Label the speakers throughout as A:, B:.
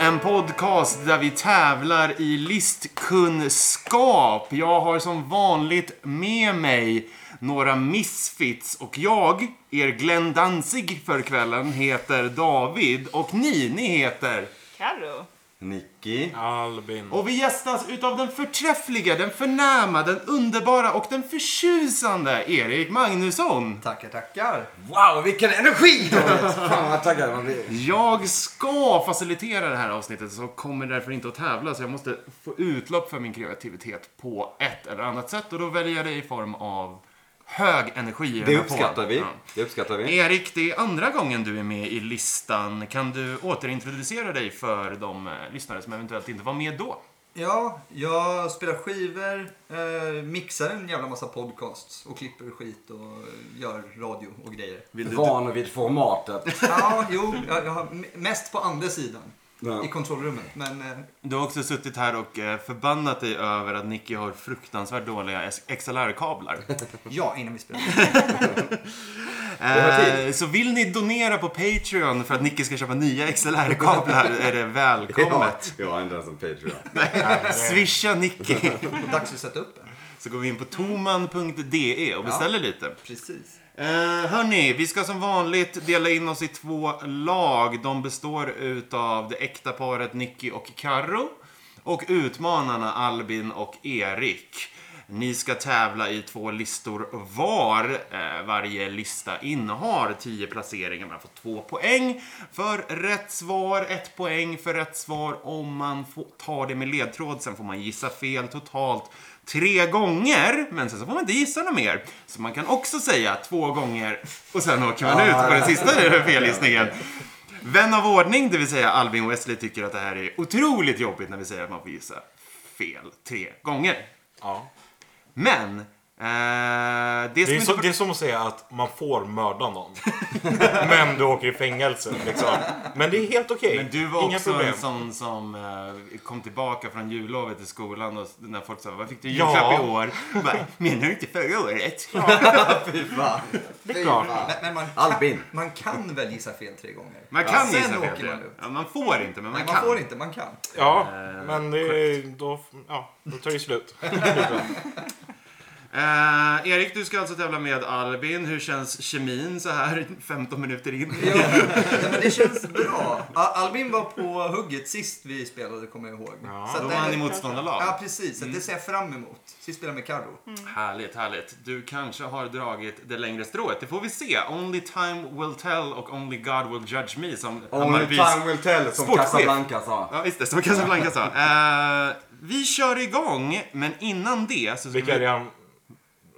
A: en podcast där vi tävlar i listkunskap. Jag har som vanligt med mig några misfits och jag, er Glenn Danzig för kvällen, heter David och ni, ni heter
B: Karo.
C: Nicky.
D: Albin.
A: och vi gästas utav den förträffliga, den förnäma, den underbara och den förtjusande Erik Magnusson.
C: Tackar, tackar.
E: Wow, vilken energi! David. Fan vad taggad man blir.
A: Jag ska facilitera det här avsnittet så kommer därför inte att tävla så jag måste få utlopp för min kreativitet på ett eller annat sätt och då väljer jag det i form av hög energi. i den
C: Det
A: här
C: uppskattar
A: podden.
C: vi.
A: Ja.
C: Det uppskattar vi.
A: Erik, det är andra gången du är med i listan. Kan du återintroducera dig för de eh, lyssnare som eventuellt inte var med då?
F: Ja, jag spelar skivor, eh, mixar en jävla massa podcasts och klipper skit och eh, gör radio och grejer.
E: Van vid formatet.
F: Ja, jo, jag, jag har m- mest på andra sidan
E: Ja.
F: i kontrollrummet. Men eh,
A: Du har också suttit här och eh, förbannat dig över att Nicky har fruktansvärt dåliga XLR-kablar.
F: ja, innan vi spelar.
C: var
A: Eh, så vill ni donera på Patreon för att Nicky ska köpa nya XLR-kablar är det
C: Ja,
A: välkommet.
C: jag har inte ens en Patreon.
A: Swisha Nicky.
F: Dags att sätta upp en.
A: Så går vi in på toman.de E och beställer lite.
F: Precis.
A: Eh, hörni, vi ska som vanligt dela in oss i två lag. De består utav det äkta paret Nicky och Karro och utmanarna Albin och Erik. Ni ska tävla i två listor var. Eh, varje lista innehar 10 placeringar. Man får två poäng för rätt svar, ett poäng för rätt svar. Om man får, tar det med ledtråd, sen får man gissa fel totalt tre gånger, men sen så får man inte gissa något mer. Så man kan också säga två gånger och sen åker man ut på den sista felgissningen. Vän av ordning, det vill säga Albin Wesley, tycker att det här är otroligt jobbigt när vi säger att man får gissa fel tre gånger.
D: Ja.
A: Men, eh, det
D: Det,
A: som
D: är
A: inte...
D: så, det är som att säga att man får mörda någon. Men du åker i fängelse. Liksom. Men det är helt okej.
A: Men du var
D: Inga
A: också
D: problem.
A: en sån som eh, kom tillbaka från jullovet i skolan och s- när folk sa vad fick du i
D: Ja.
A: julklapp i år? Bara, Menar du inte förra året?
C: Fy fan.
D: Det är klart.
F: Men, men man,
C: Albin.
F: kan, man kan väl gissa fel tre gånger?
A: Man kan
F: Sen
A: gissa fel.
F: åker man
A: tre.
F: ut.
A: Ja, man får inte, men man
F: Nej,
A: kan.
F: man får inte, man kan.
D: Ja, men det är, då, ja, då tar det slut.
A: Eh, Erik, du ska alltså tävla med Albin. Hur känns kemin så här 15 minuter in?
F: Jo, nej, men det känns bra. Ja, Albin var på hugget sist vi spelade, kommer jag ihåg.
D: Ja,
F: att
A: Då
F: det-
A: var han i motståndarlag.
F: Ja, precis.
A: Mm.
F: Så Det ser jag fram emot. Sist spelade jag med Carro.
A: Härligt, härligt. Du kanske har dragit det längre strået. Det får vi se. Only time will tell och only God will judge me som
C: Only
A: Hammarbys-
C: time will tell som
A: Sportchef.
C: Casablanca sa.
A: Ja, visst det. Som Casablanca sa. Eh, vi kör igång, men innan det så ska
D: Vilka är
A: vi...
D: det han...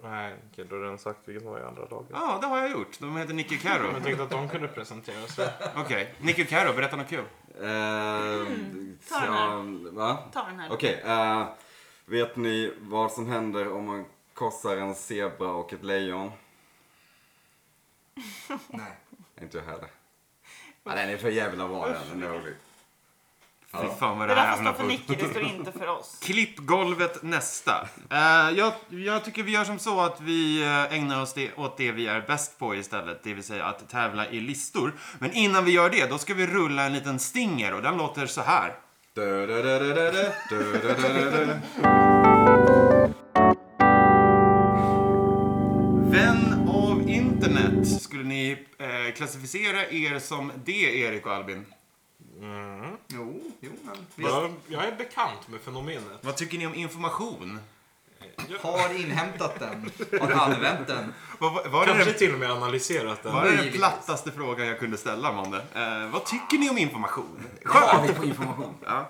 D: Nej, okej, då har jag redan sagt vilket var i andra laget.
A: Ja, det har jag gjort. De heter Nicky och Karo.
D: Jag tänkte att de kunde presentera sig.
A: Okej. Nicky och Karo, berätta något kul.
C: Ehm,
B: Ta den här.
C: så, va?
B: Ta den här.
C: Okej, eh, vet ni vad som händer om man korsar en zebra och ett lejon?
F: Nej.
C: Inte jag heller. Ja, den är för jävla bra den. Den är rolig.
A: Fy fan vad
B: Det
A: det här
B: där får
A: hamnar
B: stå för
A: på.
B: Nicky, det står inte för oss.
A: Klipp golvet nästa. Eh, jag, jag tycker vi gör som så att vi eh, ägnar oss det, åt det vi är bäst på istället, det vill säga att tävla i listor. Men innan vi gör det, då ska vi rulla en liten stinger och den låter så här.
C: Du, du, du, du, du, du, du, du, du, du, du.
A: Vän av internet, skulle ni eh, klassificera er som det, Erik och Albin?
D: Mm.
F: Jo, jo men vi
D: Jag, jag är bekant med fenomenet.
A: Vad tycker ni om information?
F: har inhämtat den. Har använt den.
A: Vad, vad, var det
D: Kanske
A: den,
D: till och med analyserat det.
A: var det den
F: Möjligtvis.
A: plattaste frågan jag kunde ställa om det? Eh, vad tycker ni om information?
E: Vad har vi på information?
A: Ja.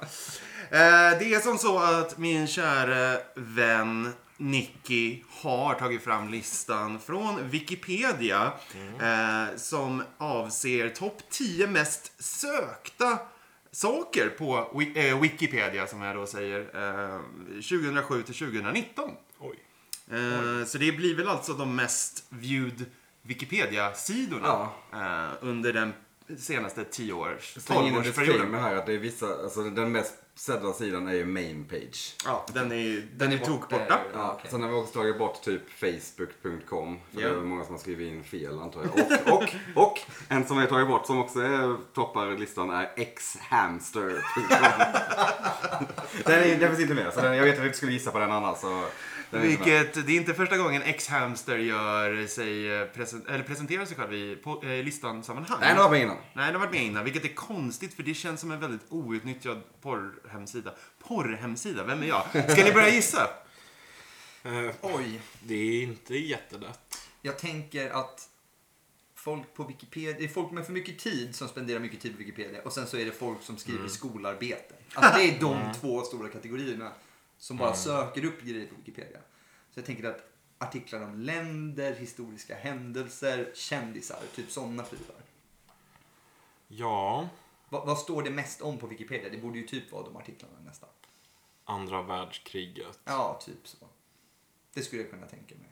A: Eh, det är som så att min kära vän Nicky har tagit fram listan från Wikipedia eh, som avser topp 10 mest sökta saker på Wi- eh, Wikipedia som jag då säger eh, 2007 till 2019.
D: Oj.
A: Eh, så det blir väl alltså de mest viewed Wikipedia-sidorna eh, under den senaste 10 års,
C: Släng in
A: 12-årsperioden.
C: en disclaimer här att det är vissa, alltså den mest södra sidan är ju main page.
A: Ja, den är, den är
F: borta.
A: tokborta.
C: Ja,
F: okej.
C: Sen har vi också tagit bort typ facebook.com. För
A: Ja.
C: det är många som har skrivit in fel antar jag. Och, och, och en som vi har tagit bort som också är, toppar listan är xhamster.com. den, är, den finns inte med. Så den, jag vet att du inte skulle gissa på den annars. Så den är inte med.
A: Vilket, det är inte första gången X-Hamster gör sig, eh, presen- eller presenterar sig själv i po- eh, listan-sammanhang.
C: Nej, den har vi innan.
A: Nej, den har varit med innan, vilket är konstigt för det känns som en väldigt outnyttjad porrhemsida. Porrhemsida? Vem är jag? Ska ni börja gissa?
D: Eh,
F: Oj.
D: Det är inte jättelätt.
F: Jag tänker att folk på Wikipedia, det är folk med för mycket tid som spenderar mycket tid på Wikipedia och sen så är det folk som skriver skolarbete. Alltså det är de två stora kategorierna som bara söker upp grejer på Wikipedia. Så jag tänker att artiklar om länder, historiska händelser, kändisar, typ sådana prylar.
D: Ja,
F: Vad, vad står det mest om på Wikipedia? Det borde ju typ vara de artiklarna nästan.
D: andra världskriget.
F: Ja, typ så. Det skulle jag kunna tänka mig.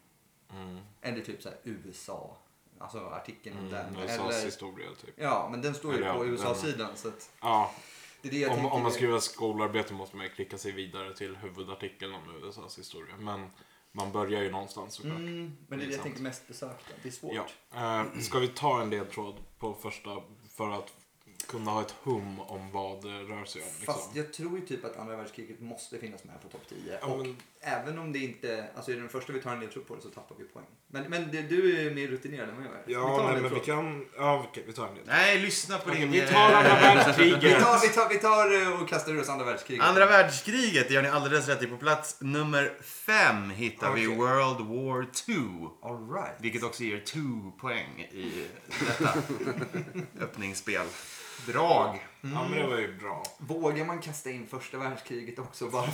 D: Mm.
F: Eller typ så här USA. Alltså artikeln om
D: Mm,
F: den.
D: USAs
F: Eller,
D: historia typ.
F: ja, men den står ju
D: Eller ja,
F: på
D: den-
F: USA-sidan. Så att
D: Ja,
F: det är det jag
D: om,
F: tänker.
D: om man skriver skolarbete måste man ju klicka sig vidare till huvudartikeln om USAs historia. Men man börjar ju någonstans såklart.
F: Mm, men det är det
D: Det är
F: jag
D: sant.
F: tänker mest besökta. Det är svårt.
D: Ja. Eh, ska vi ta en ledtråd på första för att kunna ha ett hum om vad det rör sig om? Liksom?
F: Fast jag tror ju typ att andra världskriget måste finnas med på topp 10.
D: Ja,
F: och
D: men-
F: även om det inte, alltså är det den första vi tar en ledtråd på det så tappar vi poäng. Men, men det, du är ju mer rutinerad än vad jag är.
D: Ja,
F: vi tar en
D: nej, men vi
F: ledtråd.
D: kan... Ja, okej, vi tar en ledtråd.
A: Nej, lyssna på
D: Okej,
A: din...
D: vi tar
A: eh,
D: andra
F: Vi
D: världskriget.
F: tar, vi, tar, vi tar eh, och kastar ur oss andra världskriget.
A: Andra världskriget, det gör ni alldeles rätt i. På plats nummer fem hittar vi
F: Okej.
A: World War 2.
F: All right.
A: Vilket också ger 2 poäng i detta öppningsspel. Drag.
D: Ja, men det var ju bra.
F: Vågar man kasta in första världskriget också? Bara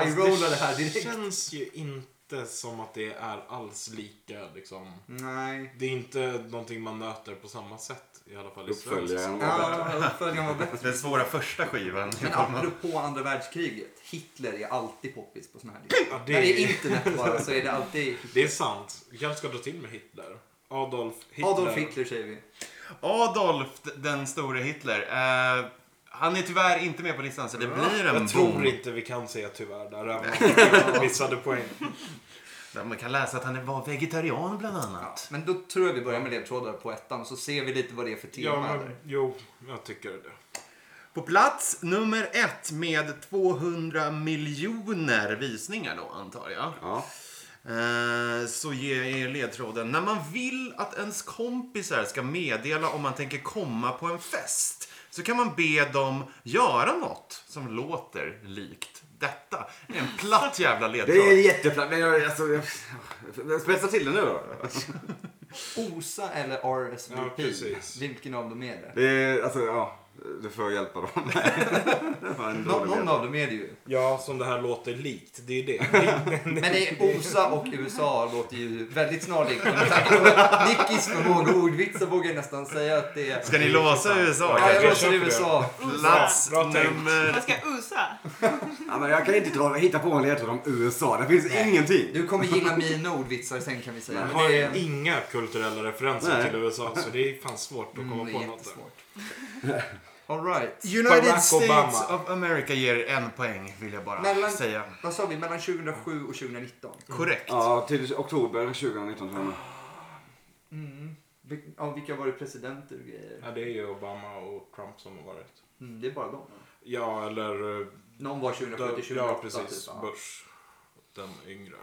F: high-rolla det Mm. här
D: Det
F: direkt?
D: känns ju inte som att det är alls lika liksom.
F: Nej.
D: Det är inte någonting man möter på samma sätt i alla fall i svensk.
C: Uppföljaren.
F: Ja, uppföljaren var bättre.
A: Alltså, Den svåra första skivan.
F: Men apropå andra världskriget. Hitler är alltid poppis på såna här listor.
D: Ja,
F: När det är
D: det, är,
F: internet bara så är det alltid
D: det är sant. Vi kanske ska dra till med Hitler. Adolf Hitler.
F: Adolf Hitler säger vi.
A: Adolf d- den store Hitler. Eh, han är tyvärr inte med på listan så det blir en
D: Jag tror
A: bom.
D: inte vi kan säga tyvärr där, även om vi missade poäng.
A: Där Man kan läsa att han var vegetarian bland
F: Ja,
A: annat.
F: men då tror jag vi börjar med ledtrådar på ettan så ser vi lite vad det är för
D: Ja,
F: tema.
D: men, jo, jag tycker det.
A: På plats nummer ett med 200 miljoner visningar då antar jag.
C: Ja.
A: Eh, Så ger jag er ledtråden. När man vill att ens kompisar ska meddela om man tänker komma på en fest så kan man be dem göra något som låter likt detta. Det är en platt jävla
C: Det är
A: ledtråd.
C: jätteplatt. Men jag, alltså, jag, spetsa till det nu då.
F: OSA eller
D: Ja,
F: RSVP?
D: precis.
F: Vilken av dem är det?
C: Det är, alltså, ja. Du får hjälpa dem. Det var en
F: Nå-
C: dålig
F: någon
C: bild.
F: av dem är det ju.
D: Ja, som det här låter likt. Det är det.
F: Men det är OSA och USA låter ju väldigt snarlikt. Men med tanke på Nickis förmåga och ordvitsar vågar jag nästan säga att det är...
A: Ska ni låsa USA
F: Ja, jag
A: kanske?
F: låter USA.
A: Plats
D: Bra tänkt.
A: nummer...
B: Jag ska usa.
C: Ja, men jag kan inte dra, hitta på en ledtråd om USA. Det finns ingenting.
F: Du kommer gilla mina ordvitsar sen kan vi säga.
D: Jag
F: Men
D: har
F: det är, mm,
D: inga kulturella referenser
C: Nej.
D: till USA, så det är fan svårt att komma
F: det
D: på
F: är
D: något. där.
F: Mm, jättesvårt. All right.
A: United
D: Barack
A: States
D: Obama.
A: of America ger en poäng vill jag bara
F: Mellan-
A: säga.
F: Vad sa vi? Mellan 2007 och 2019?
A: Korrekt.
C: Ja, till oktober 2019 tror jag.
F: Mm. Vil- Ja, vilka var det presidenter och grejer?
D: Ja, det är ju Obama och Trump som har varit.
F: Mm, det är bara dem.
D: Ja, eller... eh,
F: Någon var 2007 till 2008.
D: Ja, precis.
F: Typ, ja.
D: Bush. Den yngre.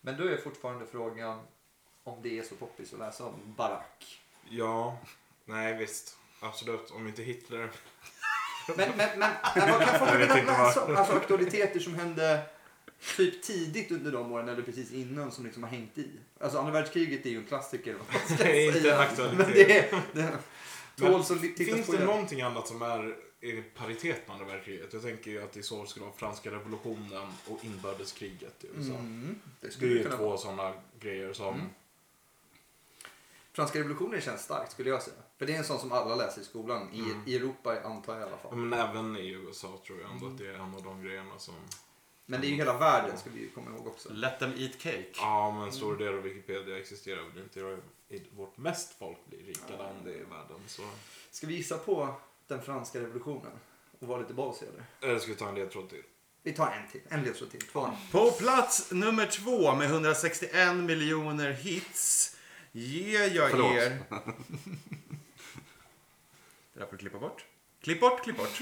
F: Men då är fortfarande frågan om det är så poppis att läsa om Barack.
D: Ja. Nej, visst. Absolut. Om inte Hitler.
F: Men, men, men, men vad kan folk
D: Jag vet
F: vilja
D: inte
F: läsa om? Alltså aktualiteter som hände typ tidigt under de åren eller precis innan som liksom har hängt i. Alltså andra världskriget är ju en klassiker. vad man ska
D: Det är inte
F: säga.
D: en
F: Men
D: aktualitet.
F: det är... Det,
D: Men
F: tål som li- tittas
D: Finns
F: på
D: det
F: igen.
D: någonting annat som är i paritet med andra världskriget? Jag tänker ju att i så skulle vara franska revolutionen och inbördeskriget i USA.
F: Mm, det
D: Det är
F: skulle
D: ju
F: kunna
D: två
F: vara. Mm.
D: sådana grejer som...
F: Franska revolutionen känns starkt skulle jag säga. För det är en sån som alla läser i skolan. I, i Europa antar jag i alla fall.
D: Ja, Men även i USA tror jag ändå att det är en av de grejerna som...
F: Mm. Men det är ju hela världen ska vi ju komma ihåg också.
A: Let them eat cake.
D: Ja, men en stor del av Wikipedia existerar väl inte i- i vårt mest folkrika land i världen. Så.
F: Ska vi gissa på den franska revolutionen? och vara lite basig eller?
D: Eller ska vi ta en ledtråd till?
F: Vi tar en till. En ledtråd till. Två.
A: På plats nummer två med 161 miljoner hits ger jag
C: Förlåt.
A: er... Det där får du klippa bort. Klipp bort, klipp bort.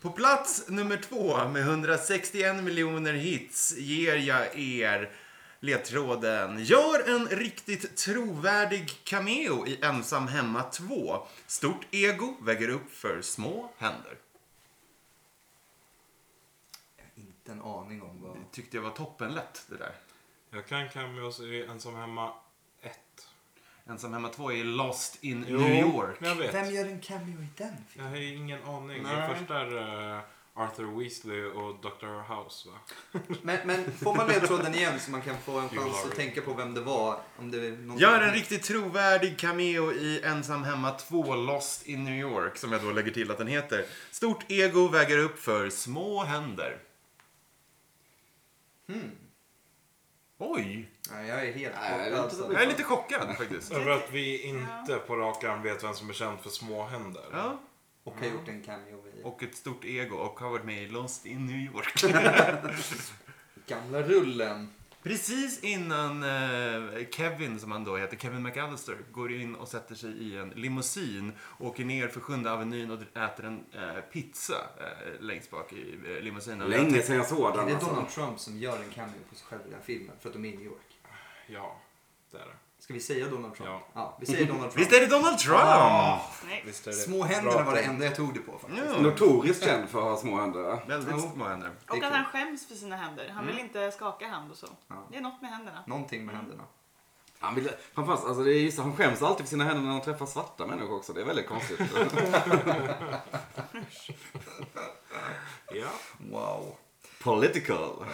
A: På plats nummer två med 161 miljoner hits ger jag er ledtråden. Gör en riktigt trovärdig cameo i Ensam hemma 2. Stort ego väger upp för små händer.
F: Jag har inte en aning om vad...
A: Tyckte jag var toppenlätt det där.
D: Jag kan cameos i Ensam Hemma 1.
A: Ensam hemma 2 är Lost in New York.
D: Jag vet.
F: Vem gör en cameo i den
D: Jag
F: filmen?
D: har ju ingen aning.
A: Nej.
D: Det första är eh, Arthur Weasley och Dr. House va?
F: Men, men får man ledtråden igen så man kan få en
D: You
F: chans
D: are-
F: att tänka på vem det var? Om det är någon...
A: Gör en riktigt trovärdig cameo i Ensam hemma 2 Lost in New York, som jag då lägger till att den heter. Stort ego väger upp för små händer. Hmm. Oj!
F: Nej, jag är helt
C: Nej, det är
F: borta alltså.
A: Jag är lite chockad faktiskt.
D: Över att vi inte på rak arm vet vem som är känd för små händer.
A: Ja,
F: Och har gjort en cameo i
A: och ett stort ego och har varit med i Lost in New York.
F: gamla rullen.
A: Precis innan eh, Kevin, som han då heter, Kevin McAllister, går in och sätter sig i en limousin, åker ner för Sjunde Avenyn och äter en eh, pizza eh, längst bak i eh, limousinen. Och jag
C: Länge sedan jag såg
F: Är
C: den
F: det
C: alltså.
F: Donald Trump som gör en cameo på sig själv i den filmen för att de är i New York?
D: Ja, det är det.
F: Ska vi säga Donald Trump?
D: Ja.
F: vi säger Donald Trump.
A: Visst är det Donald Trump?
B: Snyggt.
D: Visst är det
F: Små händerna var det
D: bra.
F: enda jag tog det på faktiskt.
A: Ja.
C: Notoriskt känd för att ha små händer. va?
A: Väldigt
F: Ja.
A: små händer.
F: Det
B: Och
F: är
B: att
F: kul.
B: han skäms för sina händer. Han vill inte skaka hand och så.
F: Ja.
B: Det är något med händerna.
F: Någonting
D: Mm.
F: med händerna.
C: Han, vill, framförallt, alltså det är just, det, han skäms alltid för sina händer när han träffar svarta människor också. Det är väldigt konstigt.
D: Ja.
F: Wow.
C: Political.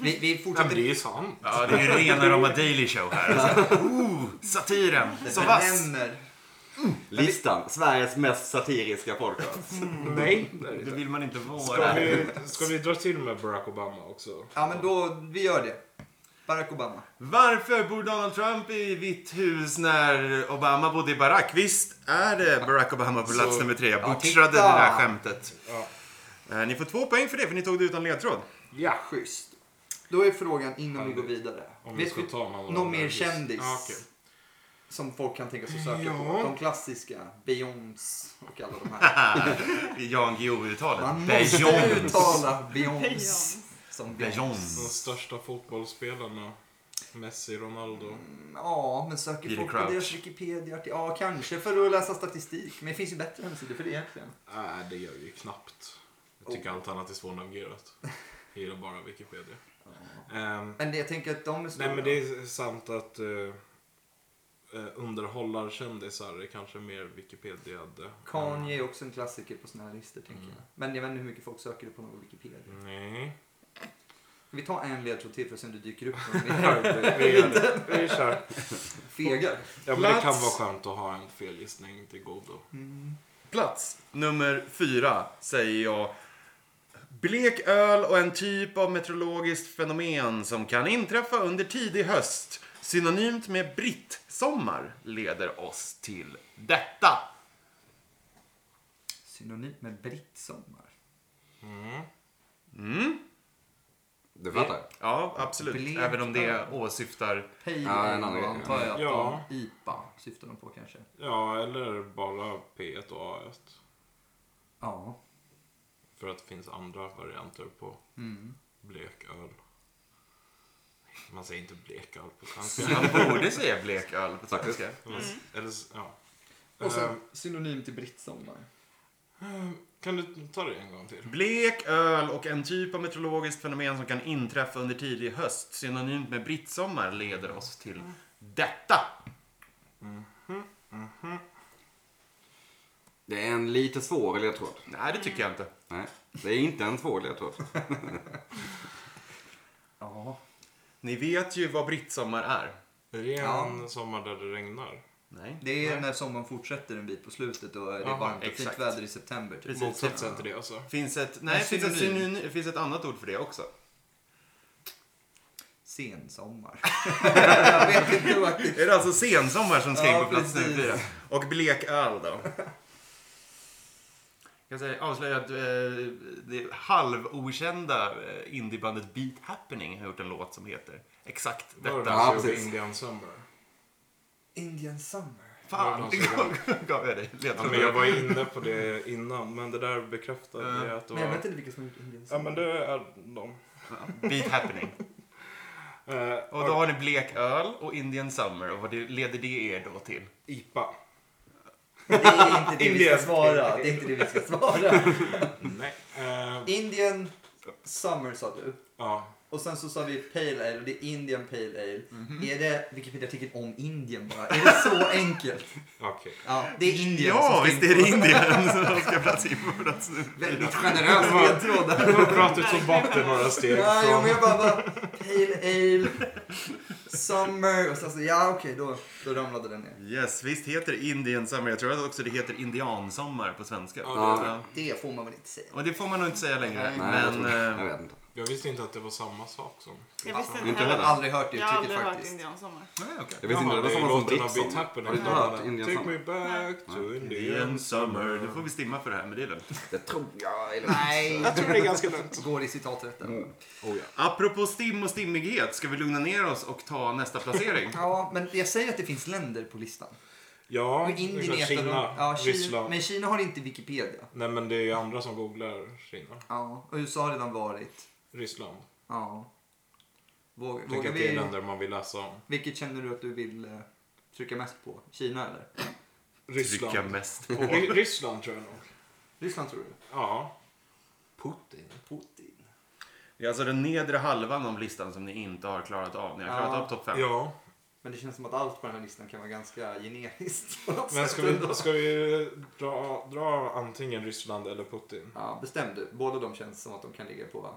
F: Vi, vi
D: Nej, men
F: fortsätter.
D: det är ju sant.
A: Ja, det är ju rena rama Daily Show här. Alltså. Oh, satiren. Så vass.
F: Bränner.
C: Listan. Sveriges mest satiriska podcast.
D: Nej.
A: Det vill man inte
D: Ska
A: vara.
D: vi, ska vi dra till med Barack Obama också?
F: Ja men då, vi gör det. Barack Obama.
A: Varför bor Donald Trump i vitt hus när Obama bodde i barack? Visst är det Barack Obama på plats
D: Så-
A: nummer tre. Jag
F: Ja,
A: butchade det
F: titta.
A: där skämtet.
D: Ja.
A: Eh, Ni får två poäng för det, för ni tog det utan ledtråd.
D: Ja.
F: Schysst. Då är frågan innan vi går vidare.
D: Om vi
F: Vet
D: ska
F: vi
D: ta någon av
F: någon
D: de där
F: mer
D: vis-
F: kändis?
D: Ja, okej.
F: Som folk kan tänka sig söka
D: Ja.
F: på. De klassiska. Beyoncé och alla de här.
A: Jan Guillou-uttalet.
F: Man måste
A: Beyoncé.
F: uttala Beyoncé.
B: Beyoncé.
F: Som Beyoncé.
A: Beyoncé.
D: De största fotbollsspelarna. Messi, Ronaldo.
F: Ja, men söker
A: Peter
F: folk
A: Crouch.
F: på deras Wikipedia? Ja, kanske för att läsa statistik. Men det finns ju bättre hemsidor för det egentligen.
D: Nej, det gör vi ju knappt. Jag
F: Oh.
D: tycker allt annat är svårnavigerat. Jag gillar bara Wikipedia. Ehm,
F: Men det, jag tänker att de är stora.
D: nej, men det är sant att uh, underhållarkändisar är kanske mer eh, Wikipediade.
F: Kanye är också en klassiker på såna här listor, tänker jag.
C: Mm.
F: Men jag vet inte hur mycket folk söker det på någon Wikipedia.
D: Nej.
F: Vi tar en ledtråd till för att se om det dyker upp någon mer.
D: Vi gör det. Vi kör.
F: Fegar.
D: Ja, men det kan
A: Plats.
D: vara skönt att ha en felgissning till godo.
F: Mm.
A: Plats nummer fyra säger jag. Blek öl och en typ av meteorologiskt fenomen som kan inträffa under tidig höst. Synonymt med brittsommar leder oss till detta.
F: Synonymt med brittsommar.
C: Du fattar?
A: Ja, absolut.
F: Blek
A: Även om det
F: öl.
A: åsyftar...
F: Pale
C: Ja, en
F: ale
C: annan
F: då
C: grej.
F: antar jag att
D: Ja.
F: de, IPA syftar de på kanske.
D: Ja, eller bara P1 och A1.
F: Ja.
D: För att det finns andra varianter på
F: Mm.
D: bleköl. Man säger inte bleköl på
A: Så
D: svenska.
A: Man borde säga blek öl på
C: Faktiskt.
A: svenska.
D: Eller- Eller, s- ja.
F: Mm. Och
D: Eh,
F: sen synonymt till brittsommar.
D: Kan du ta det en gång till?
A: Blek öl och en typ av meteorologiskt fenomen som kan inträffa under tidig höst. Synonymt med brittsommar leder oss till detta.
C: Det är en lite svår ledtråd.
A: Nej, det tycker jag inte.
C: Nej, det är inte en svår ledtråd.
F: Ja.
A: Ni vet ju vad brittsommar är.
D: Är det
F: Ja.
D: en sommar där det regnar?
A: Nej.
F: Det är när sommaren fortsätter en bit på slutet och det är
D: Jaha,
F: varmt och
A: exakt.
F: fint väder i september. Typ.
A: Precis.
D: Motsatsen till det alltså?
A: Finns ett, nej,
F: En
A: finns ett,
F: synonym.
A: synonym, finns ett annat ord för det också.
F: Sensommar. jag vet inte faktiskt.
A: Är det alltså sensommar som ska in
F: Ja,
A: på plats nummer
F: precis.
A: fyra? Och bleköl då. jag säga, avslöja att eh, det halvokända eh, indiebandet Beat Happening har gjort en låt som heter exakt detta.
C: Ja,
D: Murdoch och
C: precis.
D: Indian Summer.
E: Indian Summer.
A: Fan,
D: Murdoch och-
A: gav jag dig
D: Ja, men jag var inne på det innan, men det där bekräftade
A: Ja.
D: det att det
E: Men jag vet
D: var...
E: inte vilka som har gjort Indian
D: Ja,
E: Summer.
D: men det är de.
A: Beat Happening.
D: Eh,
A: Och då har ni blek öl och Indian Summer. Och vad det, leder det er då till?
D: IPA.
F: Det är inte det vi ska
D: Indiens-
F: svara. Det är inte det vi ska svara.
D: Nej. Eh,
F: Indian Summer sa du.
D: ja.
F: Och sen så sa vi Pale Ale och det är Indian Pale Ale. Är det Wikipedia-artikeln om Indien bara? Är det så enkelt?
D: Okej.
F: Ja, det är Indien
A: ja,
F: som
A: visst är det Indien som ska plats in på plats nu.
F: Väldigt generös ledtråd där.
D: Okay. Bra att du tog bort det några steg
F: Ja, jo, men
D: från...
F: jag bara, bara Pale Ale, Summer och sen så, ja okej, då, då ramlade den ner.
A: Yes, visst heter det Indian Summer. Jag tror att också det heter Indiansommar på svenska.
D: Ja.
A: Ja.
F: Det får man väl inte säga.
A: Och det får man nog inte säga längre.
F: Nej,
C: Nej, jag,
A: men
C: tror, jag
A: eh,
C: vet inte.
D: Jag visste inte att det var samma sak som...
B: Jag visste
C: Inte
B: inte
F: Jag har
B: heller.
F: aldrig hört det
B: Jag har
F: uttrycket
B: aldrig hört
F: faktiskt.
B: Indian Sommar.
A: nej, okej.
C: Jag visste inte, det var
D: Jaha,
C: samma
D: är
C: som
D: låten av
C: Dick
D: Beat
C: Summer.
D: Happening.
C: Har du inte hört Indian
D: Take
C: Summer?
D: me back to Indian
A: Indian Summer. Nu
D: Summer.
A: får vi stimma för det här, men det är lugnt.
C: Det tror jag. Eller...
F: Nej,
D: Jag tror det är ganska lugnt.
F: går i citaträtten.
C: Oh, ja.
A: Apropå stim och stimmighet, ska vi lugna ner oss och ta nästa placering?
F: Ja, men jag säger att det finns länder på listan.
D: Ja,
F: Och
D: det är
F: Indien är
D: klart,
F: ett av de-
D: Kina,
F: ja, Kina,
D: Ryssland.
F: men Kina har inte Wikipedia.
D: Nej, men det är ju andra som googlar Kina.
F: Ja, och USA har redan varit.
D: Ryssland.
F: Ja. Vågar,
D: Tänk
F: vågar
D: att det är
F: vi,
D: länder man vill läsa om.
F: vilket känner du att du vill eh, trycka mest på? Kina eller?
D: Ryssland.
A: Trycka mest
D: Och
A: på.
D: Ry- Ryssland tror jag nog.
F: Ryssland tror du?
D: Ja.
C: Putin.
F: Putin.
A: Det är alltså den nedre halvan av listan som ni inte har klarat av. Ni har klarat
F: Ja.
A: av topp 5.
D: Ja.
F: Men det känns som att allt på den här listan kan vara ganska generiskt. på något
D: Men
F: sätt
D: ska vi,
F: ändå.
D: ska vi dra, dra antingen Ryssland eller Putin?
F: Ja, bestäm du. Båda de känns som att de kan ligga på va?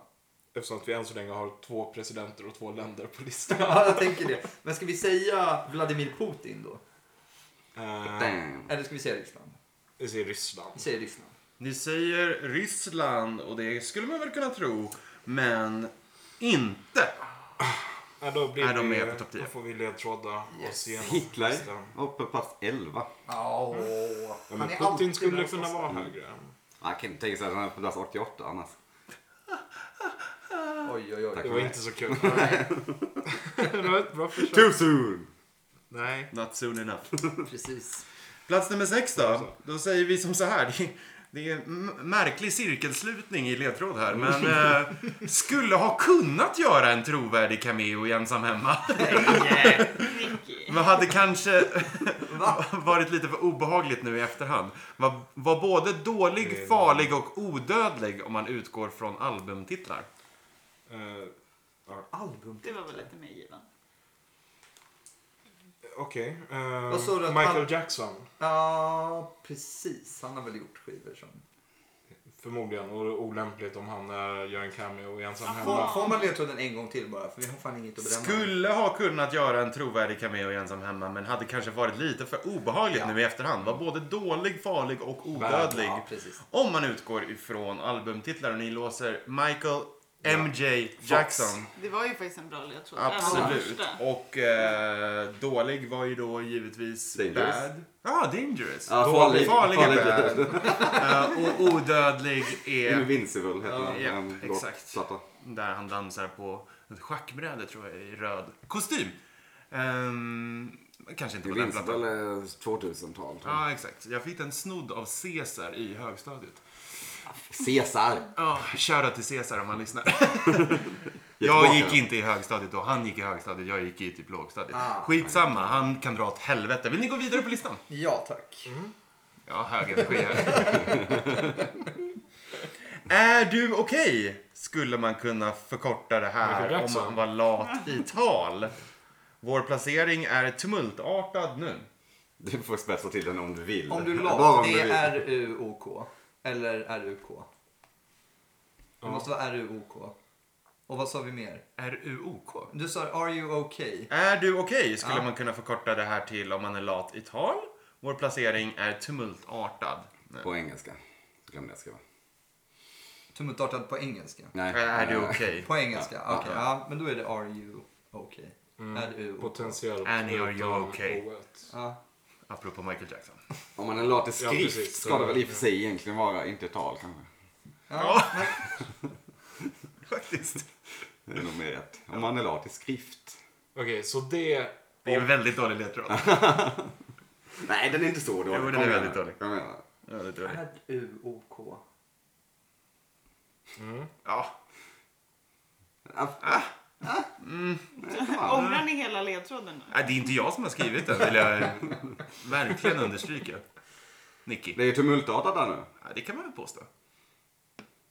D: Eftersom att vi än så länge har två presidenter och två länder på listan.
F: Ja, jag tänker det. Men ska vi säga Vladimir Putin då?
D: Eh,
C: Damn.
F: Eller ska vi säga Ryssland?
D: vi säger
F: Vi
D: Ryssland.
F: säger Ryssland.
A: Ni säger Ryssland och det skulle man väl kunna tro, men inte.
D: Ja, då blir
A: Är de
D: vi-
A: med på topp tio?
D: Då får vi ledtråda oss igenom
C: Hitler.
D: listan.
C: Och på plats 11.
F: Åh.
D: Ja,
F: Han
D: men
F: är
D: Putin
F: alltid
D: skulle
F: med
D: kunna
F: oss.
D: vara högre.
A: Mm.
C: Jag kan inte tänka sig att han är på plats 88 annars.
F: Oj, oj,
C: Tack.
F: oj.
D: Det var inte så kul.
F: Nej,
D: det var ett bra försök.
C: Too soon!
D: Nej.
A: Not soon enough.
F: precis.
A: Plats nummer sex då. Då säger vi som så här. Det, det är en m- märklig cirkelslutning i ledtråd här, men eh, skulle ha kunnat göra en trovärdig cameo i Ensam Hemma.
B: Nicky.
A: Men hade kanske
F: Va?
A: varit lite för obehagligt nu i efterhand. Var, var både dålig, farlig och odödlig om man utgår från albumtitlar.
D: Eh,
F: Album.
B: Det var väl lite mer given.
D: Okej. Eh,
F: Vad sa du att
D: Michael
F: han-
D: Jackson.
F: Ja, precis. Han har väl gjort skivor som...
D: Förmodligen. Och det är olämpligt om han eh, gör en cameo i Ensam
F: Får,
D: Hemma.
F: får man ledtråden en gång till bara? För vi har fan inget att bedöma.
A: Skulle ha kunnat göra en trovärdig cameo i Ensam Hemma men hade kanske varit lite för obehagligt nu i efterhand. Var både dålig, farlig och odödlig.
F: Ja, precis.
A: Om man utgår ifrån albumtitlar och ni låser Michael MJ Jackson.
B: Det var ju faktiskt en bra ledtråd. Det var den
A: Absolut.
B: första.
A: Och eh, dålig var ju då givetvis
C: Dangerous.
A: bad. Ja, ah, dangerous.
C: Ja,
A: Dålig,
C: farlig.
A: farlig är
C: Farlig. Mm.
A: bad. Eh, och odödlig är
C: Invincible heter
A: Ja,
C: den.
A: japp,
C: Låt-
A: exakt.
C: platta.
A: där han dansar på ett schackbräde tror jag i röd kostym. Ehm, kanske inte på den plattan.
C: Invincible är 2000-tal. tror jag.
A: Ja, exakt. Jag fick en snodd av Caesar i högstadiet.
C: Caesar.
A: Ja, shoutout till Caesar om han lyssnar.
C: Ge
A: Jag
C: tillbaka
A: gick
C: den.
A: inte i högstadiet då. Han gick i högstadiet, jag gick i typ lågstadiet.
F: Ah.
A: Skitsamma, han kan dra åt helvete. Vill ni gå vidare på listan?
F: Ja, tack.
C: Mm.
A: Ja, hög energi här. Är du okej? Skulle man kunna förkorta det
D: Michael
A: här om
D: Jackson.
A: man var lat i tal. Vår placering är tumultartad nu.
C: Du får spetsa till den om du vill.
F: Om du
C: Bara
F: la,
C: om
F: det
C: du vill.
F: är R-U-O-K. Eller R-U-K. Det måste vara R-U-O-K. Och vad sa vi mer?
A: R-U-O-K.
F: Du sa Are you okay?
A: Är du okej? Skulle
F: Ja.
A: man kunna förkorta det här till om man är lat i tal. Vår placering är tumultartad. Nej.
C: På engelska. Glömde jag skriva.
F: Tumultartad på engelska.
C: Nej.
A: Är du
C: eh,
A: okej?
F: På engelska?
C: Ja.
F: Okej, ja. Men då är det Are you okay? Är du
D: Mm. Potentiellt.
A: Annie, are you
D: utan
A: okay?
D: O-et.
F: Ja.
A: Apropå Michael Jackson.
C: Om man är lat i
D: Ja,
C: skrift
D: precis.
C: ska det väl i och för sig egentligen vara, inte tal kanske.
A: Ja. Faktiskt.
C: Det är nog mer rätt. Om man är lat i skrift.
D: Okej, så det...
A: Det är en väldigt dålig ledtråd.
C: Nej, den är inte så dålig.
A: Jo, den är
C: Kom igen.
A: väldigt dålig.
C: Kom igen.
A: Ja, det tror jag.
F: R-U-O-K.
A: Ja.
B: Ångrar ni hela ledtråden nu?
A: Nej, det är inte jag som har skrivit den, vill jag verkligen understryka. Nicky.
C: Det är ju tumultartat där nu.
A: Ja, det kan man väl påstå.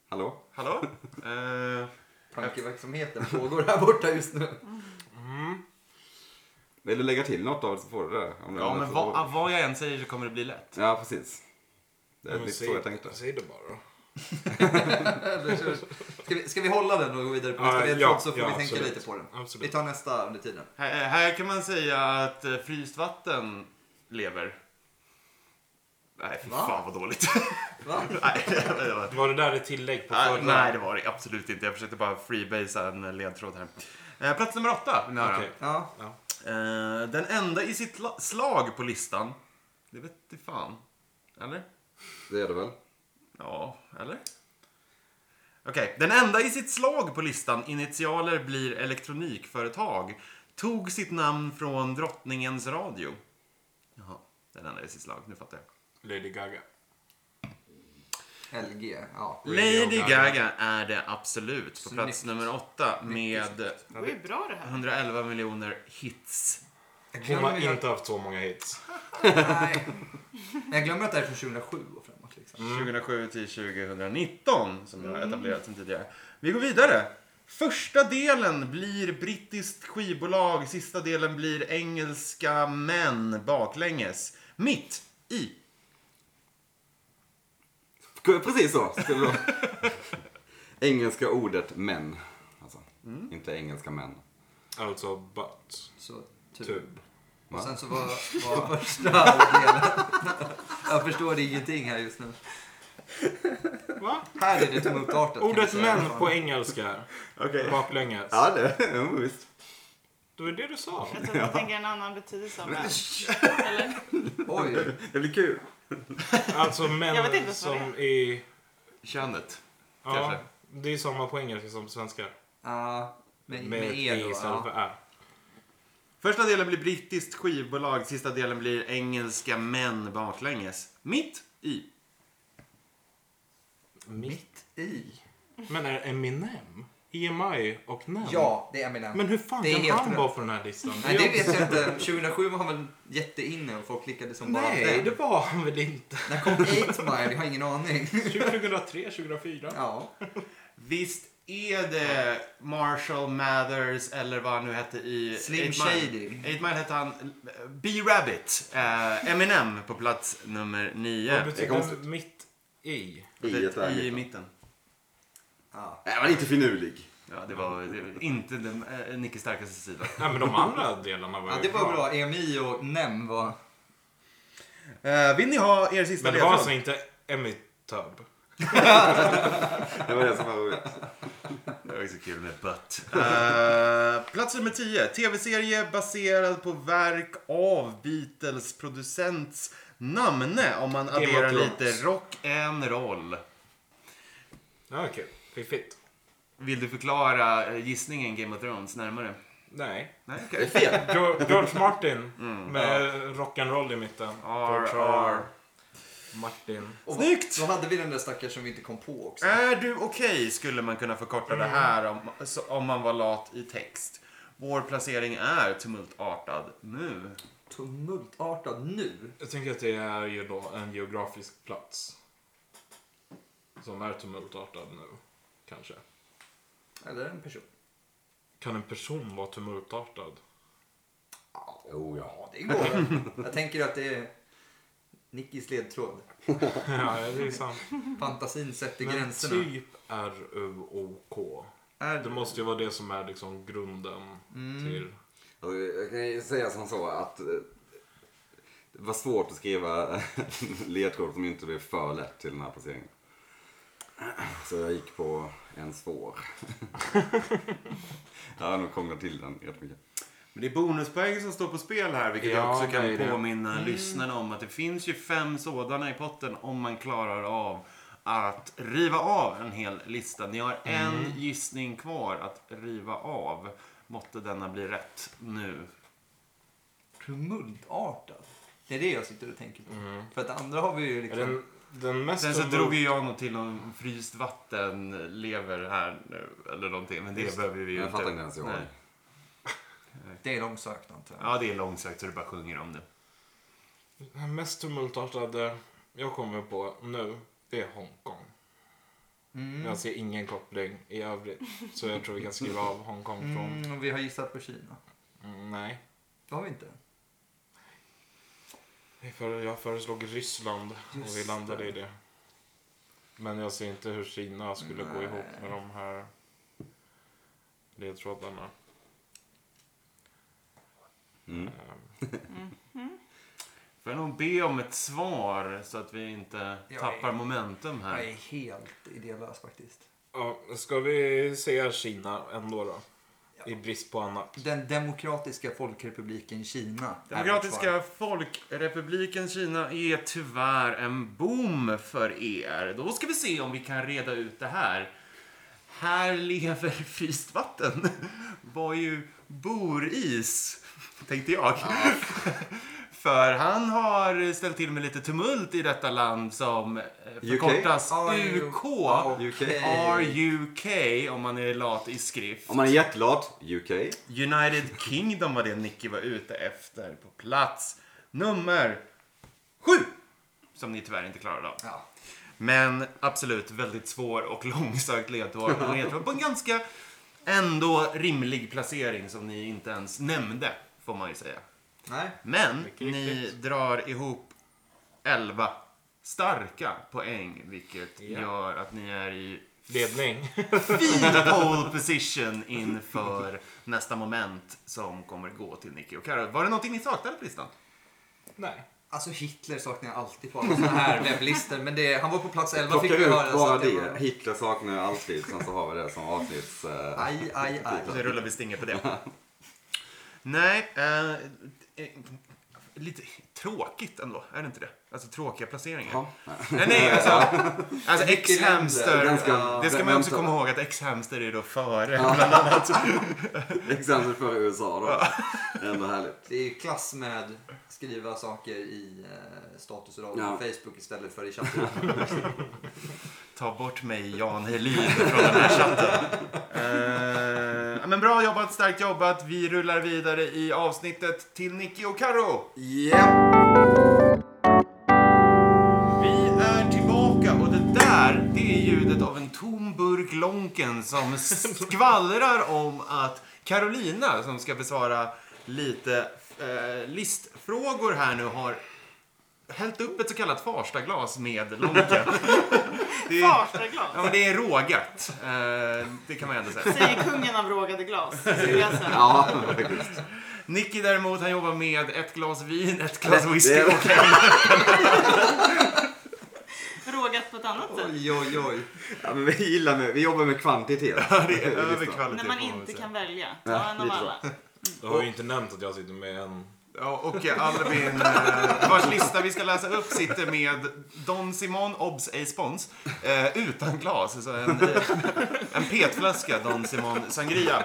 C: Hallå?
A: Hallå? Eh,
F: Tankeverksamheten pågår här borta just nu.
C: Mm. Vill du lägga till något av det så får du det. Om det
A: ja,
C: är
A: men
C: så
A: vad,
C: dåligt.
A: ah, vad jag än säger så kommer det bli lätt.
C: Ja, precis. Det är
D: Men
C: lite
D: säg-
C: så jag tänkte.
D: Säg det bara.
F: Eller så- Ska vi, ska vi hålla den och gå vidare på
D: Ja,
F: nästa ledtråd
D: ja,
F: så får
D: ja,
F: vi tänka
D: absolut.
F: lite på den.
D: Absolut.
F: Vi tar nästa under tiden.
A: Här, här kan man säga att eh, fryst vatten lever. Nej, fy
F: Va?
A: fan vad dåligt.
F: Va?
A: nej, det var-
D: Var det där ett tillägg på
A: nej,
D: förra?
A: nej, det var det absolut inte. Jag försökte bara freebasea en ledtråd här. Eh, Plats nummer åtta vill ni höra.
D: Okej.
F: Ja.
A: Eh, Den enda i sitt la- slag på listan. Det vet du fan. Eller?
C: Det är det väl?
A: Ja, eller? Okej, den enda i sitt slag på listan, initialer blir elektronikföretag, tog sitt namn från drottningens radio. Jaha, den enda i sitt slag, nu fattar jag.
D: Lady Gaga.
F: LG. Ja.
D: Radio
A: Lady
D: Gaga.
A: Gaga är det absolut, på plats nummer åtta med
B: Det är bra det här.
A: 111 miljoner hits.
F: Jag
D: Hon
F: glömmer,
D: har
F: ju-
D: inte haft så många hits.
F: nej. Men jag glömmer att det här är från 2007 och framåt. Liksom.
C: Mm.
A: 2007 till 2019 som jag har etablerat sen tidigare. Vi går vidare. Första delen blir brittiskt skivbolag, sista delen blir engelska män baklänges. Mitt i.
C: Precis så skulle det vara. Engelska ordet men. Alltså,
A: Mm.
C: inte engelska män.
D: Alltså, but.
F: Så typ.
D: Tub.
F: Och sen så var, var första delen. Jag förstår ingenting här just nu.
D: Va?
F: Här är det tumultartat. kan vi
D: Ordet
F: säga.
D: men på engelska.
A: Okej.
D: Baklänges.
C: Ja, det ja, visst.
D: Det var det du sa.
B: Jag tror att jag tänker en annan betydelse av män. Eller?
F: Oj.
C: Det blir kul.
D: Alltså
B: Jag vet
D: män
B: inte vad det
D: som är...
A: Könet.
D: Ja,
A: Kanske.
D: det är samma på engelska som på svenska.
F: Ja, med, med,
D: Med ett
F: er
D: e
F: då.
D: istället för
F: Ja.
D: ä.
A: Första delen blir brittiskt skivbolag, sista delen blir engelska män baklänges. Mitt i.
D: Mitt.
F: I.
D: Men är det Eminem? EMI och NEM?
F: Ja, det är Eminem.
D: Men hur fan
F: Det är
D: kan
F: helt
D: han
F: rätt.
D: vara på den här listan?
F: Nej, det
D: är-
F: vet jag inte. 2007 var han väl jätteinne och folk klickade som bara
D: Nej,
F: den.
D: det var han väl inte?
F: När kom 8 Mile? Jag har ingen aning.
D: 2003, 2004?
F: Ja.
A: Visst är det Marshall Mathers eller vad han nu hette i...
F: Slim
A: Eight
F: Shady.
A: Mile. Eight Mile hette han... eh, B-Rabbit. eh, Eminem på plats nummer
D: Vad
A: nio.
D: betyder
C: konstigt.
D: mitt i?
C: I ett där
A: I
C: mitten.
A: mitten.
F: ja.
C: Nej, men inte finurlig.
A: Ja, det var det var inte den, eh, Nickes starkaste sida.
D: Nej, men de andra delarna var
F: ja
D: ju
F: det var bra. EMI och NEM var...
A: Eh, vill ni ha er sista
D: Men det var
A: ledtråd?
D: alltså inte Emitub?
C: Det var det som var roligt.
A: Det var ju så kul med butt. Eh, plats nummer 10. Tv-serie baserad på verk av Beatles producents namne. Om man
D: of
A: adderar
D: Thrones.
A: lite rock and roll.
D: Ja, okej. Fiffigt.
A: Vill du förklara eh, gissningen Game of Thrones närmare?
D: Nej.
A: Nej, okej.
D: George George Martin med rock'n'roll i mitten.
A: R,
D: George
A: R.
D: R. Martin.
F: Och
A: Snyggt!
F: Då hade vi den där stackaren som vi inte kom på också.
A: Är du okej skulle man kunna förkorta det här om, så- om man var lat i text. Vår placering är tumultartad nu.
F: Tumultartad nu.
D: Jag tänker att det är ju då en geografisk plats. Som är tumultartad nu, kanske.
F: Eller en person.
D: Kan en person vara tumultartad?
C: Jo, ja.
F: Ja, det går. Jag tänker att det är Nickis ledtråd.
D: ja, det är sant.
F: Fantasin sätter
D: Men
F: gränserna.
D: typ R-U-O-K.
F: Är
D: Det måste ju vara det som är liksom grunden till...
C: Alltså, Jag kan ju säga som så att eh, det var svårt att skriva ledtråd som inte blev för lätt till den här placeringen. Så jag gick på en svår. jag har nog krånglat till den rätt mycket.
A: Men det är bonuspoäng som står på spel här, vilket jag
C: Ja,
A: också
C: det
A: kan
C: är det.
A: påminna lyssnarna om. Att det finns ju fem sådana i potten om man klarar av att riva av en hel lista. Ni har en gissning kvar att riva av. Måtte denna bli rätt nu.
F: Tumultartad. Det är det jag sitter och tänker på. För att det andra har vi ju
D: Är
F: liksom...
D: den, den mest
A: Sen så
D: tumult-
A: drog ju jag nog till om fryst vatten lever här nu, eller någonting. Men det behöver vi ju
C: Jag
A: inte.
C: fattar inte ens i år.
A: Nej.
F: Det är långsökt antar jag.
A: Ja, det är långsökt så du bara sjunger om det.
D: Den mest tumultartade jag kommer på nu, det är Hongkong. Jag ser ingen koppling i övrigt. Så jag tror vi kan skriva av Hongkong från...
F: Mm, och vi har gissat på Kina.
D: Mm, nej.
F: Det har vi inte.
D: Jag före- Jag föreslog Ryssland och vi
F: Just
D: landade
F: det.
D: i det. Men jag ser inte hur Kina skulle gå ihop med de här ledtrådarna.
C: Mm.
A: Får jag nog be om ett svar så att vi inte
F: Jag
A: tappar
F: är-
A: momentum här.
F: Jag är helt idélös faktiskt.
D: Ja, ska vi säga Kina ändå då?
F: Ja.
D: I brist på annat.
F: Den demokratiska folkrepubliken Kina. är vårt
A: Demokratiska folkrepubliken Kina är tyvärr en boom för er. Då ska vi se om vi kan reda ut det här. Här lever fryst vatten. Var ju boris, tänkte jag. För han har ställt till med lite tumult i detta land som eh, förkortas
F: Ah,
A: UK.
C: UK.
A: RUK om man är lat i skrift.
C: Om man är hjärtlat, UK.
A: United Kingdom var det Nicky var ute efter på plats nummer sju. Som ni tyvärr inte klarade av.
F: Ja.
A: Men absolut väldigt svår och långsökt ledtråd. ledtråd på en ganska ändå rimlig placering som ni inte ens nämnde, får man ju säga.
F: svar. Nej.
A: Men
D: Mycket
A: ni
D: riktigt.
A: drar ihop 11 starka poäng, vilket
D: Ja.
A: gör att ni är i
D: Ledning.
A: fin pole position inför nästa moment som kommer gå till Nicky och Karo. Var det någonting ni saknade på listan?
D: nej.
F: Alltså Hitler saknar jag alltid på alla såna här webblistor. Men det, han var på plats 11 fick
C: Plocka
F: vi
C: ut
F: höra. så
C: bara
F: att jag
C: det. Hitler saknar jag alltid. Sen så har vi det som avsnitts... eh,
F: Aj, aj,
A: Nu
F: aj.
A: rullar vi stinger på det. Nej, eh, eh, lite tråkigt ändå. Är det inte det? Alltså tråkiga placeringar.
C: Ja.
A: Nej, nej, alltså. Alltså X-Hamster.
C: Ganska-
A: ja, Det ska man ju också
C: vänta.
A: komma ihåg att X-Hamster är då före.
C: Exempel för USA då. Det är ändå härligt.
F: Det är ju klass med skriva saker i eh, statusraden
C: Ja.
F: på Facebook istället för i chatten.
A: Ta bort mig Jan Helin från den här chatten. Eh, ja, men bra jobbat, starkt jobbat. Vi rullar vidare i avsnittet till Nicky och Karo.
C: Japp!
A: Vi är tillbaka och det där, det är ljudet av en tom burk Lonken som skvallrar om att Carolina, som ska besvara lite eh, listfrågor här nu, har hällt upp ett så kallat Farstaglas med Lonken. Det är,
B: Farsta glas.
A: ja, men det är rågat. Eh, det kan man ändå säga.
B: Säger kungen av rågade glas. skulle jag säga.
C: Ja, faktiskt.
A: Nicky däremot, han jobbar med ett glas vin, ett glas
C: Det-
A: whisky och
B: Rågat på ett annat sätt.
F: oj, oj, oj.
C: Ja, men vi gillar med, vi jobbar med kvantitet.
A: det är över kvalitet.
B: När man
A: får väl
B: inte
A: säga.
B: kan välja. Ta en av
C: lite så.
B: alla.
D: Du har ju inte nämnt att jag sitter med en...
A: Ja, och Albin, eh, vars lista vi ska läsa upp, sitter med Don Simon Obs A Spons eh, utan glas. Så en, eh, en petflaska Don Simon Sangria.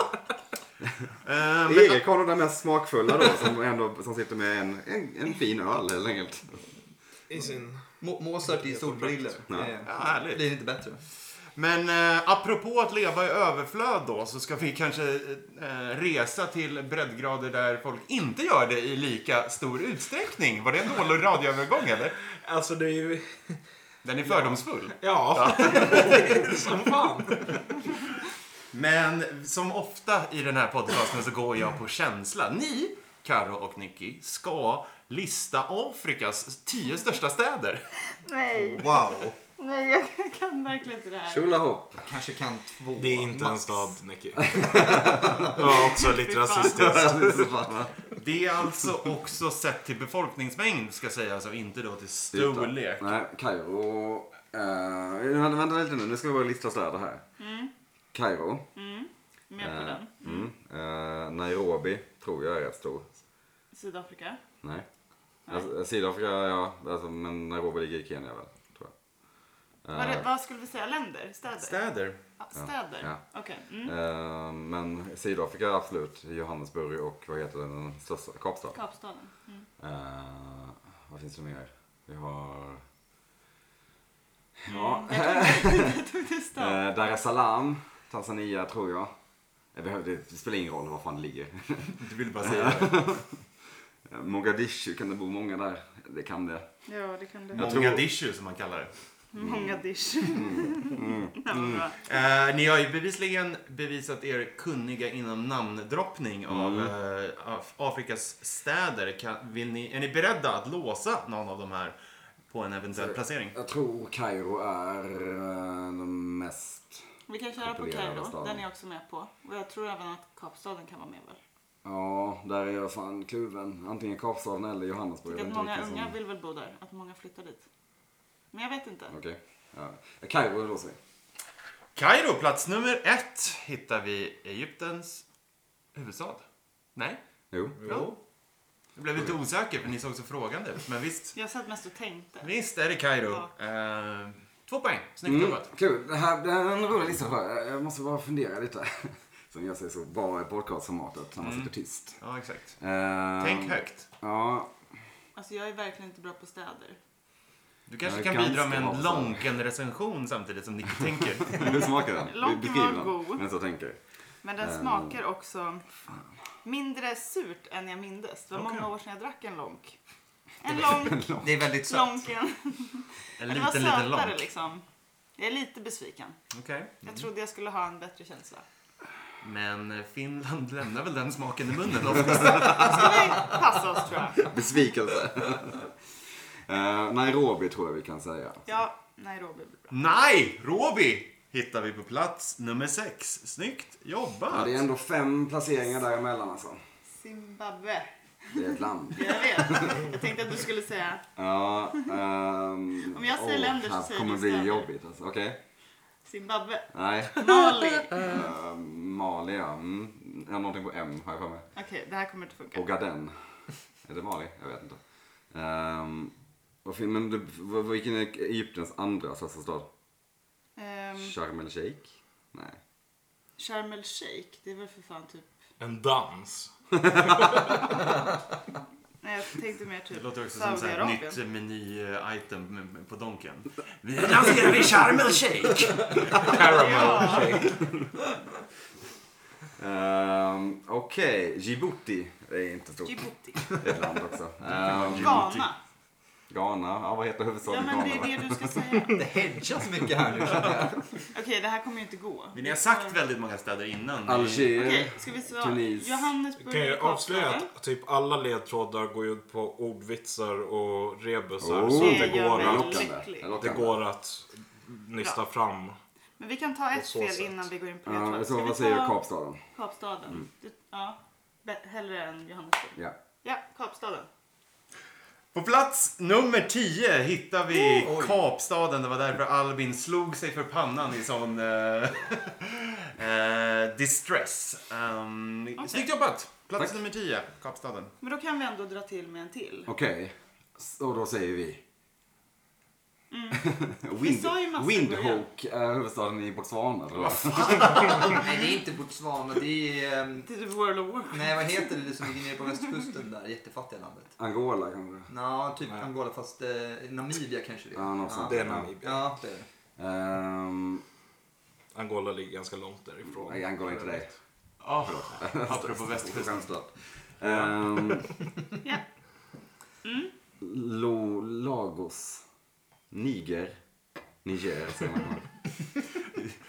A: Eh, men,
C: Erik har nog den mest smakfulla då som, ändå, som sitter med en, en, en fin öl helt enkelt.
D: I sin...
F: Mo- Mozart i solbrillor.
A: ja,
F: Det
A: härligt.
F: blir inte bättre.
A: Men eh, apropå att leva i överflöd då så ska vi kanske eh, resa till breddgrader där folk inte gör det i lika stor utsträckning. Var det en dålig radioövergång eller?
D: Alltså det är ju...
A: Den är fördomsfull.
D: Ja. Som fan.
A: Men som ofta i den här podcasten så går jag på känsla. Ni, Karo och Nicky, ska lista Afrikas tio största städer.
B: Nej,
F: Wow.
B: nej jag kan verkligen inte det här.
C: Tjolahopp!
F: Kanske kan två.
D: Det är inte en
F: max.
D: stad, Nicky. Ja, också lite rasistiskt.
A: Det är alltså också sett till befolkningsmängd ska sägas och inte då till storlek.
C: typ Nej, Kairo. eh, vänta, vänta lite nu, nu ska vi bara lista städer
B: Mm.
C: här. Kairo.
B: Med på den.
C: Mm. eh, Nairobi, tror jag är rätt stor.
B: Sydafrika.
C: Nej.
B: Nej.
C: Alltså, Sydafrika, ja. Alltså, men Nairobi ligger i Kenya väl? Tror jag.
B: Vad,
C: Eh,
B: vad skulle vi säga? Länder? Städer?
A: Städer.
B: Ja, städer?
C: ja.
B: Okej. Mm.
C: eh, men Sydafrika, absolut. Johannesburg och vad heter den största? Kapstaden.
B: Kapstaden? Mm.
C: Eh, vad finns det mer? Vi har...
B: Mm,
C: Ja.
B: Jag tog det- jag tog det stad.
C: Eh, Dar es Salaam, Tanzania tror jag. Eh, Det, behöver- det spelar ingen roll var fan det ligger.
A: Du vill bara säga det.
C: Eh, Mogadishu, kan det bo många där? Det kan det.
B: Ja, det kan det
C: Jag
B: vara.
C: tror-
A: Mogadishu som man kallar det.
B: Mm. Många dish.
C: Mm.
B: Ja, vad bra.
A: Eh, ni har ju bevisligen bevisat er kunniga inom namndroppning av
C: Mm.
A: eh, Af- Afrikas städer. Kan, vill ni, är ni beredda att låsa någon av de här på en eventuell placering?
C: Jag tror Kairo är eh, de mest...
B: Vi kan köra på
C: Populära
B: Kairo.
C: staden.
B: Den är jag också med på. Och jag tror även att Kapstaden kan vara med väl?
C: Ja, där är jag fan kluven. Antingen Kapstaden eller Johannesburg.
B: Jag
C: Jag
B: tycker
C: vet
B: att
C: inte
B: Typ många
C: vilken som-
B: unga vill väl bo där. Att många flyttar dit. Men jag vet inte.
C: Okej. Ja. Kairo låser vi.
A: Kairo, plats nummer ett, hittar vi Egyptens huvudstad. Nej?
C: Jo.
A: Jo. Jag blev lite osäker för ni såg så frågande ut, men visst.
B: Jag satt mest och tänkte.
A: Visst är det Kairo. Eh, två poäng, snyggt jobbat.
C: Mm. Kul. Det här, det här är en rolig lista för jag. Jag måste bara fundera lite. Som jag säger så, bara i podcastformatet när man sitter tyst.
A: Ja, exakt.
C: Ehm,
A: Tänk högt.
C: Ja,
B: Alltså jag är verkligen inte bra på städer.
A: Du kanske
C: jag är
A: kan bidra
C: ganska
A: med en
C: bra alltså. på
A: Lonken-recension samtidigt som Nicky tänker.
C: du smakar den. Du
B: Långt
C: beskriver
B: var god.
C: den. Men så tänker.
B: Men
A: Ehm.
B: den smakar också mindre surt än jag mindes. Det var många år sedan jag drack en lonk. En lonk,
F: Det är väldigt sött.
B: lonken.
A: En
B: Men det var
A: liten, liten lång.
B: sötare liksom. Jag är lite besviken.
A: Okej.
B: Jag trodde jag skulle ha en bättre känsla.
A: Men eh, Finland lämnar väl den smaken i munnen oftast.
B: Ska vi passa oss tror jag?
C: Besvikelse. Eh, Nairobi tror jag vi kan säga.
B: Ja, Nairobi blir bra.
A: Nej! Robi hittar vi på plats nummer sex. Snyggt
C: Ja,
A: jobbat!
C: det är ändå fem placeringar däremellan alltså.
B: Zimbabwe.
C: Det är ett land.
B: Jag vet. Jag tänkte att du skulle säga
C: Ja, ehm,
B: Om jag säger länder så
C: här
B: säger
C: kommer
B: du
C: bli
B: städer.
C: jobbigt alltså. Okej?
B: Zimbabwe.
C: Nej.
B: Mali.
C: Uh, Mali ja. Mm. Jag har någonting på M har jag för mig.
B: Okej, det här kommer inte funka.
C: Ogaden. Är det Mali? Jag vet inte. Um, vad fin, men du, vad- vilken är Egyptens andra största stad?
B: Ehm,
C: Sharm el Sheikh? Nej.
B: Sharm el Sheikh, det är väl för fan typ...
D: En dans.
B: Nej, jag tänkte mer typ
A: Det låter också som så här
B: Saudiarabien.
A: nytt eh, meny-item på Donken. Vi lanserar vi Sharm el Sheikh!
D: Caramel.
B: Ja,
C: Ehm, Okej, Djibouti. Det är inte stort.
B: Djibouti.
C: Det är ett land också. Ehm,
B: Ghana.
C: Ghana. Ja, vad heter
B: Ja,
C: huvudstaden i
B: men det
C: Ghana?
B: är det du ska säga.
F: Det hedgas mycket här nu.
B: Okej, det här kommer ju inte gå. Ehm,
A: Men ni har sagt väldigt många städer innan.
C: Alger.
B: Okej, ska vi svara?
C: Tunis.
B: Johannesburg
D: Kan jag
B: eller
D: avslöja
B: Kapstaden?
D: att typ alla ledtrådar går ut på ordvitsar och rebusar.
C: Oh.
D: Så det
B: Det gör
D: går
B: mig
D: att,
B: lycklig.
C: Lockande.
B: lycklig.
C: Det är
D: det
C: lockande.
D: går att nysta fram.
B: Men vi kan ta ett
D: så
B: fel
D: sätt.
B: innan vi går in på det.
C: Ja,
B: tror jag.
C: så
B: Ska vi
C: vad säger Mm.
B: ta
C: Kapstaden?
B: Kapstaden? Det- Ja, Be- hellre än Johannesburg.
C: Ja.
B: Ja, Kapstaden.
A: På plats nummer 10 hittar vi Kapstaden. Det var därför Albin slog sig för pannan i sån eh, eh, distress. Um, Snyggt jobbat! Plats nummer 10, Kapstaden.
B: Men då kan vi ändå dra till med en till.
C: Okej, och då säger vi...
B: Mm. Vi sa ju massa i början.
C: Windhoek är huvudstaden i Botswana tror jag.
F: Nej, det är inte Botswana. Det är... ehm,
B: Till typ World of Warcraft.
F: Nej, vad heter det, det som ligger nere på västkusten där? Jättefattiga landet.
C: Angola kanske?
F: Nå, typ Angola fast eh, Namibia kanske det är.
C: Ja, något sånt.
D: Det är Namibia.
F: Ja, det är det.
C: Ehm,
D: Angola ligger ganska långt därifrån.
C: nej, Angola är inte det.
A: Oh, apropå västkusten.
C: Skämtat. Ehm,
B: Ja. Mm.
C: Lo- Lagos. Niger. Niger säger man.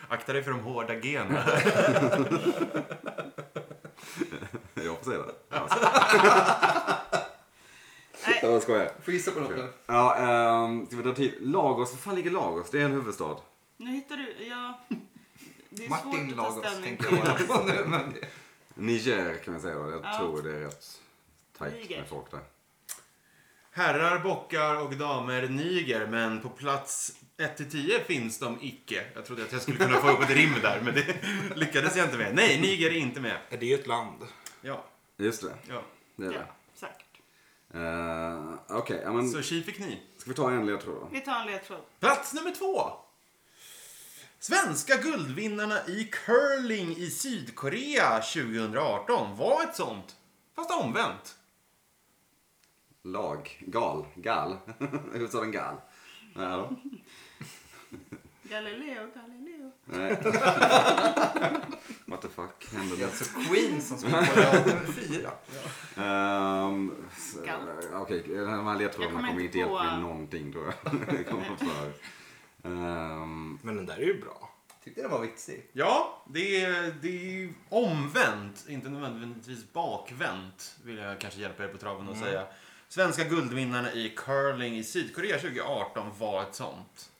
A: Akta dig för de hårda generna.
C: Jag får säga det.
B: Nej.
C: Jag skojar.
F: Får gissa på något nu.
C: Ja, ehm, ska vi dra till Lagos? Var fan ligger Lagos? Det är en huvudstad.
B: Nu hittar du... Ja, det är svårt
F: Martin
B: att ta
F: Lagos
B: ställning
F: tänker
B: till.
F: jag bara på nu. Men det...
C: Niger kan vi säga då. Jag
B: Ja.
C: tror det är rätt tajt
B: Niger.
C: med folk där.
A: Herrar, bockar och damer niger, men på plats 1-10 finns de icke. Jag trodde att jag skulle kunna få upp ett rim där, men det lyckades jag inte med. Nej, niger är inte med.
D: Det är ju ett land.
A: Ja.
C: Just det.
A: Ja.
C: Det är
B: Ja,
C: det.
B: säkert.
C: Eh, Okej, ja, men
A: Så tji fick ni.
C: ska vi ta en ledtråd då?
B: Vi tar en ledtråd.
A: Plats nummer två. Svenska guldvinnarna i curling i Sydkorea 2018 var ett sånt, fast omvänt.
C: Lag. Gal. Gal. Huvudstaden Gal. Ja, då.
B: Galileo, Galileo.
C: Nej. What the fuck hände
F: Det är
C: nu?
F: alltså Queen som spelar på rad nummer fyra.
C: Ehm, så-
B: Galt.
C: Okej, de här
B: Jag
C: ledtrådarna
B: kommer
C: kommer
B: inte
C: inte hjälpa
B: på-
C: mig någonting tror jag. Det kommer för. Ehm,
D: Men den där är ju bra.
F: Tyckte den Typ var vitsig.
A: Ja, det är, det är omvänt, inte nödvändigtvis bakvänt, vill jag kanske hjälpa er på traven att säga. Svenska guldvinnarna i curling i Sydkorea 2018 var ett sånt.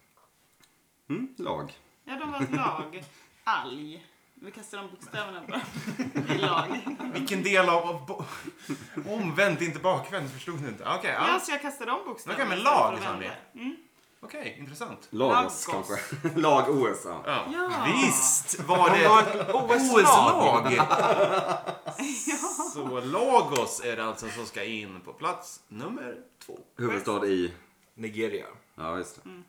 C: mm, lag.
B: Ja, de var ett lag. Alg. Vi kastar de bokstäverna bara. I lag.
A: Vilken del av... av bo- omvänt, inte bakvänt, förstod ni inte? Okej, ja.
B: Ja, så jag kastar de bokstäverna.
A: Okej, men
B: istället
A: lag liksom,
B: för
A: sa
B: att
A: ni.
B: vända. Mm.
A: Okej, intressant.
B: Lagos.
C: Lag-OS kanske. Lag-OS, ja.
A: Ja.
B: Ja.
A: Visst var det ett OS-lag! Så Lagos är det alltså som ska in på plats nummer två.
C: Huvudstad i...
D: Nigeria.
C: Ja, just det.
B: Mm.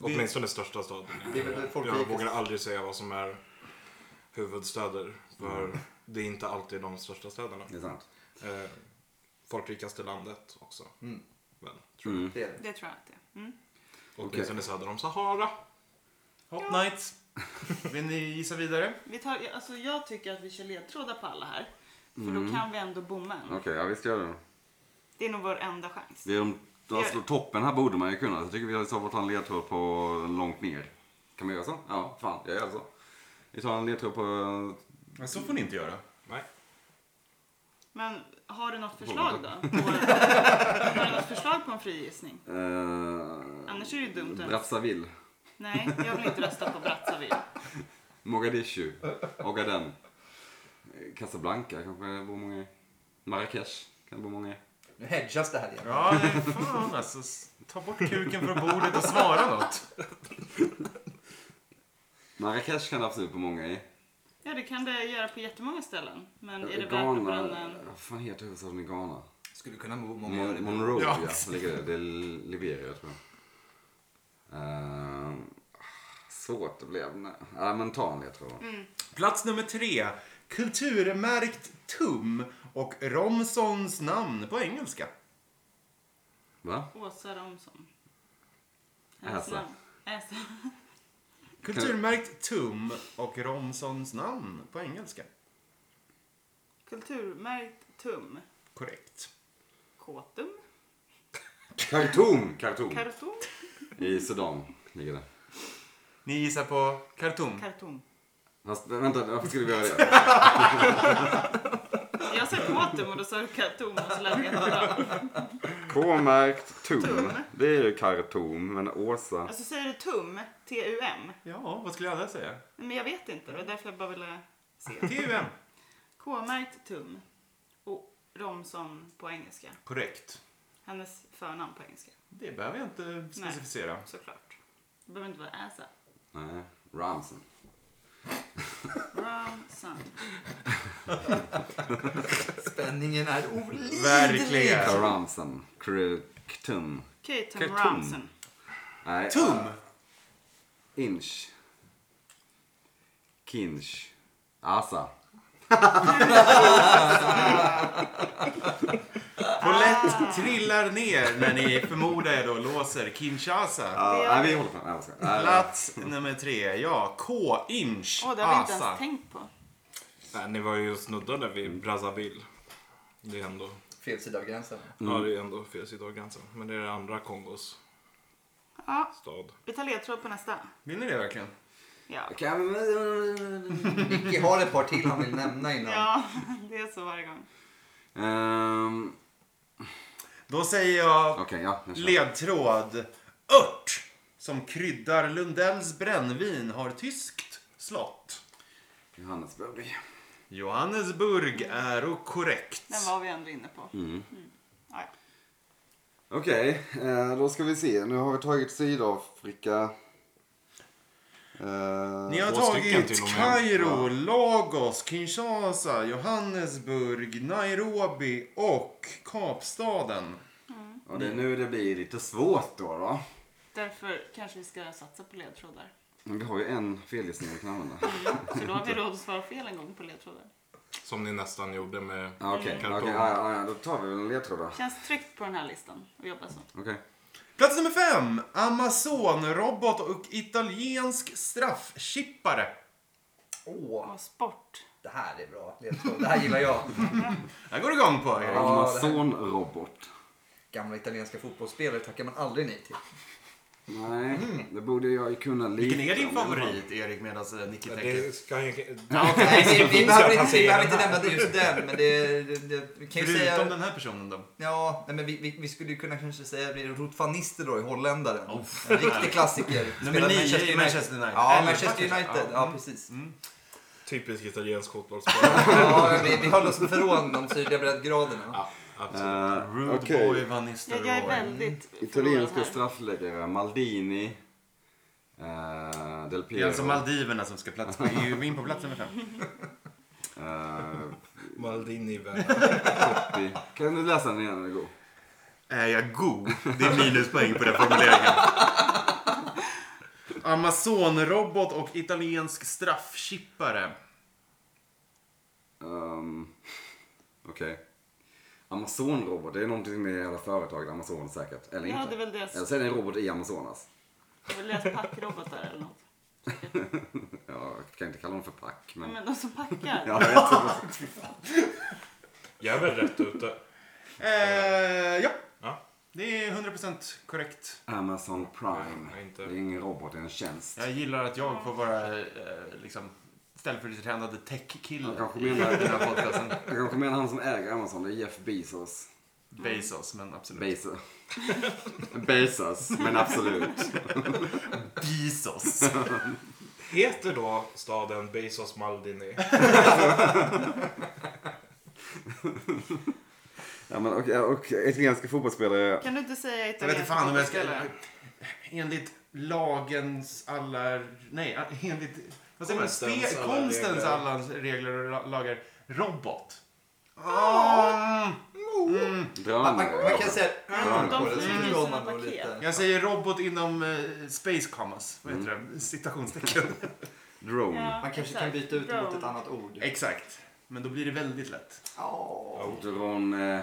D: Åtminstone största staden.
F: Det är väl det folk
D: Jag
F: gick-
D: vågar aldrig säga vad som är huvudstäder. För det är inte alltid de största städerna.
C: Det är sant.
D: Eh, folkrikaste landet också.
F: Mm.
D: Väl, tror
C: Mm.
F: Det är det.
B: Det tror jag att det är. Mm.
D: jag. Åtminstone söder om Sahara.
A: Hot Nights. Vill ni gissa vidare?
B: Vi tar, alltså, jag tycker att vi kör ledtrådar på alla här. För
A: Mm.
B: då kan vi ändå bomma en.
C: Okej, ja visst gör det.
B: Det är nog vår enda chans.
C: Det är de, alltså, toppen här borde man ju kunna. Jag tycker vi har i så fall ta en ledtråd på långt ner. Kan man göra så? Ja, fan, jag gör så. Vi tar en ledtråd på...
A: Så får ni inte göra.
D: Nej.
B: Men har du något förslag då? På, har du något förslag på en frigissning?
C: Eh,
B: Annars är det ju dumt. att-
C: Brazzaville.
B: Nej, jag vill inte rösta på Brazzaville.
C: Mogadishu. Ogaden. Eh, Casablanca kanske det bor många i. Marrakesh kan det bo många i.
F: Nu hedgas det här igen.
A: Ja, nej, fan alltså. s- Ta bort kuken från bordet och svara något.
C: Marrakesh kan det absolut bo många i.
B: Ja, det kan det göra på jättemånga ställen. Men är det värt att
C: Ghana.
B: bränna en...
C: Vad fan heter huvudstaden i Ghana?
F: Skulle kunna bo många
C: Mon-
F: år.
C: Monrovia
A: Ja,
C: ja, ligger det. Det är Liberia tror jag. Ehm, svårt att bli. Nej, ja, men ta en ledtråd.
B: Mm.
A: Plats nummer tre. Kulturmärkt tum och Romsons namn på engelska.
C: Va?
B: Åsa Romson.
C: Äsa.
B: namn. Äsa.
A: Kulturmärkt tum och Romsons namn på engelska.
B: Kulturmärkt tum.
A: Korrekt.
B: Kåtum.
C: Khartoum! Khartoum.
B: Karton.
C: I Sudan ligger det.
A: Ni gissar på Khartoum.
B: Karton.
C: Fast vänta, varför skulle vi göra det?
B: Jag sa kåtum och då sa du karton och så lät det jättebra.
C: K-märkt tum.
B: Tum.
C: Det är ju Khartoum, men Åsa.
B: Alltså säger du tum, T-U-M?
A: Ja, vad skulle jag annars säga?
B: Men jag vet inte, det var därför jag bara ville se.
A: TUM.
B: K-märkt tum. Och Romson på engelska.
A: Korrekt.
B: Hennes förnamn på engelska,
A: Det behöver jag inte specificera.
B: såklart. Det behöver inte vara Äsa.
C: Nej, Ramsen.
B: Romson.
F: Spänningen är olidlig.
A: Verkligen.
C: Karamsen. Khartoum.
B: Okej, Tom
C: Karton.
B: Romson.
C: Nej.
A: Tum!
C: Inch. Kinch. Asa. Ah.
A: Polett trillar ner när ni förmodar jag då låser Kinshasa.
C: Ja,
B: Det-
C: nej, vi håller på. Nej, jag ska. Nej,
A: Plats nummer tre, ja. K-inch.
B: Åh, det har vi inte
A: Asa.
B: ens tänkt på.
D: Nej, ni var ju snuddade vid Brazzaville. Det är ändå,
F: Fel sida av gränsen.
D: ja, det är ändå fel sida av gränsen. Men det är det andra Kongos
B: Ja,
D: stad.
B: vi tar ledtråd på nästa.
A: Vill ni det verkligen?
B: Ja.
C: Kan...
F: Nicky har ett par till han vill nämna innan.
B: ja, det är så varje gång.
C: Ehm,
A: Då säger jag
C: Okej, ja. jag kör.
A: ledtråd. Ört som kryddar Lundells brännvin har tyskt slott.
C: Johannesburg.
A: Johannesburg är och korrekt.
B: Den var vi ändå inne på. Mm. Ja, ja.
C: Okej, eh, då ska vi se. Nu har vi tagit Sydafrika. Eh,
A: Ni har
D: Två stycken till och
A: tagit
D: med.
A: Kairo, Lagos, Kinshasa, Johannesburg, Nairobi och Kapstaden.
C: Och det är nu det blir lite svårt då. då.
B: Därför kanske vi ska satsa på ledtrådar.
C: Men Vi har ju en felgissning vi kan använda.
B: Så då har vi råd att svara fel en gång på ledtrådar.
D: Som ni nästan gjorde med...
C: Ja, Ah, Okej,
D: Mm.
C: Okej, ja, ja, ja, då tar vi väl en ledtråd då. Okej.
B: Känns tryggt på den här listan att jobba så.
A: Plats nummer fem. Amazon-robot och italiensk straffchippare.
F: Åh,
B: Och sport.
F: det här är bra. ledtråd. Det här gillar jag.
A: Jag går igång på er.
C: Amazon-robot.
F: Gamla italienska fotbollsspelare tackar man aldrig nej till.
C: Nej, det borde jag ju kunna lite.
A: Mm. Vilken är din
C: om i alla fall.
A: favorit, Erik, medan eh, Nicky tänker?
D: Det ska jag...
F: Nej, vi, vi, behöver inte, vi
D: placera
F: behöver inte nämna det just den, men det, det, det vi kan ju säga...
A: Förutom den här personen då?
F: Ja, nej, men vi, vi, vi skulle ju kunna kanske säga det är Ruth van Nistelrooy, holländaren. en riktig klassiker. Spelade
A: nio i Manchester United.
F: Ja,
A: Elva
F: Manchester
A: kanske.
F: United.
A: Ja,
F: Ja,
A: mm.
F: precis.
D: Typisk italiensk fotbollsspelare.
F: Ja, vi, vi höll oss ifrån de sydliga breddgraderna.
D: ja, absolut.
C: Eh,
A: Rude
C: Okej.
A: Boy Van
B: Jag, jag är
A: Nistelrooy.
B: väldigt förlorad
C: Italienska
B: här.
C: straffläggare. Maldini. eh, Del
A: Det
C: Piero.
A: är alltså Maldiverna som ska plats på, är ju in på plats nummer fem.
C: eh,
D: Maldini vän.
C: Totti. Kan du läsa den igen när det går?
A: Är jag god? Det är minuspoäng på den formuleringen. Amazon-robot och italiensk straffchippare.
C: Um, Okej. Amazon-robot, det är någonting med alla företag i Amazon säkert. Eller
B: Ja,
C: inte.
B: det är väl deras,
C: Eller så är det en robot i Amazonas.
B: det är väl deras packrobotar eller något.
C: Jag kan inte kalla dem för pack, men...
B: Men de som packar.
C: Ja, jag vet inte.
D: Jag är väl rätt ute.
A: Eh, ja.
D: Ja.
A: Det är 100% korrekt.
C: Amazon Prime.
D: Nej, inte.
C: Det är ingen robot, det är en tjänst.
A: Jag gillar att jag får vara eh, liksom, ställföreträdande tech-kille
C: Jag kanske
A: i den
C: menar-
A: här podcasten.
C: Jag kanske menar han som äger Amazon, det är Jeff Bezos.
A: Bezos, men absolut.
C: Bezos. Bezos, men absolut.
A: Bezos.
D: Heter då staden Bezos Maldini?
C: Ja, men, och, och italienska fotbollsspelare...
B: Kan du inte säga
A: Jag vet inte
B: italienska
A: fan om jag ska...
B: fotbollsspelare?
A: Enligt lagens alla... Nej, enligt... Vad säger man?
D: Konstens
A: Spe,
D: alla
A: konstens
D: regler.
A: alla regler och la- lagar. Robot. Mm. Mm.
F: Man, man,
C: Drönare.
F: man kan säga mm,
B: de
F: på det så
B: finns
F: förstår
B: som
F: man nog
B: paket.
F: lite.
A: Jag säger robot inom eh, space commas. Vad heter det? Citationstecken.
C: Drone.
B: Ja,
F: Man kanske
B: exakt.
F: kan byta ut det mot
B: Drone.
F: ett annat ord.
A: Exakt. Men då blir det väldigt lätt.
F: Ja.
C: Drone... eh,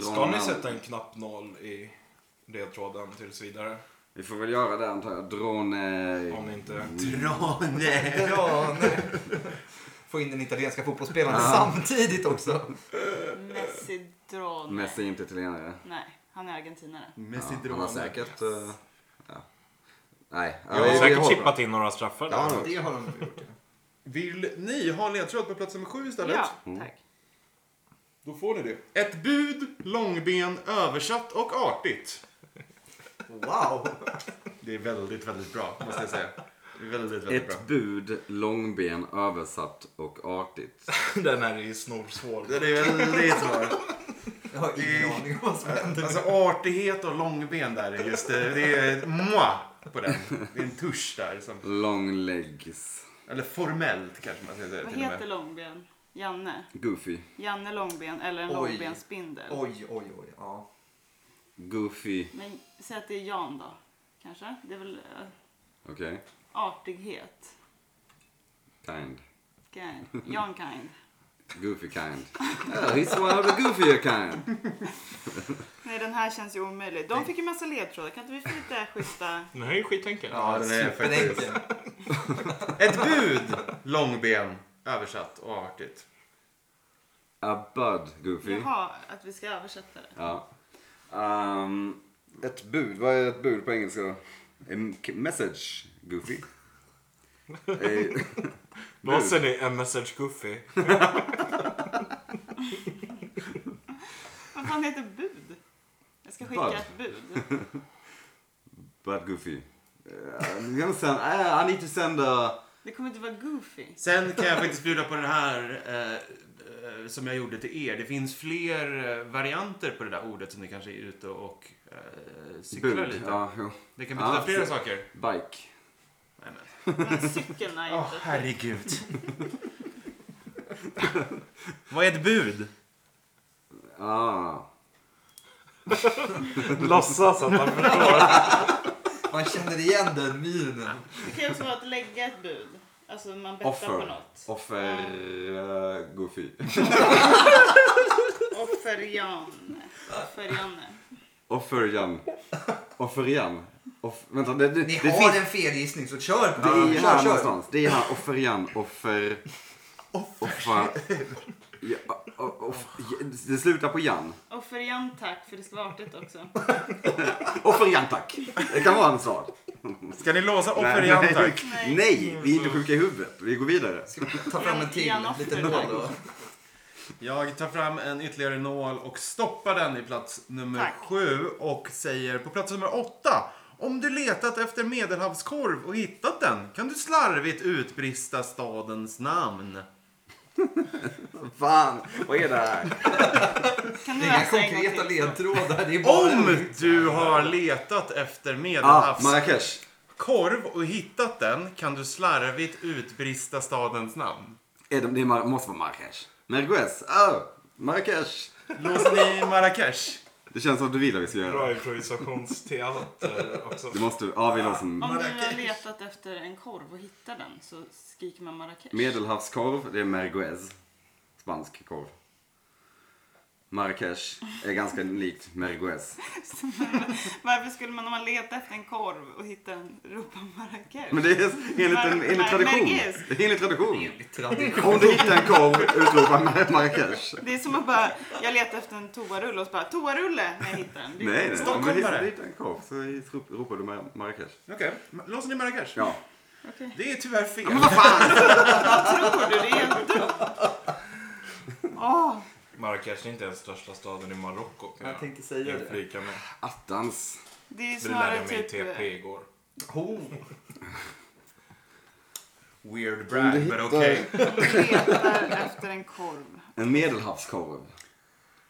D: Ska
C: drone-
D: ni sätta en knapp noll i ledtråden tills vidare?
C: Vi får väl göra det antar jag. Drone... eh,
D: Om ni inte...
A: Mm. Drone.
F: Ja, nej. Få in den italienska fotbollsspelaren samtidigt också.
B: Messi Drone.
C: Messi är inte italienare.
B: Nej, han är argentinare.
A: Messi
C: Ja, han har
A: drone.
C: säkert... eh, ja. Nej.
D: Jag har säkert chippat in några straffar där.
C: Ja.
F: Det har de nog gjort. ja.
A: Vill ni ha en ledtråd på plats nummer sju istället?
B: Ja,
F: Mm.
B: tack.
A: Då får ni det. Ett bud, långben, översatt och artigt.
F: Wow!
A: Det är väldigt, väldigt bra, måste jag säga. Det är väldigt, väldigt bra.
C: Ett bud, långben, översatt och artigt.
D: Den här är ju snorsvår.
A: Den är väldigt svår.
F: Jag har ingen aning om vad som händer.
A: Alltså artighet och långben där är just det. Det är ett moi på den. Det är en tusch där. Som,
C: Long legs.
A: eller formellt kanske man ska säga
B: Vad
A: till och
B: heter
A: med.
B: långben? Janne?
C: Goofy.
B: Janne Långben eller en
F: Oj.
B: långbenspindel?
F: Oj, oj, oj. Ja.
C: Goofy.
B: Men säg att det är Jan då, kanske? Det är väl eh,
C: Okej.
B: artighet?
C: Kind.
B: Kan- Jan kind.
C: Goofy kind. Oh, Yeah, he's one of the goofier kind.
B: Nej, den här känns ju omöjlig. De fick ju massa ledtrådar. Kan inte vi få lite schyssta...
D: Den här är ju skitenkel.
A: Ja, den är faktiskt.
F: Superenkel.
A: Ett bud, långben, översatt och artigt.
C: A bud, Goofy.
B: Jaha, att vi ska översätta det.
C: Ja. Ehm, ett bud. Vad är ett bud på engelska då? A message, Goofy. Eh,
D: Låser ni en message Goofy?
B: Vad fan heter bud? Jag ska skicka
C: Bud.
B: ett bud.
C: But goofy. Uh, I'm gonna send. I, I need to send a.
B: Det kommer inte vara goofy.
A: Sen kan jag faktiskt bjuda på den här eh, eh, som jag gjorde till er. Det finns fler eh, varianter på det där ordet som ni kanske är ute och eh, cyklar
C: Bud.
A: lite.
C: Ja, jo.
A: Det kan betyda
C: Ja,
A: flera
C: så-
A: saker.
C: Bike.
A: Nej, men.
B: Men cykeln är
A: Åh,
B: inte...
A: herregud. Vad är ett bud?
C: Ah.
D: Låtsas att man
F: Man känner igen den minen.
B: Det kan ju också vara att lägga ett bud. Alltså man bettar på
C: Offer.
B: något.
C: Offer... eh, Goofy.
B: Offerjan. Offerjanne.
C: Offer Jan. Offer Jan. Off... Vänta, det, det,
F: Ni
C: det
F: har
C: finns...
F: en felgissning så kör på
C: Det är
F: Kör,
C: här
F: kör.
C: någonstans. Det är här. Offer Jan. Offer... Offer... Ja, o- off... Det slutar på Jan.
B: Offerjan tack, för det ska vara artigt också.
C: Offer Jan, tack. Det kan vara en stad.
A: Ska ni låsa offerjan tack?
B: Nej.
C: Nej, vi är inte sjuka i huvudet. Vi går vidare.
F: Ska vi ta fram en till
B: Jan Offer,
F: liten nål då?
A: Jag tar fram en ytterligare nål och stoppar den i plats nummer
B: Tack.
A: sju och säger på plats nummer åtta. Om du letat efter medelhavskorv och hittat den kan du slarvigt utbrista stadens namn.
C: Fan, vad är det här?
B: Kan
F: Det
B: du
F: är inga
B: läsa en gång
F: konkreta
B: till?
F: ledtrådar. Det är bara...
A: Om du har letat efter
C: Ah,
A: medelhavskorv
C: Marrakesh.
A: och hittat den kan du slarvigt utbrista stadens namn.
C: Är det, det är Mar- måste vara Marrakesh. Merguez. Ah, Marrakesh.
A: Låser ni Marrakesh?
C: Det känns som att du vill att vi ska göra
D: bra
C: det.
D: improvisationsteater också.
C: Det måste... Ja, ah, vi låser en
B: Om du har letat efter en korv och hittar den så skriker man Marrakesh.
C: Medelhavskorv, det är merguez. Spansk korv. Marrakesh är ganska likt merguez.
B: Varför skulle man om man letar efter en korv och hittar en ropa Marrakesh?
C: Men det är enligt, en, enligt tradition. Det är enligt tradition.
F: Enligt tradition.
C: Om du hittar en korv, utropa Mar- Marrakesh.
B: Det är som att bara, jag letar efter en toarulle och så bara toarulle när jag hittar den. Det
C: Nej,
B: är
C: nej. Om du
A: Stockholmare.
C: hittar hittar en korv så rop- ropar du Mar- Marrakesh.
A: Okej, låser ni Marrakesh?
C: Ja.
B: Okej.
A: Det är tyvärr fel.
B: Vad tror du? Det är helt dumt. Åh,
D: Marrakesh är inte ens största staden i Marocko. kan
F: Jag tänkte säga
D: jag
F: det.
D: flika med.
C: Attans.
B: det är ju
D: Det lärde
B: snarare
D: jag mig i
B: typ...
D: TP igår.
F: Oh.
A: Weird brag, men
C: hittar-
A: okej.
B: letar efter en korv.
C: En medelhavskorv.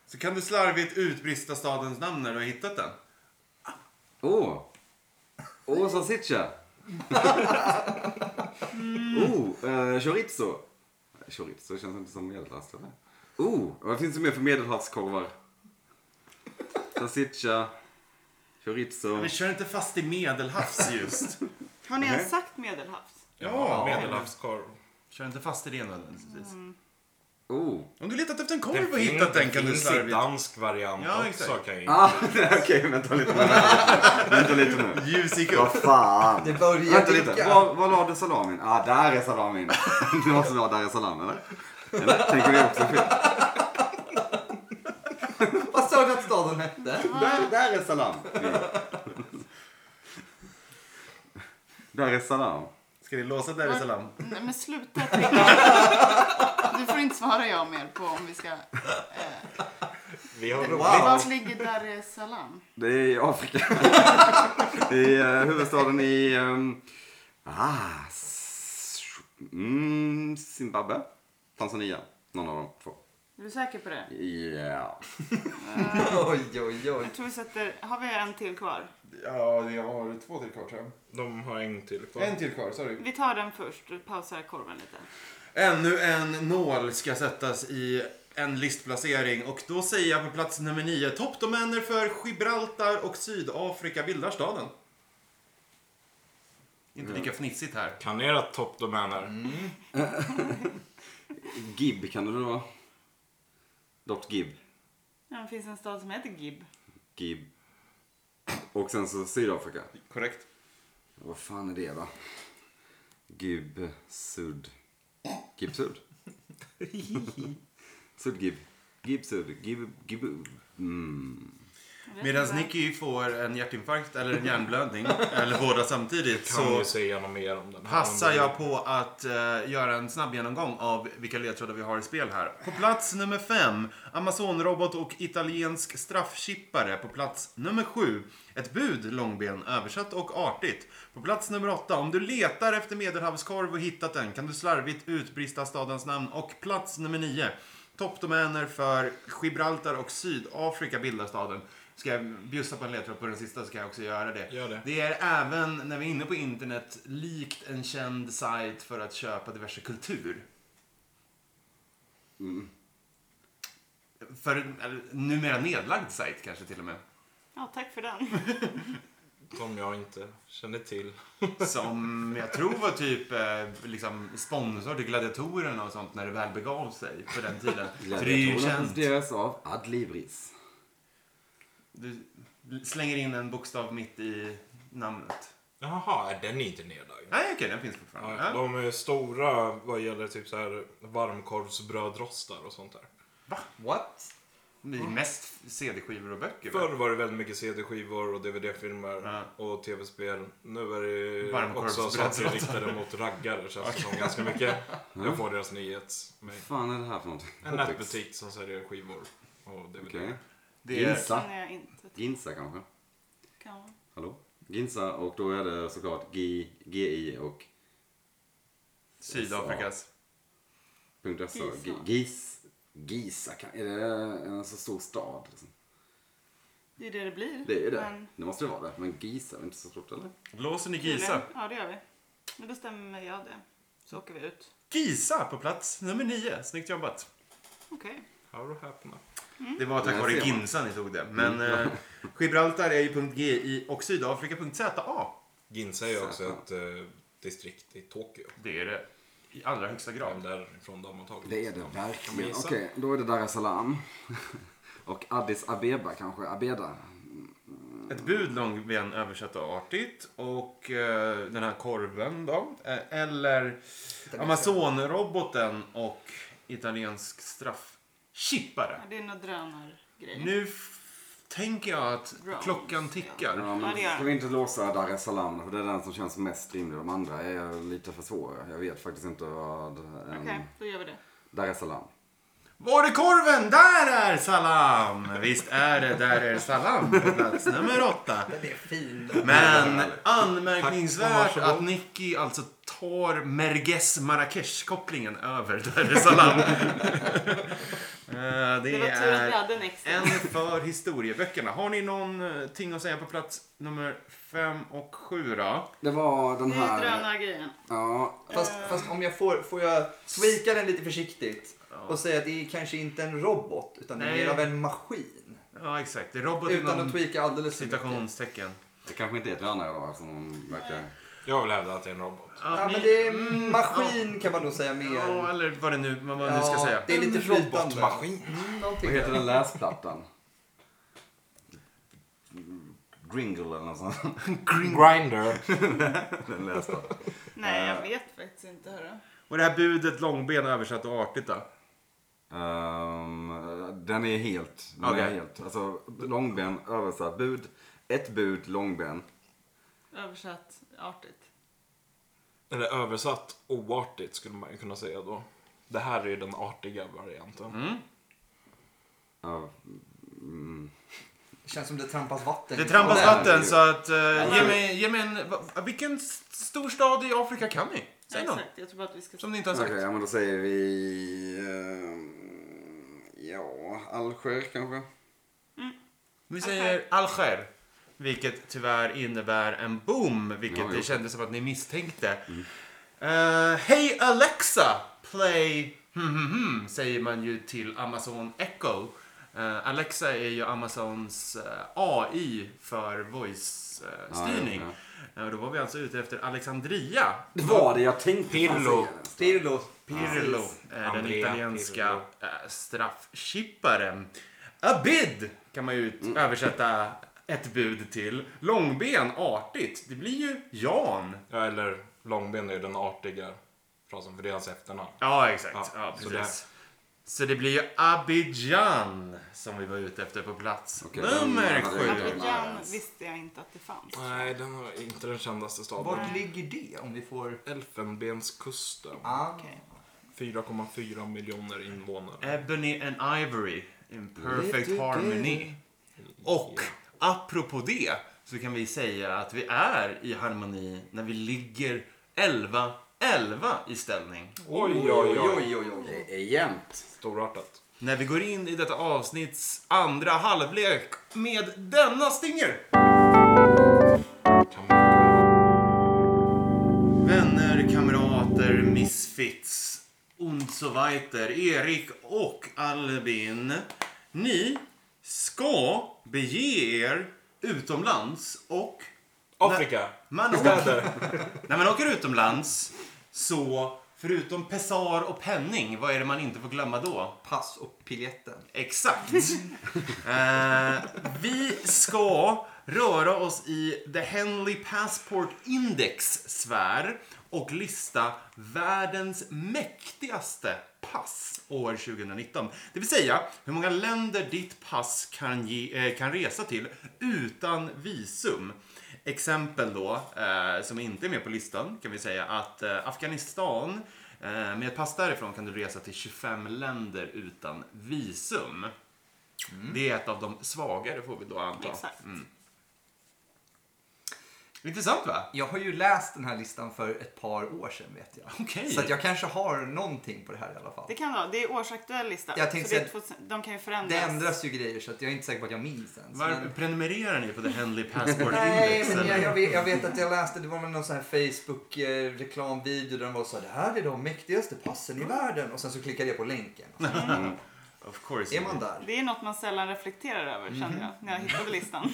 A: Så kan du slarvigt utbrista stadens namn när du har hittat den.
C: Åh. Åh, Oh. salsiccia.
A: Mm.
C: Oh, eh, chorizo. Chorizo känns inte som medelhavs, eller? Oh, vad finns det mer för medelhavskorvar? Salsiccia. Chorizo.
A: Men kör inte fast i medelhavs just.
B: Har ni ens
C: Nej.
B: sagt medelhavs?
A: ja,
D: Medelhavskorv.
A: Kör inte fast i det nödvändigtvis.
C: Oh.
A: Om du letat efter en
D: Det
A: korv och
D: fin-
A: hittat den kan
D: det
A: du
D: finns i
A: slarvigt...
D: dansk variant
A: Ja,
D: också
A: exakt.
D: kan jag
C: Ah, okej, vänta lite nu. vänta lite nu.
A: Ljusig upp.
C: Vad fan.
F: Det börjar
C: Vänta lite.
F: dyka.
C: Var, var la du salamin? Ah, där är salamin. Det måste vara där är salamin, eller? Eller? Tänker vi också fel?
F: Vad sa du att staden hette?
C: Där, där är salam. där är salam.
A: Ska vi låsa Dar es Salaam?
B: Nej men sluta tänka. Du får inte svara jag mer på om vi ska...
D: Vi har
B: Var ligger Dar es Salaam?
C: Det är i Afrika. I eh, huvudstaden i... ehm, ah, s- mm, Zimbabwe? Tanzania? Någon av de två. eh,
B: Är du säker på det?
C: Ja.
F: Oj, oj, oj.
B: Jag tror vi sätter... Har vi en till kvar?
A: Ja, jag har två till kvar tror
D: De har en till kvar.
A: till kvar, sorry.
B: Vi tar den först och pausar korven lite.
A: Ännu en nål ska sättas i en listplacering och då säger jag på plats nummer nio. Toppdomäner för Gibraltar och Sydafrika bildar staden. Inte lika fnissigt här.
D: Kan era toppdomäner?
A: Mm.
C: Gib kan det väl vara? Dot Gib.
B: Ja, det finns en stad som heter Gib.
C: Gib. Och sen så Sydafrika.
A: Korrekt.
C: Vad fan är det då? Gib Sud. Gib Sud? Sud Gib. Gib Sud. Gib... Gib... Mm.
B: Jag vet
A: Medan
B: inte.
A: Nicky får en hjärtinfarkt eller en hjärnblödning, eller båda samtidigt,
D: Kan
A: så
D: ju säga något mer om den här.
A: passar
D: Om
A: jag på att eh, göra en snabb genomgång av vilka ledtrådar vi har i spel här. På plats nummer fem, Amazonrobot och italiensk straffchippare. På plats nummer sju, ett bud, långben, översatt och artigt. På plats nummer åtta, om du letar efter medelhavskorv och hittat den kan du slarvigt utbrista stadens namn. Och plats nummer nio, toppdomäner för Gibraltar och Sydafrika bildar staden. Ska jag bjussa på en ledtråd på den sista så kan jag också göra det.
D: Gör det.
A: Det är även, när vi är inne på internet, likt en känd sajt för att köpa diverse kultur. För, eller, numera nedlagd sajt kanske till och med.
B: Ja, tack för den.
D: Som jag inte känner till.
A: Som jag tror var typ eh, liksom sponsor till gladiatorerna och sånt när det väl begav sig på den tiden. Så det är ju
C: Gladiatorerna
A: känt.
C: presenteras av Adlibris.
A: Du slänger in en bokstav mitt i namnet.
D: Jaha, är den är inte nedlagd.
A: Nej, okej, den finns
D: Ja,
A: fortfarande. Ja.
D: De är stora vad gäller typ så här varmkorvsbrödrostar och sånt där.
F: What?
A: Det är mest CD-skivor och böcker.
D: Förr
A: va?
D: var det väldigt mycket CD-skivor och DVD-filmer
A: Ja.
D: och TV-spel. Nu är det
A: Varmkorvsbröd.
D: också saker riktade mot raggare känns det som ganska mycket. Jag får deras nyhets...
C: Vad fan är det här för någonting?
D: En
C: Hobbits.
D: nätbutik som säljer skivor och DVD.
C: Okej.
A: Det är...
C: Ginsa.
B: Kan jag inte.
C: Ginsa kanske?
B: Kan.
C: Hallå? Ginsa och då är det såklart G, GI och
A: Sydafrikas.
C: .se. G-
B: Gisa.
C: Gis, Gisa, kan, är det en så stor stad? Liksom?
B: Det är det det blir.
C: Det är ju det.
B: Men,
C: Det måste det vara det. Men Gisa är inte så stort eller?
A: Blåser ni Gisa?
B: Gisa. Ja, det gör vi. Nu bestämmer jag det. Så åker vi ut.
A: Gisa på plats nummer nio. Snyggt jobbat.
B: Okej.
D: How to happen.
A: Det var tack
C: Där
A: vare
C: ser man.
A: Ginsa ni tog det. Men eh, Gibraltar är ju .gi och Sydafrika.za.
D: Ginza är ju också
C: Satan.
D: ett eh, distrikt i Tokyo.
A: Det är det i allra högsta
D: Ja,
A: grad.
D: därifrån de har tagit
C: Det är det
D: dem. Kan
C: verkligen.
D: man gissa?
C: Okej, då är det Dar es Salaam. och Addis Abeba kanske. Abeda.
A: Ett bud långben översatt och artigt. Och eh, den här korven då. Eh, eller Amazon-roboten och italiensk straffchippare.
B: Ja, det är några drönargrejer.
A: Nu f- tänker jag att
B: Drones,
A: klockan tickar.
C: Ja, men
B: Ja, det gör
C: ska vi inte låsa Dar es Salaam? För det är den som känns mest rimlig. De andra är lite för svåra. Jag vet faktiskt inte vad... En...
B: Okej, då gör vi det.
C: Dar es Salaam.
A: Var är korven? Där är salam! Visst är det där är salam på plats nummer åtta.
F: Det är fint.
A: Men anmärkningsvärt att Nicky alltså tar Merges Marrakesh-kopplingen över Dar es Salaam. Eh,
B: Det
A: det
B: var tur att vi
A: är
B: hade en extra.
A: en för historieböckerna. Har ni någonting att säga på plats nummer fem och sju då?
C: Det var den
B: Det är
C: här...
B: drönargrejen.
C: Ja,
F: Fast, fast om jag får, får jag tweaka den lite försiktigt och säga att det är kanske inte en robot utan det är
A: Nej.
F: mer av en maskin.
A: Ja, exakt. Det är robot
F: Utan
A: inom
F: att tweaka alldeles för mycket.
A: citationstecken.
C: det kanske inte är drönare då eftersom de verkar...
D: Jag vill hävda att det är en robot.
F: Ja, men det är maskin kan man nog säga mer.
A: mm, Ja, eller vad det nu, vad man nu ska
F: Ja,
A: säga.
F: Det är lite
D: En
F: flytande.
D: robotmaskin.
F: Mm, någonting
C: Vad heter
F: där.
C: den läsplattan? Gringle eller något sånt.
D: Grinder.
C: Den läsplattan.
B: Nej, jag vet faktiskt inte. Hörru.
A: Och det här budet långben översatt och artigt då?
C: Ehm, den är helt. Den är
A: Okej.
C: helt. Alltså långben, översatt, bud. Ett bud, långben.
B: Översatt artigt.
D: Eller översatt oartigt skulle man ju kunna säga då. Det här är ju den artiga varianten.
C: Ja,
F: Det känns som det trampas vatten.
A: Det trampas
C: Ja,
A: vatten
C: ju-
A: så att eh, ge, mig, ge mig en... va- Vilken s- stor stad i Afrika kan ni? Säg någon.
B: Exakt, jag tror bara att vi ska...
A: Som ni inte har
C: Okej,
A: sagt.
C: ja men då säger vi... ehm, ja, Alger kanske?
A: Vi säger Alger. Vilket tyvärr innebär en boom. Vilket
C: Ja, jo. Mm.
A: det kändes som att ni misstänkte. Eh, Hej Alexa! Play... Hmm, hmm, hmm, säger man ju till Amazon Echo. Eh, Alexa är ju Amazons eh, AI för eh,
C: Ja, jo,
A: voice-styrning. då var vi alltså ute efter Alexandria.
C: Det var det jag tänkte.
D: Pirlo.
F: Pirlo.
A: Pirlo, eh, den
D: Andrea
A: italienska
D: Pirlo.
A: eh, straffchipparen. Abid kan man ju ut- översätta ett bud till. Långben, artigt. Det blir ju Jan.
D: Ja, eller långben är ju den artiga frasen för det är hans efternamn.
A: Ja, exakt. Ja,
D: Ja, så
A: precis. Så det blir ju Abidjan som vi var ute efter på plats
C: Okej,
A: nummer
C: den hade jag
A: sju.
C: glömt.
B: Abidjan visste jag inte att det fanns.
D: Nej, den var inte den kändaste staden.
F: Vart ligger det om vi får...
D: Elfenbenskusten.
F: Ah.
B: Okej.
D: 4,4 miljoner invånare.
A: Ebony and Ivory in perfect harmony. Och apropå det så kan vi säga att vi är i harmoni när vi ligger 11-11 i ställning.
D: Oj, oj, oj.
F: oj, oj.
C: Det är jämnt.
D: Storartat.
A: när vi går in i detta avsnitts andra halvlek med denna stinger. Vänner, kamrater, misfits, und so weiter, Erik och Albin. Ni ska bege er utomlands och...
D: Afrika.
A: Man åker, när man åker utomlands så, förutom pessar och penning, vad är det man inte får glömma då?
F: Pass och biljetten.
A: Exakt. Eh, vi ska röra oss i The Henley Passport Index sfär och lista världens mäktigaste pass år 2019. Det vill säga hur många länder ditt pass kan, ge, eh, kan resa till utan visum. Exempel då, eh, som inte är med på listan, kan vi säga att eh, Afghanistan Eh, Med ett pass därifrån kan du resa till 25 länder utan visum.
F: Mm.
A: Det är ett av de svagare får vi då anta.
B: Exakt.
A: Mm. Intressant va?
F: Jag har ju läst den här listan för ett par år sedan vet jag.
A: Okej.
F: Så att jag kanske har någonting på det här i alla fall.
B: Det kan vara. Det är årsaktuell lista.
F: Jag tänkte
B: så det är
F: säga-
B: 2000 de kan ju förändras.
F: Det ändras ju grejer så att jag är inte säker på att jag minns ens.
A: Varför
F: Men...
A: prenumererar ni på The Henley Passport
F: Nej,
A: Index?
F: men jag,
A: eller?
F: jag, vet, jag vet att jag läste, det var väl någon sån här Facebook-reklamvideo där de var så här, det här är de mäktigaste passen i världen. Och sen så klickade jag på länken. Och så
A: Of course.
F: är man där?
B: Det är något man sällan reflekterar över kände jag när jag hittade listan.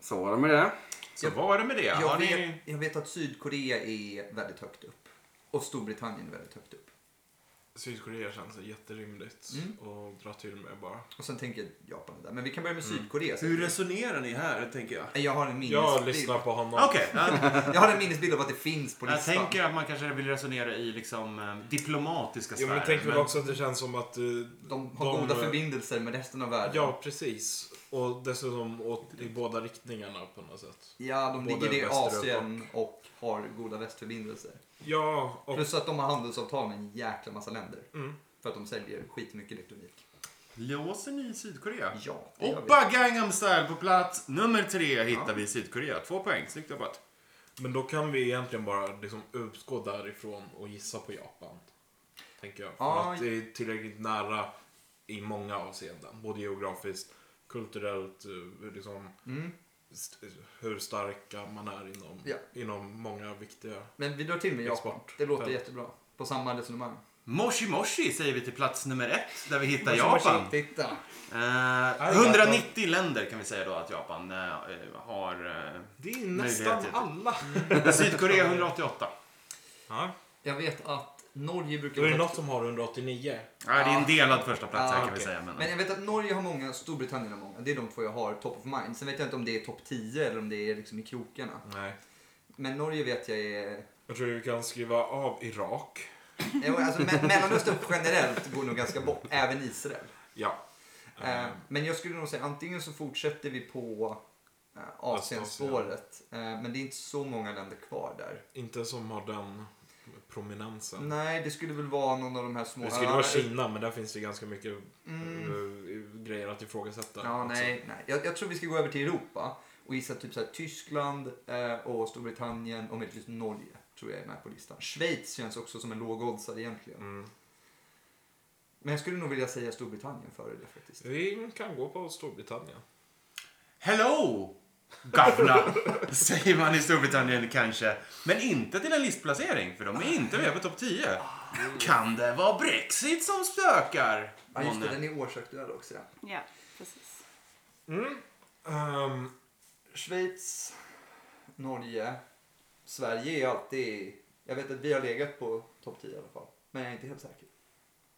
C: Så var det med det.
A: Så var det med det. Har
F: Jag vet,
A: ni...
F: jag vet att Sydkorea är väldigt högt upp. Och Storbritannien är väldigt högt upp.
D: Sydkorea känns jätterimligt att dra till med bara.
F: Och sen tänker jag Japan är där. Men vi kan börja med Sydkorea.
A: Mm. Hur resonerar ni här, tänker jag?
F: Jag har en
D: Jag
F: minnesbild.
D: lyssnar på honom.
A: Okej. ja.
F: Jag har en minnesbild av att det finns på
A: jag
F: listan.
A: tänker att man kanske vill resonera i liksom eh, diplomatiska
D: Jo,
A: sfärer.
D: men tänk väl
A: men-
D: också att det känns som att eh,
F: De har goda förbindelser med resten av världen.
D: Ja, precis. Och dessutom åt, i båda riktningarna på något sätt.
F: Ja, de
D: Både
F: ligger i
D: Västerort
F: Asien och har goda västförbindelser.
D: Ja, och Mm.
F: Plus att de har handelsavtal med en jäkla massa länder. För att de säljer skitmycket elektronik.
A: Låser ni Sydkorea?
F: Ja, det gör vi.
A: Oppa Gangnam Style på plats nummer tre hittar vi Sydkorea. Två poäng, snyggt jobbat.
D: Men då kan vi egentligen bara liksom utgå därifrån och gissa på Japan. Tänker jag. För
F: Ja,
D: att det är tillräckligt nära i många avseenden. Både geografiskt, kulturellt, eh, liksom, st- hur starka man är inom,
F: Ja.
D: inom många viktiga...
F: Men vi drar till med Japan.
D: Export.
F: Det låter
D: Ja.
F: jättebra. På samma resonemang.
A: Moshi Moshi säger vi till plats nummer ett, där vi hittar
F: Moshi,
A: Japan.
F: moshi, Titta.
A: Eh, 190 länder kan vi säga då att Japan eh, har. Eh,
D: Det är
A: nästan
D: nästan alla.
A: Sydkorea 188.
D: Ja.
F: Jag vet att Norge brukar...
D: Då är det
F: vara-
D: något som har 189.
A: Ja, det är en delad första plats här
F: Ja,
A: kan vi
D: okej.
A: säga. Men,
F: Men jag vet att Norge har många, Storbritannien har många. Det är de två jag har top of mind. Sen vet jag inte om det är topp 10 eller om det är liksom i krokarna.
D: Nej.
F: Men Norge vet jag är...
D: Jag tror vi kan skriva av Irak.
F: Jo, Alltså, me- Mellanöstern generellt går nog ganska bort, även Israel.
D: Ja.
F: Eh,
D: Eh,
F: Men jag skulle nog säga antingen så fortsätter vi på eh, Asienspåret. Eh, Men det är inte så många länder kvar där.
D: Inte som har den prominensen.
F: Nej, det skulle väl vara någon av de här små
D: Det skulle
F: öarna.
D: vara Kina, men där finns det ganska mycket eh, grejer att ifrågasätta.
F: Mm.
D: Alltså,
F: Ja,
D: också.
F: nej, nej. Jag, jag tror vi ska gå över till Europa och gissa typ så här, Tyskland eh, och Storbritannien och möjligtvis Norge. Tror jag är med på listan. Schweiz känns också som en lågoddsare egentligen.
D: Mm.
F: Men jag skulle nog vilja säga Storbritannien före det faktiskt.
D: Vi kan gå på Storbritannien.
A: Hello! Gavna, säger man i Storbritannien kanske. Men inte till en listplacering, för de är inte med på topp 10. Kan det vara Brexit som spökar?
F: Ja, just det,
A: Månne?
F: den är årsaktuell också. Ja.
B: Ja, precis.
D: Ehm,
F: Schweiz, Norge, Sverige är alltid... Jag vet att vi har legat på topp 10 i alla fall. Men jag är inte helt säker.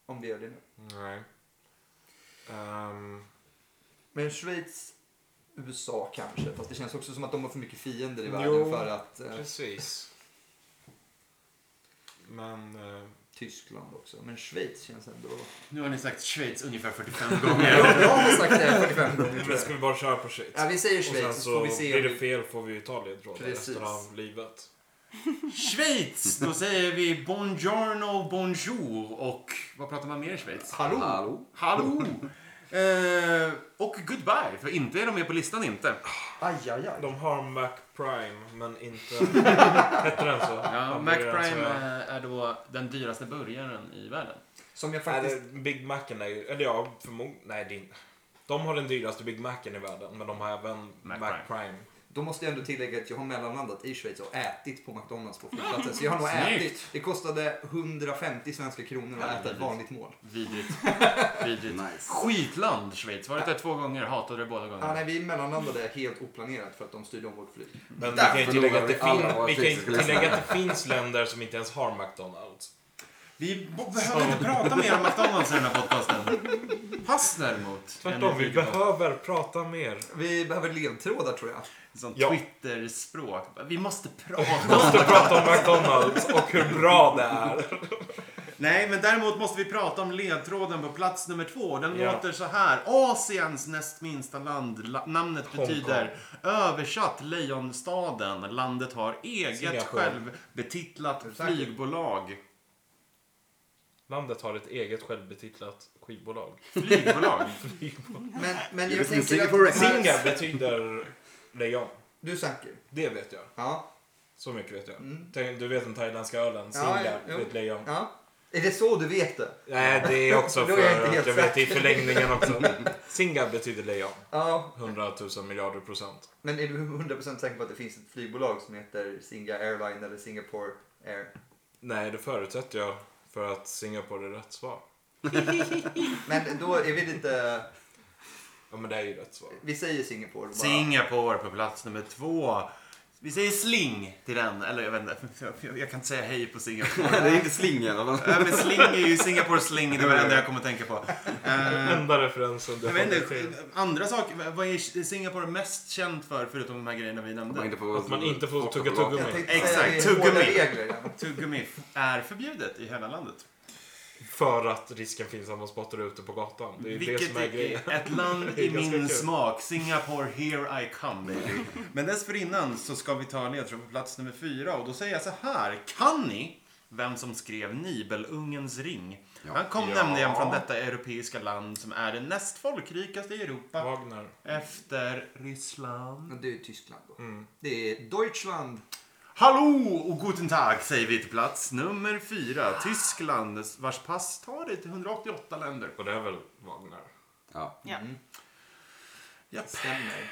F: Om vi gör det nu.
D: nej. Ehm,
F: Men Schweiz, USA kanske. Fast det känns också som att de har för mycket fiender i
D: Jo,
F: världen för att... Eh,
D: precis. Men... eh,
F: Tyskland också. Men Schweiz känns ändå...
A: Nu har ni sagt Schweiz ungefär 45 gånger.
F: Jag, jag har sagt det här 45 gånger
D: men
F: tror
D: det
F: jag.
D: ska vi bara köra på Schweiz?
F: Ja, vi säger
D: Och sen
F: Schweiz så
D: så
F: får vi se om
D: blir det
F: vi...
D: fel får vi ju ta ledtrådar
F: Precis.
D: resten av livet.
A: Schweiz, då säger vi buongiorno, bonjour och vad pratar man mer i Schweiz?
F: Hallå?
A: Hallå! Eh, och goodbye, för inte är de med på listan inte.
E: Aj, aj, aj.
D: De har Mac Prime, men inte... Hette den så?
G: Ja,
D: Den
G: Mac
D: burgaren som
G: Prime
D: jag-
G: eh, är då den dyraste burgaren i världen.
F: Som jag
D: Nej,
F: faktiskt...
D: det- Big Macen är ju... Eller ja, förmodligen... Nej, det är inte... De har den dyraste Big Macen i världen, men de har även
A: Mac
D: Mac, Prime.
F: Då måste jag ändå tillägga att jag har mellanlandat i Schweiz och ätit på McDonalds på flygplatsen. Så jag har nog
A: Snyggt.
F: ätit. Det kostade 150 svenska kronor att äta ett vanligt mål.
G: Vidrigt. Vidrigt.
C: Nice.
A: Skitland Schweiz, varit där två gånger, hatade det båda
F: Ja,
A: gångerna.
F: nej, vi mellanlandade helt oplanerat för att de styrde om vårt flyg.
D: Men vi
C: Där
D: kan ju tillägga att det,
C: förlorar vi alla våra
D: fin- vi kan ju
C: fysiska lyssnare.
D: tillägga att det finns länder som inte ens har McDonalds.
A: Vi bo- behöver inte prata mer om McDonalds i den här podcasten. Pass däremot.
D: Tvärtom, vi behöver prata mer.
F: Vi behöver ledtrådar tror jag.
G: Sånt
D: Ja.
G: Twitter-språk. Vi måste
D: Vi
G: prata.
D: måste prata om McDonalds och hur bra det är.
A: Nej, men däremot måste vi prata om ledtråden på plats nummer två. Den
D: Ja.
A: låter så här. Asiens näst minsta land. La- namnet
D: Hongkong.
A: betyder översatt Lejonstaden. Landet har eget
D: Singapore.
A: självbetitlat flygbolag.
D: Landet har ett eget självbetitlat skivbolag.
A: Flygbolag?
F: Men, men
C: Det är
F: jag
C: som
F: tänker
C: Singapore
F: att...
D: Singa betyder lejon.
F: Du är säker?
D: Det vet jag.
F: Ja.
D: Så mycket vet jag.
F: Mm.
D: Tänk, Du vet den thailändska ölen,
F: Ja,
D: Singa,
F: ja,
D: det
F: jo.
D: är ett lejon.
F: ja. Är det så du vet det?
D: Nej, det är också
F: Då är
D: för
F: jag inte
D: att
F: helt
D: jag vet i
F: säker.
D: förlängningen också. Singa betyder lejon.
F: Ja.
D: 100 000 miljarder procent.
F: Men är du 100% säker på att det finns ett flygbolag som heter Singa Airline eller Singapore Air?
D: Nej, det förutsätter jag för att Singapore är rätt svar.
F: Men då är vi lite...
D: Ja, men det är ju rätt svar.
F: Vi säger Singapore. Bara.
A: Singapore på plats nummer två. Vi säger sling till den. Eller jag vet inte, jag- jag kan inte säga hej på Singapore.
C: Det är inte slingen eller?
A: Ja, men sling är ju Singapore sling, det var det enda jag kom att tänka på. Eh,
D: Enda referensen du
A: jag vet
D: hade
A: inte,
D: till.
A: andra saker, vad är Singapore mest känt för förutom de här grejerna vi
D: Oh
A: nämnde?
C: får,
D: Att man inte får tugga
F: Jag
D: tuggummi.
F: tänkte säga
A: Exakt,
F: det är hårda
A: tuggummi.
F: regler. Ja.
A: Tuggummi är förbjudet i hela landet.
D: För att risken finns att man spottar ut det på gatan. Det är ju det
A: Vilket
D: som är grejen.
A: är ett land
D: Det är
A: i
D: ganska
A: min
D: kul.
A: smak. Singapore, here I come baby. Men dessförinnan så ska vi ta en ledtråd på plats nummer fyra och då säger jag så här. Kan ni vem som skrev Nibelungens ring? Han kom
D: Ja.
A: nämligen från detta europeiska land som är det näst folkrikaste i Europa
D: Wagner.
A: efter Ryssland.
F: Men det är ju Tyskland då. Det är Deutschland.
A: Hallå och guten tag säger vi till plats nummer fyra. Tyskland vars pass tar dig till 188 länder.
D: Och det är väl Wagner?
C: Ja.
B: Ja.
D: Mm.
A: Japp.
F: Stämmer.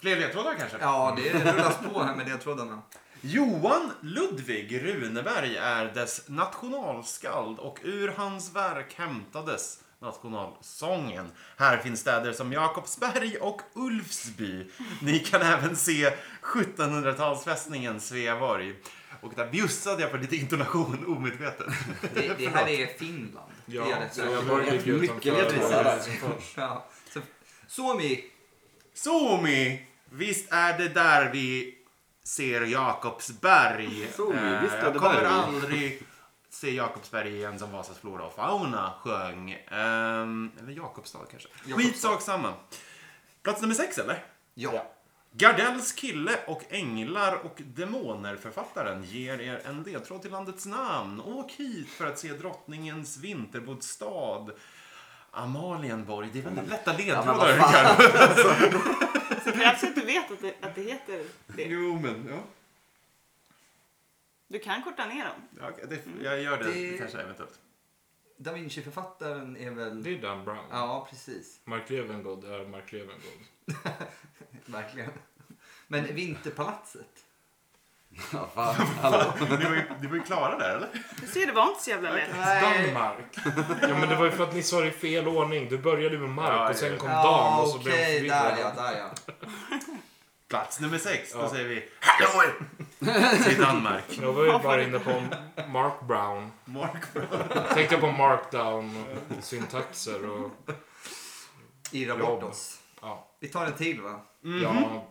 A: Fler ledtrådar kanske?
F: Ja, det rullas på här med ledtrådarna.
A: Johan Ludvig Runeberg är dess nationalskald och ur hans verk hämtades nationalsången. Här finns städer som Jakobsberg och Ulfsby. Ni kan även se 1700-talsfästningen Sveaborg. Och där bjussade jag på lite intonation omedvetet.
F: Det, det här är Finland.
D: Ja,
F: det är rätt
D: så jag
F: säkert.
D: var ju mycket utanför.
F: Ja. Så, Suomi.
A: Somi! Visst är det där vi ser Jakobsberg.
C: Suomi,
A: Eh,
C: visst är det
A: Jag kommer
C: där vi-
A: aldrig se Jakobsberg igen som Vasas flora och fauna sjöng. Ehm, eller Jakobstad kanske. Skitsak samma. Plats nummer sex eller?
F: Ja.
A: Gardells kille och Änglar och Demoner-författaren ger er en ledtråd till landets namn. Åk hit för att se drottningens vinterbostad. Amalienborg. Det är väldigt lätta ledtrådar, Rickard.
B: Så kanske inte vet att det, att det heter det.
A: Jo, men ja.
B: Du kan korta ner dem.
A: Ja, okej, det, jag gör det,
F: Det-
A: kanske eventuellt.
F: Da Vinci-författaren är väl...
D: Det är Dan Brown.
F: Ja, precis.
D: Mark Levengood är Mark Levengood.
F: Verkligen. Men Vinterpalatset.
C: Ja, fan. Hallå.
A: Ni var ju, ni var ju klara där, eller?
B: Du ser, det var inte så jävla lätt.
D: Danmark! Ja men det var ju för att ni sa det i fel ordning. Du började med Mark
A: Ja,
D: och sen
A: ja.
D: kom Dan
F: Ja,
D: och så blev jag
F: okej. Där ja,
D: förvirrad.
F: där ja.
A: Plats nummer sex, då
D: Ja.
A: säger vi Hallå! Till Danmark.
D: Jag var ju bara inne på Mark Brown.
A: Mark Brown.
D: Tänkte på markdown, syntaxer och...
F: Irra bort oss.
D: Ja.
F: Vi tar en till va? Mm-hmm.
D: ja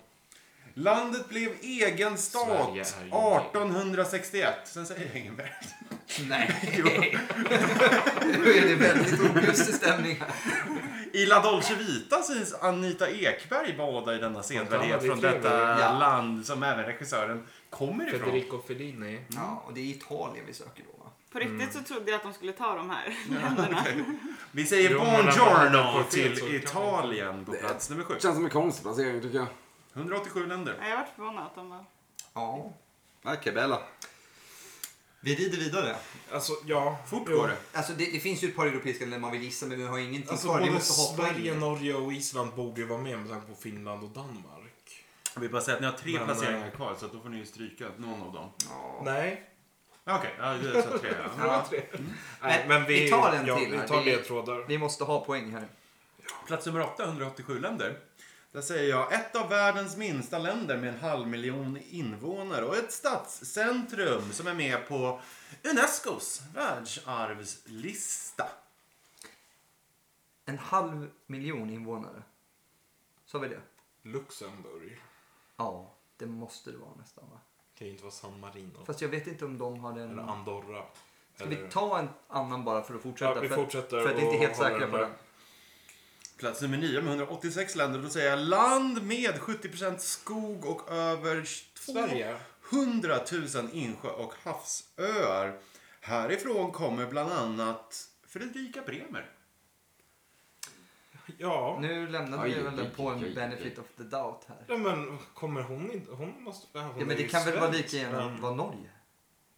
A: Landet blev egen stat
D: Sverige är ju-
A: 1861. Sen säger jag inget mer.
F: Nej. Nu är det väldigt olustig stämning här.
A: I La Dolce Vita syns Anita Ekberg bada i denna sedvärdighet
D: det är
A: från
D: trevligt.
A: detta
F: Ja.
A: land som även regissören kommer ifrån.
D: Federico Fellini.
F: Ja, och det är Italien vi söker då va?
B: På riktigt
D: Mm.
B: så trodde jag att de skulle ta de här länderna.
A: Vi säger
D: Jo, men den var
A: buongiorno
D: helt fel, så
A: till
D: kan
A: Italien på plats nummer sju.
E: Det känns som en konstig placering tycker jag.
A: 187 länder.
B: Nej, Jag vart förvånad att de var...
F: Ja.
C: Okej, Bella.
F: Vi rider vidare.
D: Alltså, ja.
A: Fort
D: jo.
A: går det.
F: Alltså det, det finns ju ett par europeiska länder man vill gissa men vi har ingenting
D: Alltså,
F: kvar. Vi
D: både
F: måste hoppa
D: Sverige,
F: in.
D: Norge och Island borde ju vara med med tanke på Finland och Danmark.
A: Jag vill bara säga att ni har tre
D: Men,
A: placeringar
D: eh,
A: kvar så att då får ni ju stryka någon av dem.
D: Nej.
A: Okej, ja, jag sa tre. Ja.
F: Ja.
D: Nej,
F: Men
D: men
F: vi
D: vi,
F: tar en
D: ja,
F: till här.
D: Vi tar
F: Vi-
D: ledtrådar.
F: Vi måste ha poäng här.
A: Plats nummer 8, 187 länder. Där säger jag ett av världens minsta länder med en halv miljon invånare och ett stadscentrum som är med på Unescos världsarvslista.
F: En halv miljon invånare. Sa vi det?
D: Luxemburg.
F: Ja, det måste det vara nästan va?
D: Kan ju inte vara San Marino.
F: Fast jag vet inte om de har
D: Eller
F: den.
D: Andorra.
F: Ska
D: eller...
F: vi ta en annan bara för att fortsätta?
D: Ja, vi
F: För-
D: fortsätter
F: För att vi inte är
D: och
F: helt
D: håller
F: säkra på
D: där.
F: den.
A: Plats nummer 9 med 186 länder. Då säger jag land med 70 skog och över
D: Sverige.
A: 200 000 insjö och havsöar. Härifrån kommer bland annat Fredrika Bremer.
D: Ja.
F: Nu lämnade
E: Aj,
F: vi väl
E: aj,
F: den på
E: aj,
F: en
E: aj,
F: benefit of the doubt här.
D: ja. Men kommer hon inte... Hon måste... äh, Hon
F: Ja, men
D: är Mm.
F: det
D: ju
F: kan väl vara
D: svensk,
F: lika gärna
D: men-
F: vara Norge?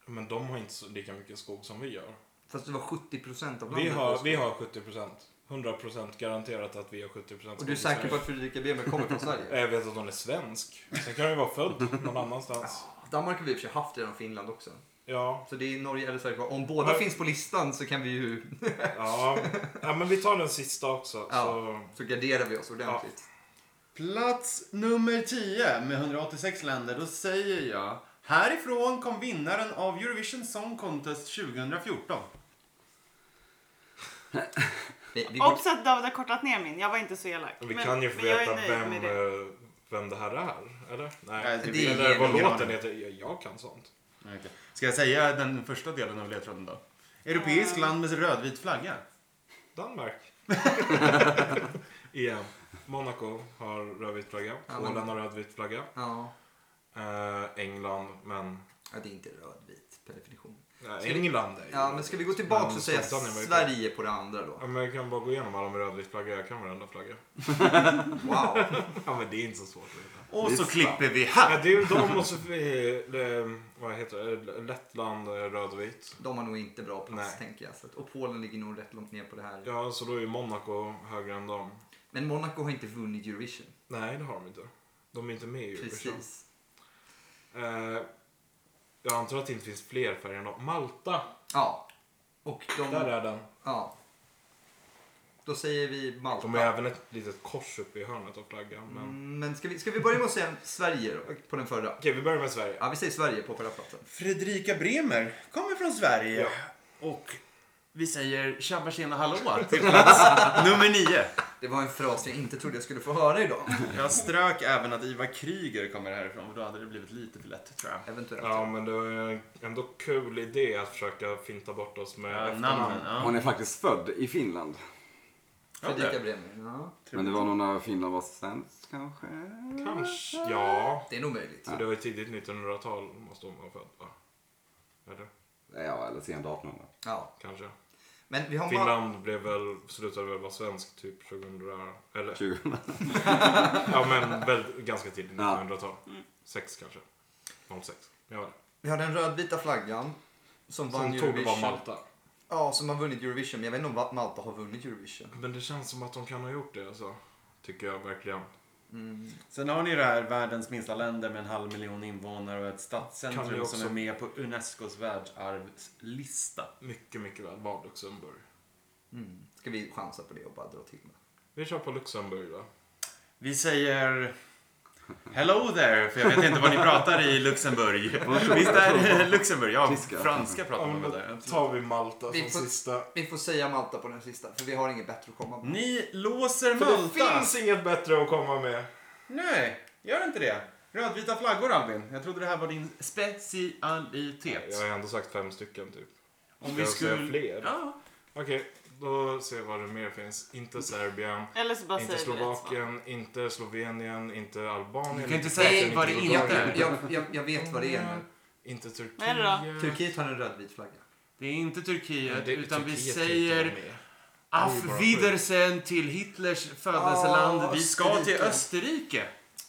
D: Men de har inte så lika mycket skog som vi gör.
F: Fast det var 70% av landet.
D: Vi har,
F: också.
D: vi har 70 procent. 100 procent garanterat att vi har 70 procent.
F: Och du är säker på att Fredrika Bremer kommer från Sverige?
D: Jag vet att hon är svensk. Sen kan hon ju vara född någon annanstans.
F: Danmark har vi i och för sig haft redan Finland också.
D: Ja,
F: Så det är Norge eller Sverige kvar. Om båda
D: Men-
F: finns på listan så kan vi ju...
D: ja. ja, men vi tar den sista också.
F: Ja.
D: Så.
F: Så garderar vi oss ordentligt.
A: Plats nummer 10 med 186 länder. Då säger jag Härifrån kom vinnaren av Eurovision Song Contest 2014.
F: Nej, vi går...
B: Obs att David har kortat ner min. Jag var inte så elak.
D: Vi
B: Men-
D: kan ju få
B: men jag är
D: veta
B: nöjd med
D: vem,
B: det.
D: eh, vem det här är. Eller? Nej.
A: Nej,
F: det är
D: Eller vad
A: ingen
D: låten
A: aning.
D: heter. Jag, jag kan sånt.
A: Okej. Ska jag säga den första delen av ledtråden då?
D: Eh.
A: Europeisk land med rödvit flagga.
D: Danmark. Igen. Monaco har rödvit flagga.
F: Ja, men-
D: Polen har rödvit flagga.
F: Ja.
D: Eh, England, men...
F: ja, det är inte rödvit per definition.
D: Nej,
F: Ska vi-
D: England är ju
F: Ja, men ska vi gå
D: Men
F: tillbaka och säga
D: Storbritannien var ju-
F: Sverige på det andra då?
D: Ja, men jag kan bara gå igenom alla med rödvit flagga. Jag kan varenda flagga.
F: Wow.
D: Ja, men det är inte så svårt att veta.
A: Och så
C: Lista.
A: klipper vi
D: Ja,
A: här.
D: det är ju de och så eh, vad heter det? Lettland är rödvit.
F: De har nog inte bra plats
D: Nej.
F: tänker jag. Så att, och Polen ligger nog rätt långt ner på det här.
D: Ja, så då är ju Monaco högre än dem.
F: Men Monaco har inte vunnit Eurovision.
D: Nej, det har de inte. De är inte med i Eurovision.
F: Precis.
D: Eh, jag antar att det inte finns fler färger än dem. Malta,
F: Ja. Och de...
D: där är den.
F: Ja. Då säger vi Malta.
D: De har även ett litet kors uppe i hörnet av flaggan. Men...
F: Mm, Men ska vi, ska vi börja med att säga Sverige då, på den förra?
D: Okej, vi börjar med Sverige.
F: Ja, vi säger Sverige på förra platsen.
A: Fredrika Bremer kommer från Sverige.
D: Ja.
A: Och vi säger tjabba tjena hallå till plats nummer 9.
F: Det var en fras jag inte trodde jag skulle få höra idag.
A: Jag strök även att Ivar Kryger kommer härifrån för då hade det blivit lite för lätt tror jag.
F: Eventuellt.
D: Ja, men det var ju ändå kul idé att försöka finta bort oss med
A: Ja,
D: efternamn.
A: namnen. Ja.
E: Hon är faktiskt född i Finland.
F: Fredrika Bremer. Ja.
C: Typ
E: Men det var nog när Finland var svensk kanske?
D: Kanske. Ja.
F: Det är nog möjligt.
D: Så det var ju tidigt 1900-tal måste hon vara född, va? Eller?
E: Ja, eller sent 1800.
F: Ja.
D: Kanske.
F: Men vi har bara...
D: Finland blev väl, slutade väl vara svensk typ 2000, eller
C: Typ.
E: 2000.
D: ja men väl ganska tidigt
E: Ja.
D: 1900-tal. Sex kanske. 06. Ja.
F: Vi har den rödvita flaggan. Som vann
D: Som tog det var
F: Eurovision.
D: Malta.
F: Ja, som har vunnit Eurovision. Men jag vet inte om Va- Malta har vunnit Eurovision.
D: Men det känns som att de kan ha gjort det alltså. Tycker jag verkligen.
A: Sen har ni det här världens minsta länder med en halv miljon invånare och ett
D: Kan vi
A: stadscentrum
D: också-
A: som är med på Unescos världsarvslista.
D: Mycket, mycket väl var Luxemburg.
F: Mm. Ska vi chansa på det och bara dra till med?
D: Vi kör på Luxemburg då.
A: Vi säger Hello there, för jag vet inte vad ni pratar i Luxemburg. Visst är det Luxemburg? Ja,
E: Tyska.
A: franska pratar
D: Ja,
A: man väl
D: men då
A: där. absolut.
D: tar vi Malta
F: Vi
D: som
F: får-
D: sista.
F: Vi får säga Malta på den sista, för vi har inget bättre att komma på.
A: Ni låser
D: För det
A: Malta.
D: finns inget bättre att komma med.
A: Nej, gör inte det. Rödvita flaggor, Albin. Jag trodde det här var din specialitet.
D: Jag har ändå sagt fem stycken typ.
A: Om
D: Ska
A: vi
D: jag säga
A: skulle...
D: fler?
A: Ja.
D: Okej, då ser vi vad det mer finns. Inte Serbien.
B: Eller så bara
D: Inte
B: säger du rätt svar.
D: Slovakien, inte Slovenien, inte Albanien.
A: Du kan inte
F: Nej,
A: säga vad det
D: inte-
A: inte
F: Jag,
A: är.
F: jag, jag, jag vet vad det är nu.
D: Inte Turkiet.
B: Vad är det
F: Turkiet har en rödvit flagga.
A: Det är inte Turkiet,
D: Det-
A: utan vi
D: Turkiet
A: säger
D: heter de med. Det är bara
A: Auf
D: sjukt.
A: Wiedersehen till Hitlers födelseland.
E: Ah,
A: vi ska till Österrike.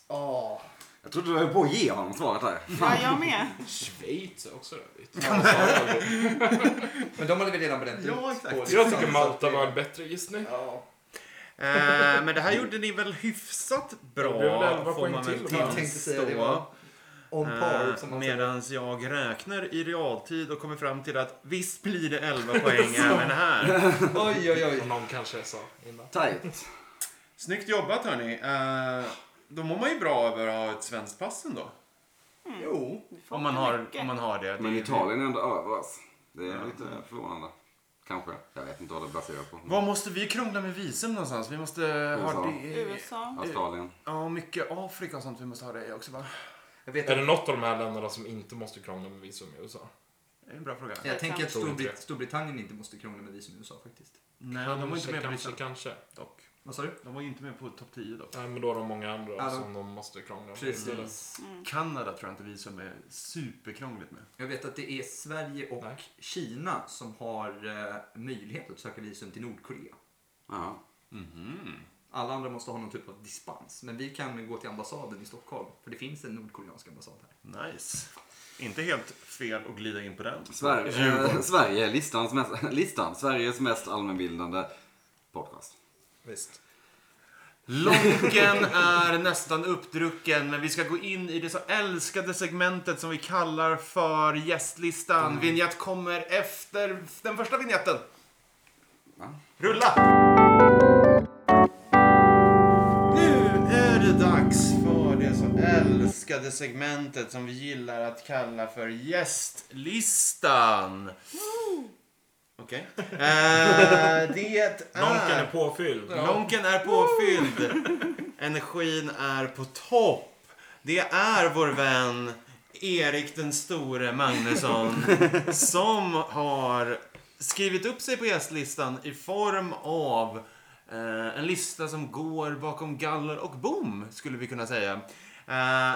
E: Åh.
C: Jag trodde du höll på att ge honom svaret där.
B: Ja, jag med.
D: Schweiz är också rövigt.
F: Men de hade vi redan bränt ut.
A: Ja, exakt.
F: på
D: Jag
F: listan,
D: tycker
F: så
D: Malta
F: att vi-
D: var en bättre gissning.
E: Ja.
A: Eh, men det här gjorde ni väl hyfsat bra?
D: Det blev väl elva
A: får
D: poäng
A: man väl
D: till, va?
A: tillstå.
F: Jag tänkte säga det var on
D: Eh,
F: par. Som man säger.
A: Medan jag räknar i realtid och kommer fram till att visst blir det 11 poäng även här.
F: Oj, oj, oj.
D: Som någon kanske sa innan.
C: Tight.
A: Snyggt jobbat hörni. Eh, då mår man ju bra över att ha ett svenskt pass ändå.
F: Jo.
B: Mm. Vi får
A: Om man
B: åka
A: har,
B: mycket.
A: om man har det.
C: Men
A: Det är-
C: Italien är ändå över oss. Det är lite förvånande. Kanske. Jag vet inte vad det baserar på.
A: Vad måste vi krångla med visum någonstans? Vi måste ha
C: USA.
A: det.
B: USA.
D: Mm.
C: Australien.
A: Ja, mycket Afrika och sånt. Vi måste ha det också va?
F: Jag vet
D: Är det något av de här länderna som inte måste krångla med visum i USA?
A: Det är en bra fråga.
F: Jag tänker att
D: Tror inte
F: Storbrit-
D: det.
F: Storbritannien inte måste krångla med visum i USA faktiskt.
A: Nej, de var inte
D: Kanske,
A: med på
D: kanske,
A: listan
D: kanske.
A: dock.
F: Vad sa du?
A: De var ju inte med på topp 10 dock.
D: Nej, men då har de många andra
F: Ja, de-
D: som de måste krångla med. Mm.
F: Precis.
B: Mm.
A: Kanada tror jag inte visum är superkrångligt med.
F: Jag vet att det är Sverige och
D: Nej.
F: Kina som har eh, möjlighet att söka visum till Nordkorea.
C: Ja.
F: Alla andra måste ha någon typ av dispens. Men vi kan gå till ambassaden i Stockholm. För det finns en nordkoreansk ambassad här.
A: Nice. Inte helt fel att glida in på den.
C: Sverige, eh, Sverige listans mest, listan. Sveriges mest allmänbildande podcast.
D: Visst.
A: Lonken är nästan uppdrucken, men vi ska gå in i det så älskade segmentet som vi kallar för gästlistan. Vignett kommer efter den första vignetten.
C: Va?
A: Rulla! Nu är det dags för det så älskade segmentet som vi gillar att kalla för gästlistan. Okej. Eh, det är...
D: Nonken är påfylld.
A: Lonken är påfylld. Energin är på topp. Det är vår vän Erik den store Magnusson som har skrivit upp sig på gästlistan i form av eh, en lista som går bakom galler och bom, skulle vi kunna säga. Eh,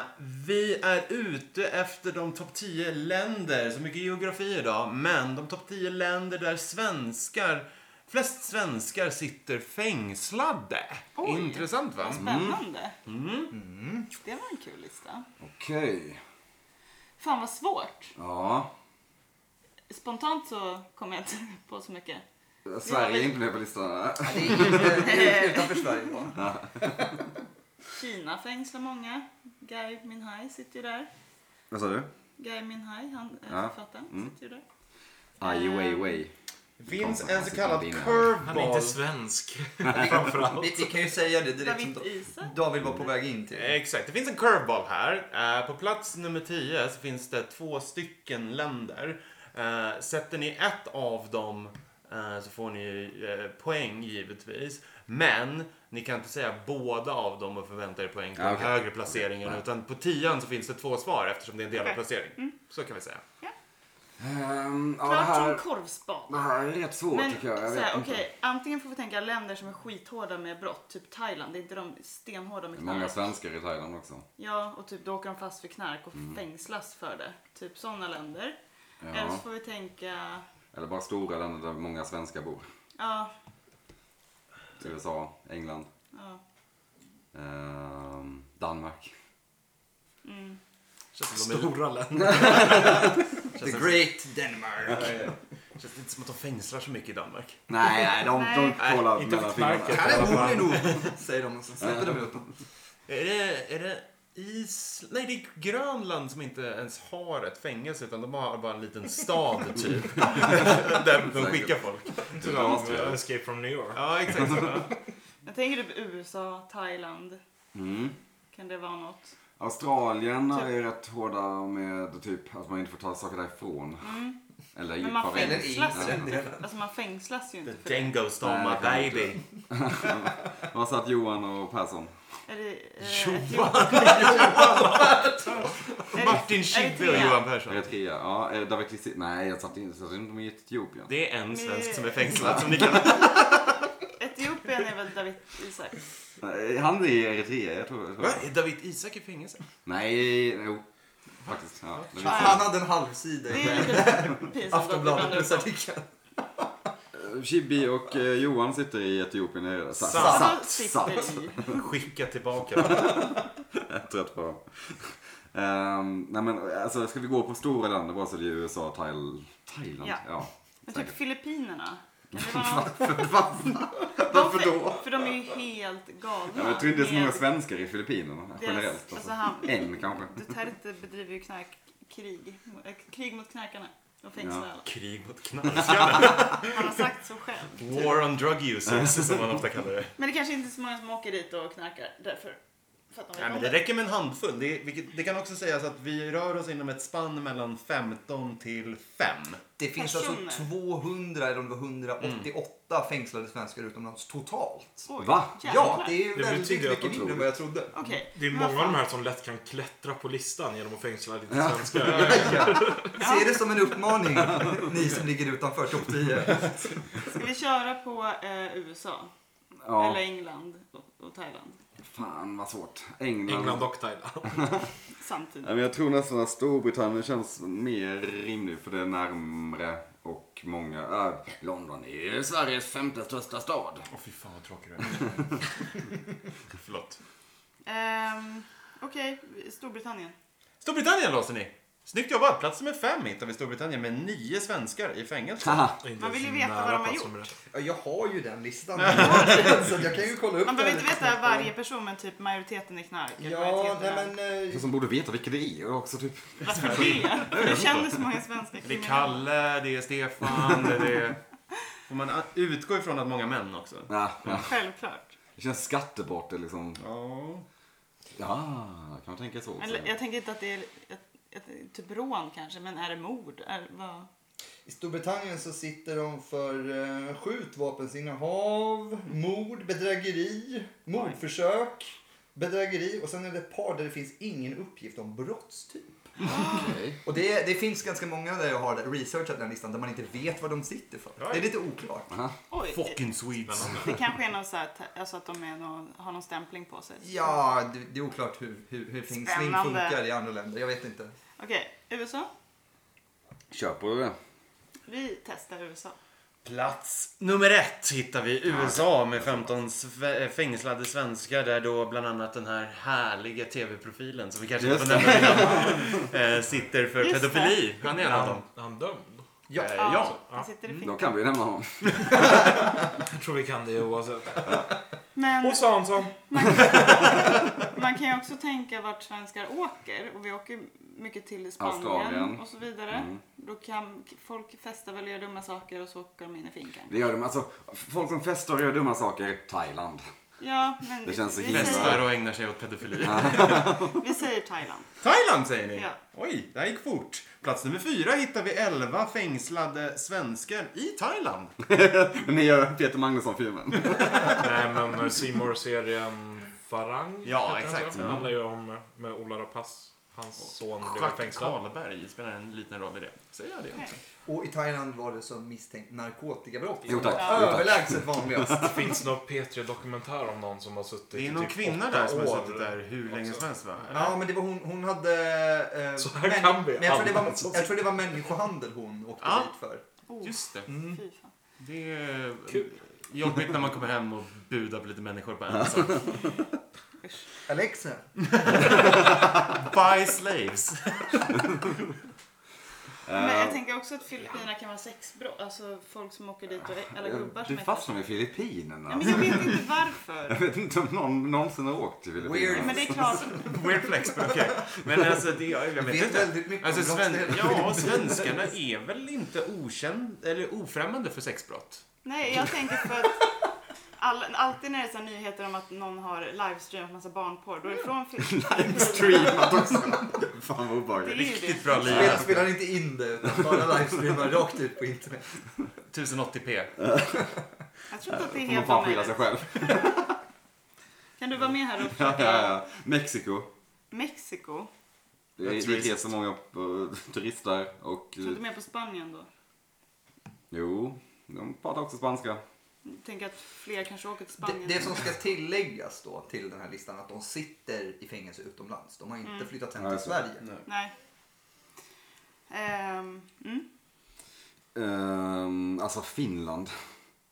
A: vi är ute efter de topp 10 länder, så mycket geografi idag, men de topp 10 länder där svenskar, flest svenskar sitter fängslade.
B: Oj.
A: Intressant va?
B: Spännande.
D: Mm.
B: Det var en kul lista.
C: Okej.
B: Fan vad svårt.
C: Ja.
B: Spontant så kommer jag inte på så mycket.
C: Sverige är inte med på listan.
F: Ja, det är inte utanför Sverige bara.
B: Eh. Kina fängslar många. Guy Minhai sitter ju där.
C: Vad sa du?
B: Guy Minhai, han är
C: Ja.
B: författaren,
C: Mm.
B: sitter ju där.
C: Ai Weiwei.
A: Det finns en så kallad
D: Han är inte
A: curveball.
D: svensk. Framförallt.
F: Vi, vi kan ju säga det direkt som
B: David
F: Da-
B: Isa.
F: David var på väg in till.
A: Exakt, det finns en curveball här. Eh, på plats nummer 10 så finns det två stycken länder. Eh, sätter ni ett av dem eh, så får ni eh, poäng givetvis. Men ni kan inte säga båda av dem och förvänta er poäng på
C: Ja,
F: Ah,
A: den
C: okej.
A: högre placeringen. Utan på tian så finns det två svar eftersom det är en delad
B: Okej.
A: placering. Så kan vi säga.
C: Ehm, ja, det,
B: Klart som
C: här,
B: korvspad.
C: det här är rätt svårt
B: Men
C: tycker jag. Jag
B: så
C: vet
B: här,
C: inte.
B: okej, antingen får vi tänka länder som är skithårda med brott, typ Thailand. Det är inte de stenhårda
C: Det
B: med
C: är många
B: knark.
C: svenskar i Thailand också.
B: Ja, och typ då åker de fast för knark och fängslas för det. Typ sådana länder. Eller så
C: Mm. Ja.
B: får vi tänka,
C: Eller bara stora länder där många svenskar bor.
B: ja,
C: USA, England,
B: ja.
C: ehm, Danmark.
B: Mm.
D: Stora länder.
F: The Great Denmark.
A: Känns det inte som att de fängslar så mycket i Danmark?
C: Nej, nej, de, de
B: Nej,
C: kollar
D: Inte
C: mellan
D: för
C: fingrarna.
D: knarket.
F: Han är rolig nog, säger de och så släpper de ut honom.
A: Är det, är det Island? Nej, det är Grönland som inte ens har ett fängelse utan de har bara en liten stad typ. där de skickar folk.
D: Tyvärr. eh, Escape from New York.
A: Ja, exakt.
B: Jag tänker typ USA, Thailand.
C: Mm.
B: Kan det vara något?
C: Australien är ju rätt hårda med typ att man inte får ta saker därifrån. Eller
B: Mm. Men man
C: djupa
F: Eller
B: fängslas.
C: regn.
F: är inte det.
B: Alltså man fängslas ju inte för det.
A: Dango stole my baby.
C: Vad satt Johan och Persson?
B: Är det, eh,
A: Johan!
B: Etiopien? Är det-
A: Martin Schibbye och
B: Eritrea?
A: Johan Persson.
C: Eritrea? Ja, eh, David Kristin? Nej, jag satt inte, satt inte med i Etiopien.
A: Det är en svensk
B: Nej.
A: som är fängslad som ni kan...
B: Etiopien är väl David Isak?
C: Nej, Han är i Eritrea, jag tror jag tror-
A: Är David Isak i fängelse?
C: Nej, jo. faktiskt. Ja, den är
F: Han hade en halvsida
B: Det
F: i
B: är lite pinsamt. att ibland är det
F: Aftonbladets
B: så.
F: artikel.
C: fin. Chibi och eh, Johan sitter i Etiopien. Är det? Satt.
A: Satt.
C: Satt.
B: Sitter
C: Satt.
B: i.
A: Skicka tillbaka.
C: Jag är trött på dem. Ehm, nej men alltså, ska vi gå på stora länder bara så det är USA, Thail... Thailand?
B: Ja.
C: ja.
B: Men typ
C: säkert.
B: Filippinerna. Kan det vara något?
C: Varför
B: De-
C: då?
B: För de är ju helt galna.
C: Ja, men jag tror inte det är så
B: med
C: många svenskar i Filippinerna
B: deras-
C: generellt.
B: Alltså
C: Alltså.
B: han,
C: En kanske.
B: Duterte bedriver ju knarkkrig. eh, Krig mot knarkarna. Och fängslar
C: Ja.
B: alla.
A: Krig mot knarkare.
B: Han har sagt så själv.
A: War on drug users, som man ofta kallar det.
B: Men det kanske inte är så många som åker dit och knarkar därför. För att
A: Nej,
B: de vet
A: men
B: om
A: det
B: det.
A: räcker med en handfull. Det, är- vilket, det kan också sägas att vi rör oss inom ett spann mellan 15 till 5.
F: Det finns alltså
B: Personer.
F: 200, eller om det var 188 fängslade svenskar utomlands totalt.
B: Oj,
C: Va?
B: jävlar.
F: Ja, det är ju
D: Det
F: väldigt
D: betyder att
F: mycket
D: de
F: mindre än vad jag trodde.
B: Okej.
D: Det är
B: men
D: många
B: vad
D: av
B: fan.
D: de här som lätt kan klättra på listan genom att fängsla lite
C: Ja.
D: svenskar.
F: Se det som en uppmaning, ni som ligger utanför topp 10.
B: Ska vi köra på eh, USA?
C: Ja,
B: Eller England och, och Thailand?
C: fan vad svårt. England.
D: England och Thailand.
B: Samtidigt.
C: Nej, men jag tror nästan att Storbritannien känns mer rimlig för det är närmre och många... Äh, London är ju Sveriges femte största stad.
A: Åh fy fan vad tråkig du är. Förlåt.
B: Ehm, Okej, Storbritannien.
A: Storbritannien låser ni. Snyggt jobbat. Plats nummer fem hittar vi Storbritannien med nio svenskar i fängelse.
C: Haha.
D: Inte
B: Man vill ju
D: ens
B: veta
D: nära
B: vad de har
D: plats
B: gjort.
D: nummer ett.
F: Ja, jag har ju den listan. så jag kan ju kolla upp
B: Man behöver inte
F: den.
B: veta varje person, men typ majoriteten är knark. eller
F: Ja,
B: majoriteten
F: nej
B: är-
F: men... eh,
C: Jag som borde veta vilka det är också typ.
B: Varför det? Du känner så många svenska
A: Det är
B: kriminella.
A: Kalle, det är Stefan, det är... Får man utgå ifrån att många män också?
C: Ja, ja.
B: Självklart.
C: Det känns skattebrott det är liksom.
A: Ja.
C: Ja, kan man tänka så. Också.
B: Eller, jag tänker inte att det är ett, ett, typ rån kanske, men är det mord? Är, vad?
F: I Storbritannien så sitter de för eh, skjutvapensinnehav, mord, bedrägeri, mordförsök, bedrägeri och sen är det ett par där det finns ingen uppgift om brottstyp.
C: Okej.
F: Och det, det finns ganska många där jag har researchat den listan där man inte vet vad de sitter för. Det är lite oklart.
B: Oj, det,
A: Fucking Swedes.
B: det kanske är någon så här, ta- alltså att de är någon, har någon stämpling på sig.
F: Ja, det, det är oklart hur, hur, hur fängsling
B: Spännande.
F: funkar i andra länder. Jag vet inte.
B: Okej, USA.
C: Kör på det.
B: Vi testar USA.
A: Plats nummer ett hittar vi USA med 15 sve- eh, fängslade svenskar där då bland annat den här härliga tv-profilen som vi kanske inte får
C: Just
A: nämna vid namn, eh, sitter för
B: Just det.
A: pedofili. Han är en av dem.
D: Är han dömd?
A: Ja. Eh,
B: Ja.
A: ja.
B: Han sitter
F: Mm.
B: i
C: Då
B: fink.
C: kan vi nämna honom.
D: Jag tror vi kan det oavsett.
B: Men
D: Och Svansson.
B: man kan ju också tänka vart svenskar åker. Och vi åker ju mycket till Spanien
C: Australien. Mm.
B: och så vidare. Då kan folk festa väl och göra dumma saker och så åker de in i finkan.
C: Det gör de. Alltså, folk som festar och gör dumma saker. Thailand.
B: Ja, men
C: Det känns så
B: vi,
C: himla-
A: Festar
B: säger,
A: och ägnar sig åt pedofili.
B: vi säger Thailand.
A: Thailand säger ni?
B: Ja.
A: Oj, det här gick fort. Plats nummer fyra hittar vi 11 fängslade svenskar i Thailand.
C: Ni gör Peter Magnusson-filmen.
D: Nej men Seymour serien Farang.
A: Ja,
D: heter den,
A: exakt. Mm.
D: tror jag. Det handlar ju om eh, med Ola Rapace. Hans son blev
A: Jacques
D: fängslad.
A: Karlberg spelar en liten roll i det. Säger jag det?
F: Och i Thailand var det som misstänkt narkotikabrott.
C: Jo, tack.
F: Som var
C: Jo, tack.
F: Överlägset vanligast.
D: Det finns någon P3-dokumentär om någon som har suttit
A: Det
D: i
A: är någon
D: typ
A: kvinna
D: åtta
A: där som har
D: år.
A: suttit där hur länge som helst va?
F: Ja, men det var hon, hon hade... Eh,
D: Så här kan vi
F: men jag, tror det
D: alla som
F: var, jag tror det var människohandel hon åkte
A: Ja.
F: dit för.
B: Oh,
A: Just det.
B: fy fan.
A: Det är jobbigt när man kommer hem och budar på lite människor på en sak.
F: Alexa.
A: Buy slaves.
B: Men
C: Eh,
B: jag tänker också att Filippinerna kan vara sexbrott. Alltså folk som åker dit och alla gubbar
C: Du
B: som är-
C: fastnar med
B: Nej,
C: Filippinerna.
B: men jag vet inte varför.
C: Jag vet inte om någon någonsin har åkt till
F: Weird.
C: Filippinerna.
B: Men det är klart.
A: Weird flex, men okej. Men alltså, det, jag
F: Du
A: vet
F: vet
A: inte.
F: väldigt mycket
A: Alltså,
F: om
A: sven-
F: brottslighet.
A: ja, svenskarna är väl inte okänd, eller ofrämmande för sexbrott?
B: Nej, jag tänker för att all, alltid när det är så här nyheter om att någon har livestreamat massa barnporr, då är det från Filippinerna.
C: Streamat också. Fan vad
B: Det är
C: obehagligt.
B: ju det.
A: Riktigt bra liv.
F: Spelar, spelar inte in det utan bara livestreamar rakt ut på internet.
A: 1080p.
B: Jag tror inte att det är
C: Får man
B: helt
C: fan skylla sig
B: omöjligt.
C: själv.
B: Kan du vara med här och
C: Ja,
B: försöka?
C: ja, ja. Mexiko.
B: Mexiko?
C: Det är
A: That's
C: det är så
A: racist.
C: många eh, turister och...
B: Jag tror inte mer på Spanien då.
C: Jo, de pratar också spanska.
B: Jag tänker att fler kanske åker till
F: Det,
B: Spanien.
F: det som ska tilläggas
B: Mm.
F: då till den här listan är att de sitter i fängelse utomlands. De har inte flyttat hem
C: Ja,
F: till
C: just det.
F: Sverige.
B: Nej. Ehm, mm.
C: Ehm, alltså Finland.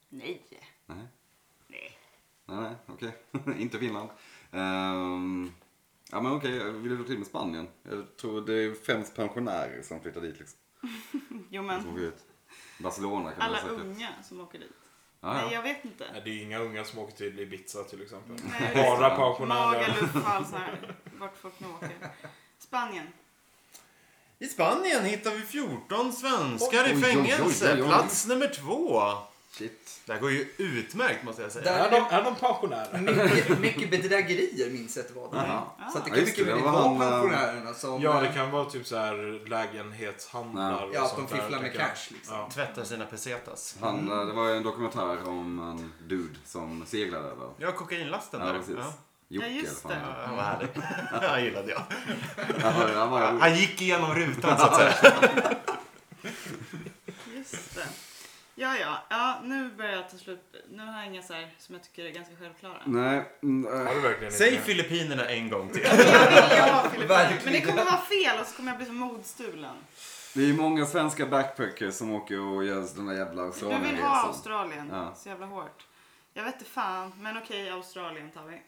B: Nej.
C: Nej,
B: Nej.
C: nej, nej okej. inte Finland. Ehm, ja men okej, jag vill du till med Spanien? Jag tror det är främst pensionärer som flyttar dit liksom.
B: Jo
C: Som
B: men,
C: åker ut. Barcelona kan
B: alla
C: man säkert.
B: unga som åker dit.
C: Ja, ja.
B: Nej, jag vet inte.
D: Nej, det är ju inga unga som åker till Ibiza till exempel.
B: Nej,
D: Bara
C: visst.
D: pensionärer.
B: Magaluf och allt så här. Vart folk nu åker. Spanien.
A: I Spanien hittar vi 14 svenskar
C: Oj,
A: i
C: oj,
A: fängelse.
C: oj, oj, oj.
A: Plats nummer två.
C: Shit.
A: Det här går ju utmärkt måste jag säga.
F: Där-
D: Är de, är de pensionärer?
A: Mm.
F: Mycket, mycket bedrägerier minns jag att det var. där.
C: Jaha.
F: Så att det
C: Ja,
F: kan
C: just
F: mycket
C: det,
F: väl
C: det var
F: vara
C: han, ehm,
F: pensionärerna som... eh,
D: Ja, det kan vara typ så här lägenhetshandlar
C: Nej.
D: och
F: Ja, att
D: sånt
F: de
D: där,
F: fifflar med
D: tänker jag.
F: cash, liksom.
D: Ja.
A: Tvättar sina pesetas.
C: Han, eh, Det var ju en dokumentär om en dude som seglade över.
A: Ja, kokainlasten
C: Ja,
A: där.
C: precis.
A: Ja.
C: Jocke,
B: Ja, just
C: eller vad
B: det.
A: Ja, vad härligt. Han gillade jag.
C: han heter. Han var ju
A: Han gick igenom rutan så att säga.
B: Just det. Ja, ja. ja nu börjar jag ta slut. Nu har jag inga så här som jag tycker är ganska självklara.
C: Nej, mm, eh,
D: Har du verkligen
A: Säg
D: inte?
A: Filippinerna en gång till.
B: Jag vill ju ha Filippinerna.
F: Verkligen.
B: Men det kommer vara fel och så kommer jag bli så modstulen.
C: det är ju många svenska backpackers som åker och gör de där jävla
B: Du vill ha
C: Australienresorna.
B: Australien
C: Ja.
B: så jävla hårt. Jag vet inte fan, men okej Australien tar vi.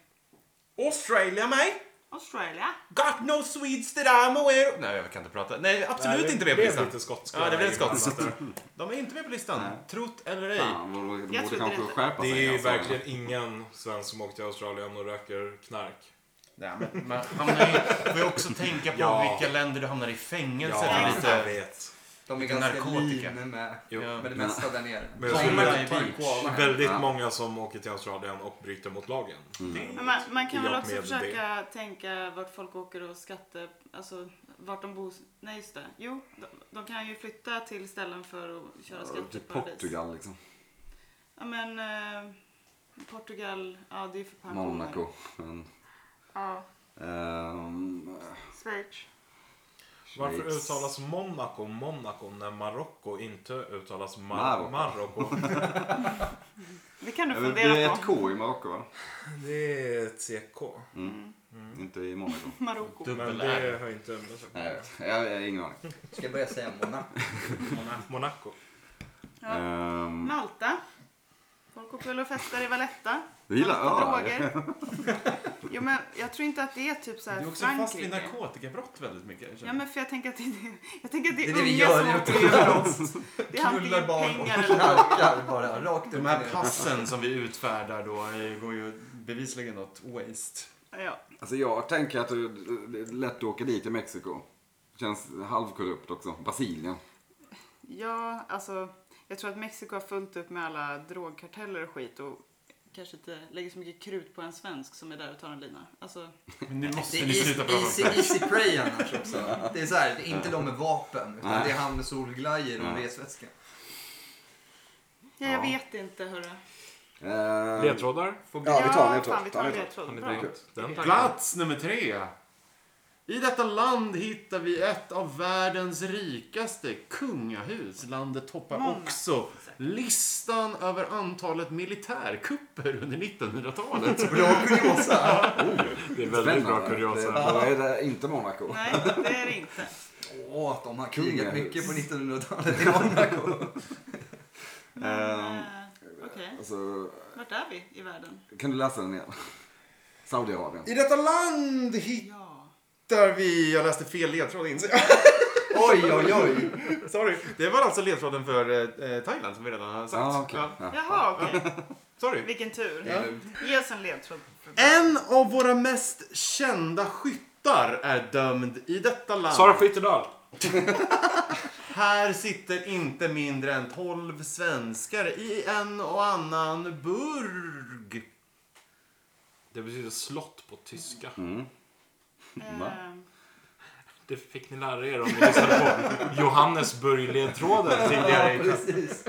A: Australia mig.
B: Australia.
A: Got no Swedes that I'm aware of. Nej, jag kan inte prata. Nej, absolut
D: Nej, det
A: inte med på
D: blev
A: listan.
D: lite skotska.
A: Ja, det blev
D: där innan.
A: skotskt. De är inte med på listan. Trott eller ej.
C: Fan, vad- de
B: Jag
C: borde
B: trodde
C: kanske
B: det.
C: skärpa
D: Det
C: sig.
D: är ju
C: alltså.
D: verkligen ingen svensk som åker till Australien och röker knark.
A: Nej, men man hamnar ju... Får ju också tänka på
D: Ja.
A: vilka länder du hamnar i fängelse för
D: jag
A: lite...
D: vet.
F: De är
A: Lite
F: ganska
A: narkotika.
F: lean med,
D: Jo.
A: Ja.
F: med det mesta där nere.
D: Men
F: Ta
D: jag tror
F: en-
D: det är
F: ta en
G: beach.
F: koala här.
D: Väldigt
C: Ja. Mm.
D: många som åker till Australien och bryter mot lagen.
B: Men man, man kan
D: I
B: väl
D: och
B: också
D: med
B: försöka tänka vart folk åker och skatte... Alltså vart de bor. Nej just det. Jo, de, de kan ju flytta till ställen för att köra
C: Ja, Till
B: skatteparadis.
C: Portugal liksom.
B: Ja men eh, Portugal, ja det är för pensioner.
C: Monaco. Men,
B: Ja,
C: ehm,
B: Schweiz.
D: Varför
C: Schweiz.
D: uttalas Monaco Monaco när Marocko inte uttalas Mar-
C: Marocko.
D: Marocko?
B: Det kan du
C: ja, men Det är
B: fundera
C: ett
B: på.
C: K i Marocko va?
D: Det är ett CK.
C: Inte i Monaco.
B: Marocko.
D: Men
A: Dubbel R.
D: det har inte med sig på.
C: Nej, jag vet. jag jag har ingen aning.
F: Ska jag börja säga Monaco?
D: Monaco.
B: Ja.
C: Ehm,
B: Malta. Folk åker väl och festar i Valletta.
C: Du gillar
B: Man tar
C: öar.
B: droger. Jo men jag tror inte att det är typ så här
A: Du är också fast vid
B: Frankrike.
A: narkotikabrott väldigt mycket.
B: Ja men för jag tänker att det är, jag tänker att det
F: Det
B: är,
F: är det vi
B: unga
F: gör
B: som
F: i
B: åker överallt. Det är antingen
F: barn och
B: pengar eller
F: knarkar bara rakt upp och
A: De här
F: ner.
A: passen som vi utfärdar då eh, går ju bevisligen åt waste.
B: ja.
C: Alltså jag tänker att det det är lätt att åka dit i Mexiko. Känns halvkorrupt också. Brasilien.
B: ja, alltså jag tror att Mexiko har fullt upp med alla drogkarteller och skit och kanske inte lägger så mycket krut på en svensk som är där och tar en lina. Alltså,
A: Men nu
F: Det
A: måste
F: är
A: ni sluta prata om
F: easy,
A: det.
F: easy prey annars också. Det är så här, det är inte de med vapen, utan
C: Nej.
F: det är han med solglajjor och
C: Ja.
F: resväska.
B: ja, jag
C: Ja.
B: vet inte hörru.
C: Ehm,
D: Ledtrådar?
C: Ja, vi tar
B: fan, vi tar en
C: ledtråd.
B: ledtråd.
D: Fan,
B: Bra.
D: det är gott. Den tanken.
A: Plats nummer tre. I detta land hittar vi ett av världens rikaste kungahus. Landet toppar
B: Många.
A: också listan över antalet militärkupper under 1900-talet.
F: Bra kuriosa!
D: Det är väldigt bra
C: Spännande.
D: kuriosa.
C: Det- Då är det inte Monaco.
B: Nej, det är det inte.
F: Åh, att de har krigat
C: Kungahus.
F: mycket på 1900-talet i Monaco.
C: Ehm,
B: Eh, Okej,
C: alltså,
B: vart är vi i världen?
C: kan du läsa den igen? Saudiarabien.
A: I detta land hittar
B: Ja.
A: vi... Jag läste fel ledtråd inser jag.
F: Oj, oj, oj!
A: Sorry. Det var alltså ledtråden för eh, Thailand som vi redan har sagt.
C: Ah, okej.
A: Ja,
C: Ja.
B: Jaha, okej.
A: sorry.
B: Vilken tur.
F: Ja.
B: Ge oss en ledtråd.
A: En av våra mest kända skyttar är dömd i detta land.
D: Sara Skyttedal.
A: Här sitter inte mindre än 12 svenskar i en och annan burg.
D: Det betyder slott på tyska.
B: Ehm,
D: Det fick ni lära er om ni lyssnade på Johannesburg-ledtråden
F: Ja,
D: tidigare i
F: precis.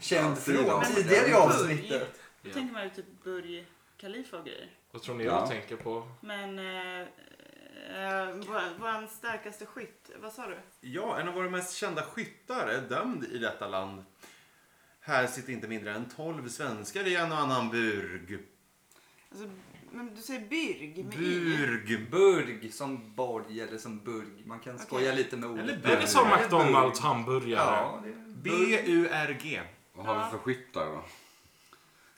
F: Känd från
C: Sydafrika.
F: tidigare i avsnittet.
B: Burj- Då tänker man ju typ Burj Khalifa och grejer.
D: Vad tror ni
C: Ja.
D: jag tänker på?
B: Men eh, eh, vår, våran starkaste skytt, vad sa du?
A: Ja, en av våra mest kända skyttar är dömd i detta land. Här sitter inte mindre än 12 svenskar i en och annan burg.
B: Alltså, Men du säger Byrg med i.
A: Burg.
F: Burg som borg eller som burg. Man kan skoja
B: Okej.
F: lite med ordet.
D: Är det som McDonalds hamburgare?
F: Ja, det...
A: B-U-R-G.
C: Vad har vi för skyttar då?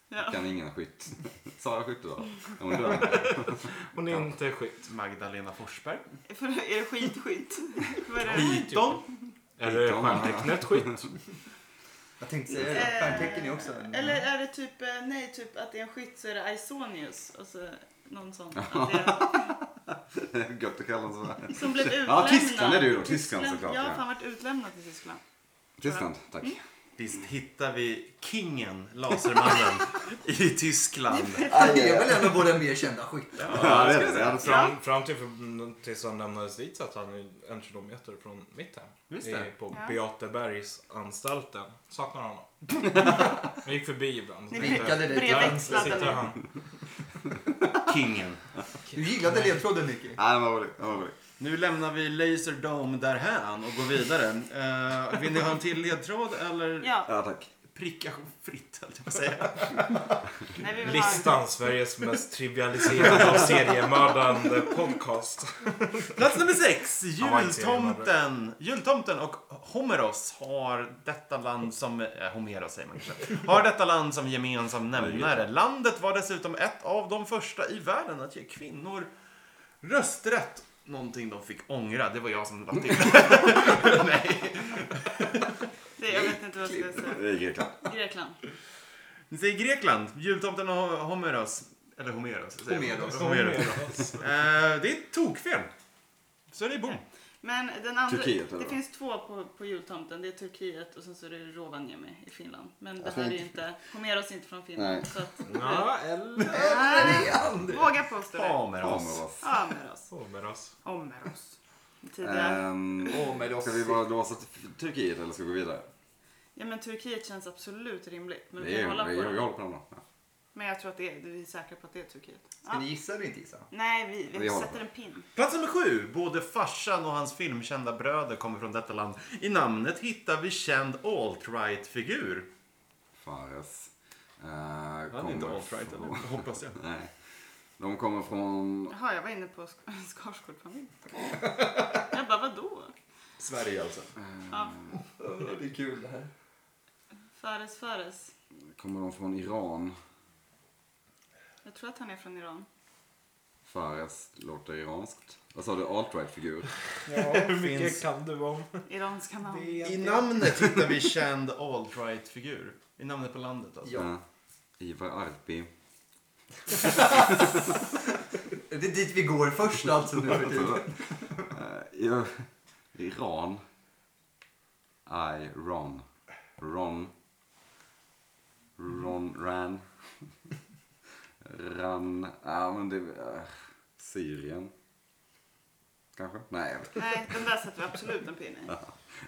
B: Ja.
C: Kan ingen skytt. Sara skytte då? Ja, men dör.
D: Hon är inte skit.
A: Magdalena Forsberg.
B: För, är det skit, skit? Vad är det?
A: Pyton.
D: Är det
C: Python, ja.
D: stjärntecknet skit?
F: Jag tänkte säga det. Stjärntecken är också en...
B: Eh, Eller är det typ, eh, nej, typ att det är en skytt så är det Isonius. Alltså, någon sån. Att det,
C: Gött att kalla honom sådär.
B: som blev utlämnad.
C: Ja, Tyskland är det ju då. Tyskland såklart,
B: Jag har
C: ja.
B: fan varit utlämnad till Tyskland.
C: Tyskland, tack.
A: Visst hittar vi kingen, Lasermannen, i Tyskland.
F: Det är väl ändå våra mer kända skyttar.
C: Ja, det är det. det. är sant.
D: Fram, fram till för, tills han lämnades dit satt han ju en kilometer från mitt hem.
A: Just
D: I,
A: det.
D: på
B: Ja.
D: Beatebergsanstalten. Saknar honom. Jag gick förbi ibland.
B: Ni
D: Tänkte,
F: prickade dig.
D: "Där
B: brevväxlade,
D: sitter
B: eller?"
D: han.
A: Kingen.
F: Du gillade ledtråden Nicky.
C: Ja, den var rolig. Den var rolig.
A: Nu lämnar vi Laserdome därhän och går vidare. Eh, vill ni ha en till ledtråd eller
B: Ja,
C: Ja, tack.
A: pricka fritt, höll jag på att säga.
B: nej, vi vill ha
D: Listan, Sveriges mest trivialiserade och seriemördande podcast.
A: Plats Alltså, nummer sex.
D: Han var inte
A: Jultomten. Jultomten och Homeros har detta land som... Eh, Homeros säger man kanske. Har detta land som gemensam nämnare. Landet var dessutom ett av de första i världen att ge kvinnor rösträtt. Någonting de fick ångra. Det var jag som lade till. Nej.
B: det. Jag vet inte vad jag ska säga.
C: Det är Grekland.
B: Grekland.
A: Ni säger Grekland. Jultomten och Homeros. Eller Homeros. säger man.
F: Homeros.
A: Homeros. Eh, det är tokfel. Så det är bom.
B: Men den andra,
C: Turkiet, eller
B: det
C: vad?
B: finns två på, på jultomten. Det är Turkiet och sen så är det Rovaniemi i Finland. Men det
C: Jag tror
B: här är ju
C: inte-
B: inte, Homeros är inte från Finland.
C: Nej.
B: Så att,
D: Ja, eller...
B: våga påstå det.
A: Homeros.
C: Homeros.
B: Homeros.
D: Homeros.
B: Homeros. Tidigare.
C: Ehm,
F: Homeros.
C: Ska vi bara låsa till Turkiet eller ska vi gå vidare?
B: Ja men Turkiet känns absolut rimligt. Men vi
C: Det är,
B: kan hålla
C: jag,
B: på
C: jag
B: det.
C: håller på den då. Ja.
B: Men jag tror att det är, vi är säkra på att det är Turkiet.
F: Ska
B: Ja.
F: ni gissa eller inte gissa?
B: Nej, vi, vi
C: Vi håller
B: sätter
C: på.
B: en pin.
A: Plats nummer sju. Både farsan och hans filmkända bröder kommer från detta land. I namnet hittar vi känd alt-right-figur.
C: Fares. eh,
A: Han är inte
C: kommer
A: alt-right
C: från-
A: eller? Hoppas jag.
C: Nej. De kommer från...
B: Jaha, jag var inne på Sk- Skarsgårdfamiljen. Jag bara, vadå?
A: Sverige alltså.
B: Ja,
F: det är kul det här.
B: Fares Fares.
C: Kommer de från Iran?
B: Jag tror att han är från Iran.
C: Fares låter iranskt. Vad sa du? Alt-right-figur?
D: Ja, hur mycket kan du om?
B: Iranska namn.
A: I namnet hittar vi känd alt-right-figur. I namnet på landet alltså.
F: Ja.
C: Eh, Ivar Arpi.
F: Det är dit vi går först alltså nu för tiden.
C: Eh, ja, Iran. I, Ron. Ron. Ron, Ran. Ran, ja men det, eh, Syrien. Kanske? Nej, jag vet inte.
B: Nej, den där sätter vi absolut en pin i.
C: jag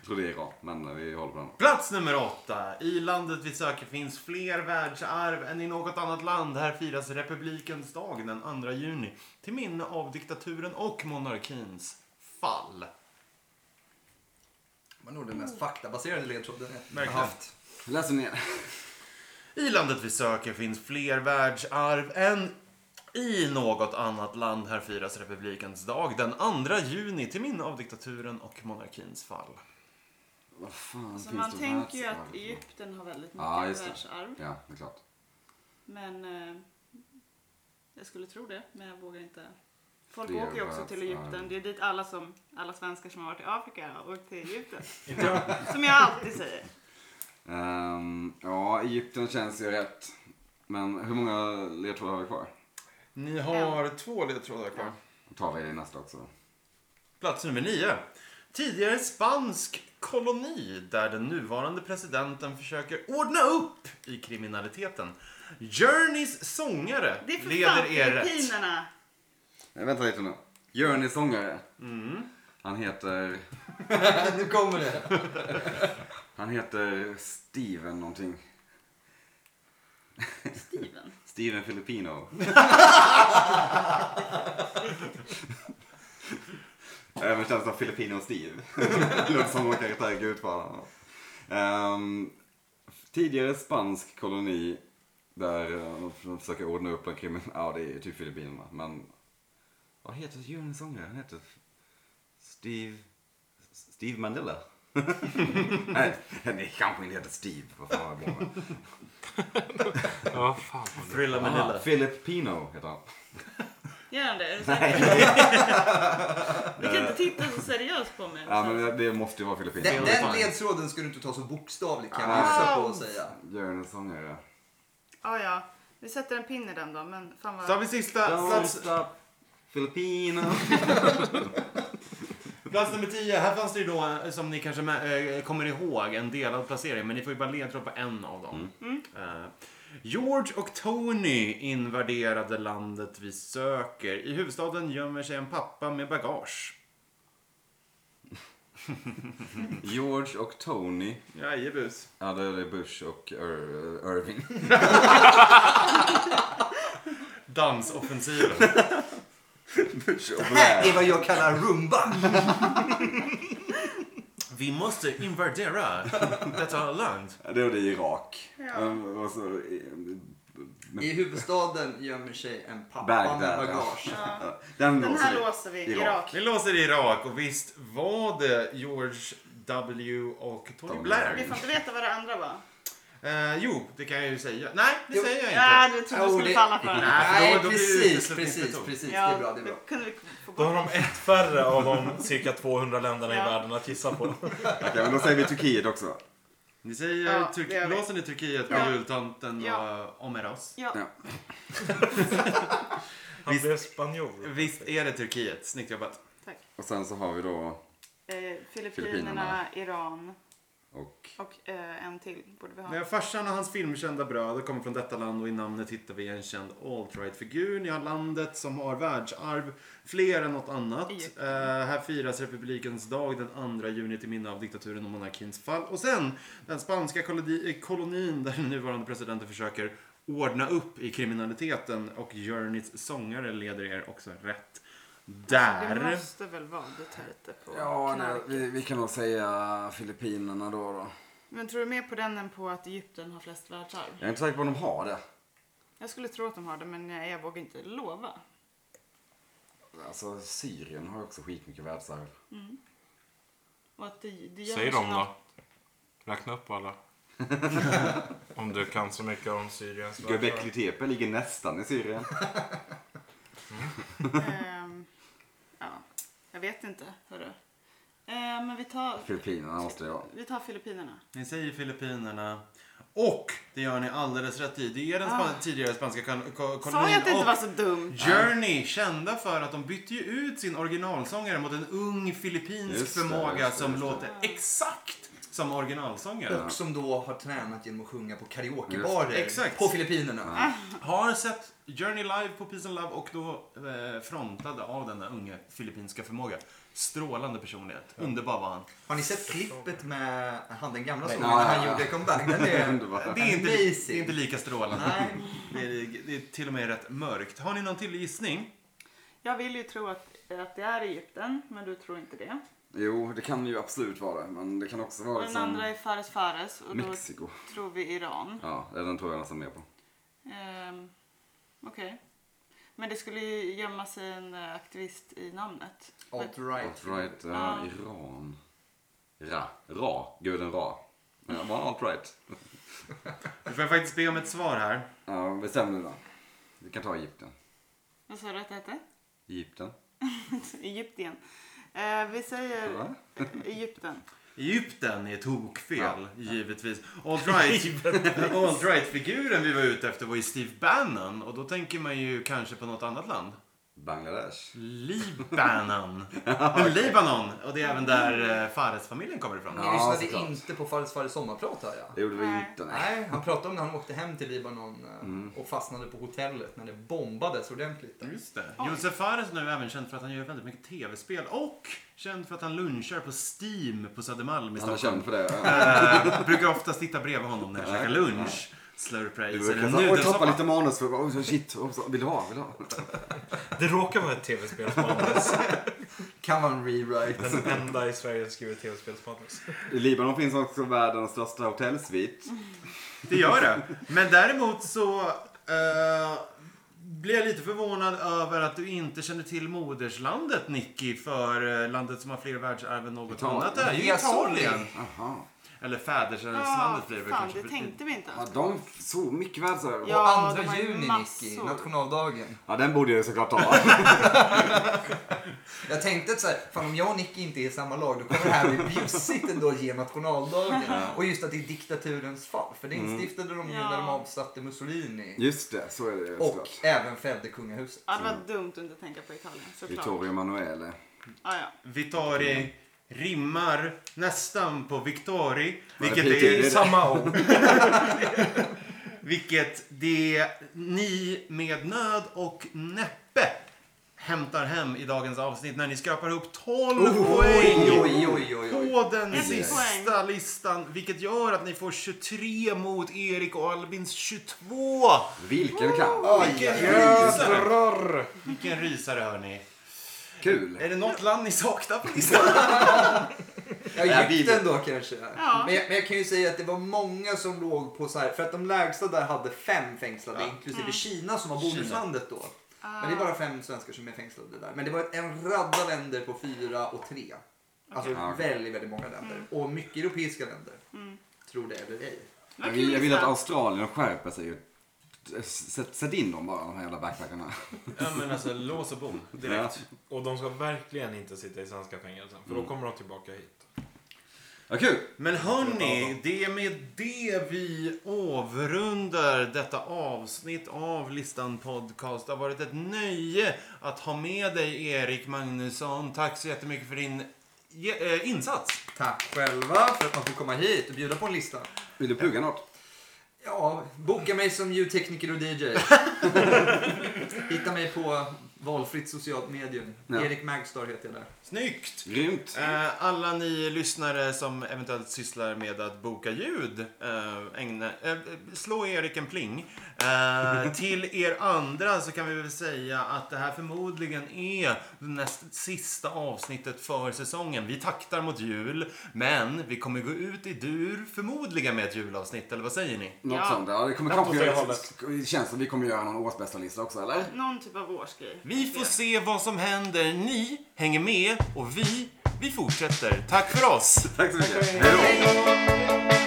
C: tror det är Iran, men vi håller på den.
A: Plats nummer åtta. I landet vi söker finns fler världsarv än i något annat land. Här firas republikens dag den 2 juni. Till minne av diktaturen och monarkins fall.
F: Det var nog den mest faktabaserade ledtråden jag
A: Verkligen.
F: har haft.
C: Läser ner.
A: I landet vi söker finns fler världsarv än i något annat land. Här firas republikens dag den 2 juni till minne av diktaturen och monarkins fall.
C: Vad fan
B: Så
C: finns
B: Alltså, man
C: det
B: tänker ju
C: världsarv
B: att
C: för?
B: Egypten har väldigt mycket
C: Ja, just det.
B: världsarv.
C: Ja, det är klart.
B: Men eh, jag skulle tro det, men jag vågar inte. Folk
C: Det är
B: åker ju också till
C: världsarv.
B: Egypten. Det är dit alla, som, alla svenskar som har varit i Afrika har åkt till Egypten. som jag alltid säger.
C: Ehm, ja, Egypten känns ju rätt. Men hur många ledtrådar har vi kvar?
A: Ni har två ledtrådar kvar.
C: Då tar vi nästa också.
A: Plats nummer nio. Tidigare spansk koloni där den nuvarande presidenten försöker ordna upp i kriminaliteten. Journeys sångare
B: Det är för
A: leder
B: fan
A: er rätt.
B: Filippinerna!
C: Nej, vänta lite nu. Journey sångare. Han heter...
F: nu kommer det.
C: Han heter Steven någonting.
B: Steven.
C: Steven Filipino. Även känns som Filipino Steve. Låter som någon karaktär i Gudfadern. Ehm, tidigare spansk koloni Där eh, de f- försöker ordna upp den krimin... Ja, det är typ Filippinerna. Men vad heter Djurens sångare? Han heter Steve... Steve Mandela. nej, nej, kanske inte heter Steve. Vad fan var det bra med?
D: Ja, vad fan var det?
G: Thrilla
C: Aha,
G: Manila.
C: Philip Pino heter han.
B: Gör han det? Är du säker? Du kan inte titta så seriöst på mig.
C: Ja, men det måste ju vara Filippinerna.
F: Den, den ledtråden ska du inte ta så bokstavligt
A: Ah.
F: kan jag gissa på att säga.
C: Djurens sångare.
B: Ja, Ah, ja. Vi sätter en pin i den då, men fan
A: Så har
B: vad...
A: vi sista plats,
C: stop Filipino.
A: plats nummer 10. Här fanns det ju då, eh, som ni kanske mä- eh, kommer ihåg, en delad placering. Men ni får ju bara ledtråd på en av dem. Eh, George och Tony invaderade landet vi söker. I huvudstaden gömmer sig en pappa med bagage.
C: George och Tony.
A: Jajebus.
C: Ja, det är Bush och Ir- Irving.
A: Dansoffensiven.
C: Bush och
F: Här är
C: Blair.
F: vad jag kallar rumba.
A: Vi måste invadera detta land.
C: Det var det i Irak.
B: Ja.
C: Um, och så, eh,
F: I huvudstaden gömmer sig en pappa
C: Bagdad,
F: med
C: ja.
F: bagage.
B: Ja.
C: den
B: Den
C: låser
B: här
C: vi.
B: låser vi.
C: Irak.
B: Irak.
A: Vi låser i Irak och visst var det George W och Tony
C: Tony
A: Blair?
B: Vi får inte veta vad det andra var.
A: Eh, jo, det kan jag ju säga. Nej, det
F: Jo.
A: säger jag
B: Ja,
A: inte.
B: du trodde du
F: Jo,
B: skulle
F: det-
B: falla för den.
A: Nej,
B: här.
F: Nej,
A: då blir det
F: precis,
A: uteslutning för
F: precis,
A: Tom.
F: precis. Det
B: Ja,
F: är bra, det är bra.
B: kunde vi få
D: Då har
B: bort.
D: de ett färre av de cirka 200 länderna
B: Ja.
D: i världen att gissa på.
C: Okej, men då säger vi Turkiet också.
A: Vi säger
B: Ja,
A: Turk-
B: det gör vi.
A: låsen i Turkiet på
B: Ja.
A: jultomten
B: Ja.
A: och Omeros.
B: Ja.
C: Ja.
D: Han blev spanjor.
A: Visst är det Turkiet? Snyggt jobbat.
C: Och sen så har vi då
B: Eh, Filippinerna,
C: Filippinerna.
B: Iran
C: och...
B: och eh, en till borde vi ha.
A: När farsan och hans filmkända bröder kommer från detta land och i namnet hittar vi en känd alt-right-figur. Ni har landet som har världsarv fler än något annat.
B: Egypten.
A: Eh, här firas republikens dag den 2 juni till minne av diktaturen och monarkins fall. Och sen den spanska kolodi- eh, kolonin där den nuvarande presidenten försöker ordna upp i kriminaliteten och Journeys sångare leder er också rätt
B: Alltså, Det
A: där.
B: måste väl vara Duterte på
E: Ja, nej,
B: knark.
E: vi, vi kan nog säga Filippinerna då. då.
B: Men tror du mer på den än på att Egypten har flest världsarv?
C: Jag är inte säker på om de har det.
B: Jag skulle tro att de har det, men jag, jag vågar inte lova.
C: Alltså Syrien har ju också skitmycket världsarv.
B: Och att det, det gör
D: Säg
B: sig
D: dem då.
B: något-
D: Räkna upp alla. Om du kan så mycket om Syriens
C: Göbekli Tepe ligger nästan i Syrien.
B: Ehm, ja, jag vet inte, hörru. Ehm, men vi tar,
C: Filippinerna måste jag.
B: vi tar Filippinerna.
A: Ni säger Filippinerna. Och det gör ni alldeles rätt i. Det är den span- tidigare spanska kol- ko- kolonin.
B: Ah. Sa jag att det
A: och-
B: inte var så dumt?
A: Journey, kända för att de bytte ju ut sin originalsångare mot en ung filippinsk
C: Just det,
A: förmåga
C: just det,
A: som
C: just det.
A: låter exakt som originalsångaren.
F: Och som då har tränat genom att sjunga på karaokebarer
A: Just det, exakt.
F: på Filippinerna.
A: Har sett Journey live på Peace and Love och då eh, frontade av denna unge filippinska förmåga. Strålande personlighet. Underbar var han.
F: Har ni sett klippet med han den gamla sången
C: Ja,
F: när han
C: ja, ja.
F: gjorde comeback? Den är
C: Underbart.
A: Det är inte, det är inte
F: amazing.
A: lika strålande.
F: Nej.
A: Det är, det är till och med rätt mörkt. Har ni någon till gissning?
B: Jag vill ju tro att, att det är Egypten, men du tror inte det.
C: Jo, det kan ju absolut vara det. Men det kan också
B: Och
C: vara
B: den
C: liksom
B: andra är Fares Fares och då
C: Mexiko.
B: tror vi Iran.
C: Ja, den tror jag nästan mer på.
B: Ehm, Okej. Men det skulle ju gömma sig en eh, aktivist i namnet.
F: Alt-right.
C: Alt-right,
B: Ja.
C: ja, eh, Iran. Ra. Ra. Guden Ra. Ja, var han alt-right?
A: Du får jag faktiskt be om ett svar här.
C: Ja, bestäm nu då. Vi kan ta Egypten.
B: Vad sa du att det hette?
C: Egypten.
B: Egyptien. Eh, vi säger
C: Va?
B: Egypten.
A: Egypten är tokfel, givetvis. Alright. Alright-figuren vi var ute efter var ju Steve Bannon och då tänker man ju kanske på något annat land.
C: Bangladesh.
A: Libanon. Libanon. Och det är även där eh, Fares-familjen kommer ifrån.
F: Ni
C: Ja,
F: lyssnade
C: såklart.
F: inte på Fares Fares sommarprat hör jag.
C: Det gjorde vi
B: Nej.
C: inte. Nej.
F: Nej, han pratade om när han åkte hem till Libanon eh, och fastnade på hotellet när det bombades ordentligt. där.
A: Just det. Josef Fares nu är även känd för att han gör väldigt mycket tv-spel och känd för att han lunchar på Steam på Södermalm i
C: Han är
A: Stockholm.
C: känd för det. ja.
A: Eh, brukar ofta sitta bredvid honom när jag käkar lunch. Slurpar i
C: Du
A: sig
C: brukar
A: en
C: säga, oj, tappa
A: nudelsoppa.
C: lite manus. För, oh, shit, oh, så- vill du ha? Vill du ha?
D: Det råkar vara ett tv-spel som används.
F: Kan vara en rewrite.
D: Den enda i Sverige som skriver tv-spelsmanus.
C: I Libanon finns också världens största hotellsvit.
A: Det gör det. Men däremot så eh, blir jag lite förvånad över att du inte känner till moderslandet, Nicky, för eh, landet som har fler världsarv än något
C: Italien.
A: annat. Det är ju
F: Ja,
A: Italien.
C: Aha.
A: Eller fäderslandet
B: Ja,
A: blir det väl
B: fan,
A: kanske.
B: det tänkte vi inte
C: Ja,
B: ens.
C: de så mycket världsarv. Ja.
B: Ja, de
F: Andra
B: har ju
F: juni, Nicky.
B: massor.
F: Nationaldagen.
C: ja, den borde jag såklart ta.
F: Jag tänkte att så här, fan om jag och Nicky inte är i samma lag då kommer det här bli bjussigt ändå att ge nationaldagen. Och just att det är diktaturens fall. För det instiftade de ju
B: Ja.
F: när de avsatte Mussolini.
C: Just det, så är det
F: Och
C: såklart.
F: även fällde kungahuset.
B: Ja, det var dumt att inte tänka på Italien. Såklart.
C: Vittorio Emanuele.
B: Ja, ja.
A: Vitari rimmar nästan på Victori, vilket
C: det
A: är
C: är det.
A: samma ord. vilket det ni med nöd och näppe hämtar hem i dagens avsnitt när ni skrapar ihop 12 poäng.
F: Oj, oj, oj, oj.
A: På den
B: Ett
A: sista listan, vilket gör att ni får 23 mot Erik och Albins 22.
C: Vilken kamp!
A: Vilken rysare!
D: Jädrar!
A: Vilken rysare hörni.
C: Kul!
A: Är det något land ni saknar på listan?
F: Ja,
C: Ja,
F: Egypten då kanske.
B: Ja.
F: Men, jag, men jag kan ju säga att det var många som låg på så här. För att de lägsta där hade fem fängslade inklusive Kina som var bonuslandet då. Men det är bara fem svenskar som är fängslade där. Men det var en radda länder på fyra och tre. Alltså
C: Ja, okej.
F: väldigt, väldigt många länder. Och mycket europeiska länder. Tror det eller ej.
B: Det var
C: Jag
B: kul
C: vill, jag vill att
B: lista.
C: Australien skärper sig. Sätt, sätt in dem bara, de här jävla backpackarna.
G: Ja, men alltså lås och bom.
C: Ja.
G: Direkt.
D: Och de ska verkligen inte sitta i svenska fängelser. För då kommer de tillbaka hit.
C: Ja, kul!
A: Men hörni, det är med det vi avrundar detta avsnitt av Listan Podcast. Det har varit ett nöje att ha med dig Erik Magnusson. Tack så jättemycket för din ge- eh, insats.
F: Tack själva för att man får komma hit och bjuda på en lista.
C: Vill du plugga något?
F: Ja, boka mig som ljudtekniker och DJ. Hitta mig på valfritt socialt medium.
C: Ja.
F: Erik Magstar heter jag där.
A: Snyggt!
C: Grymt!
A: Eh, Alla ni lyssnare som eventuellt sysslar med att boka ljud, eh, ägna, eh, slå Erik en pling. Eh, Till er andra så kan vi väl säga att det här förmodligen är det näst sista avsnittet för säsongen. Vi taktar mot jul, men vi kommer gå ut i dur förmodligen med ett julavsnitt, eller vad säger ni?
C: Något
B: Ja.
C: sånt. Ja, det kommer
D: Något åt
C: kanske
D: det
C: göra,
D: hållet.
C: det känns som vi kommer göra någon årsbästa lista också, eller?
B: Någon typ av årsgrej.
A: Vi får se vad som händer. Ni hänger med och vi, vi fortsätter. Tack för oss!
C: Tack så mycket!
F: Hej då!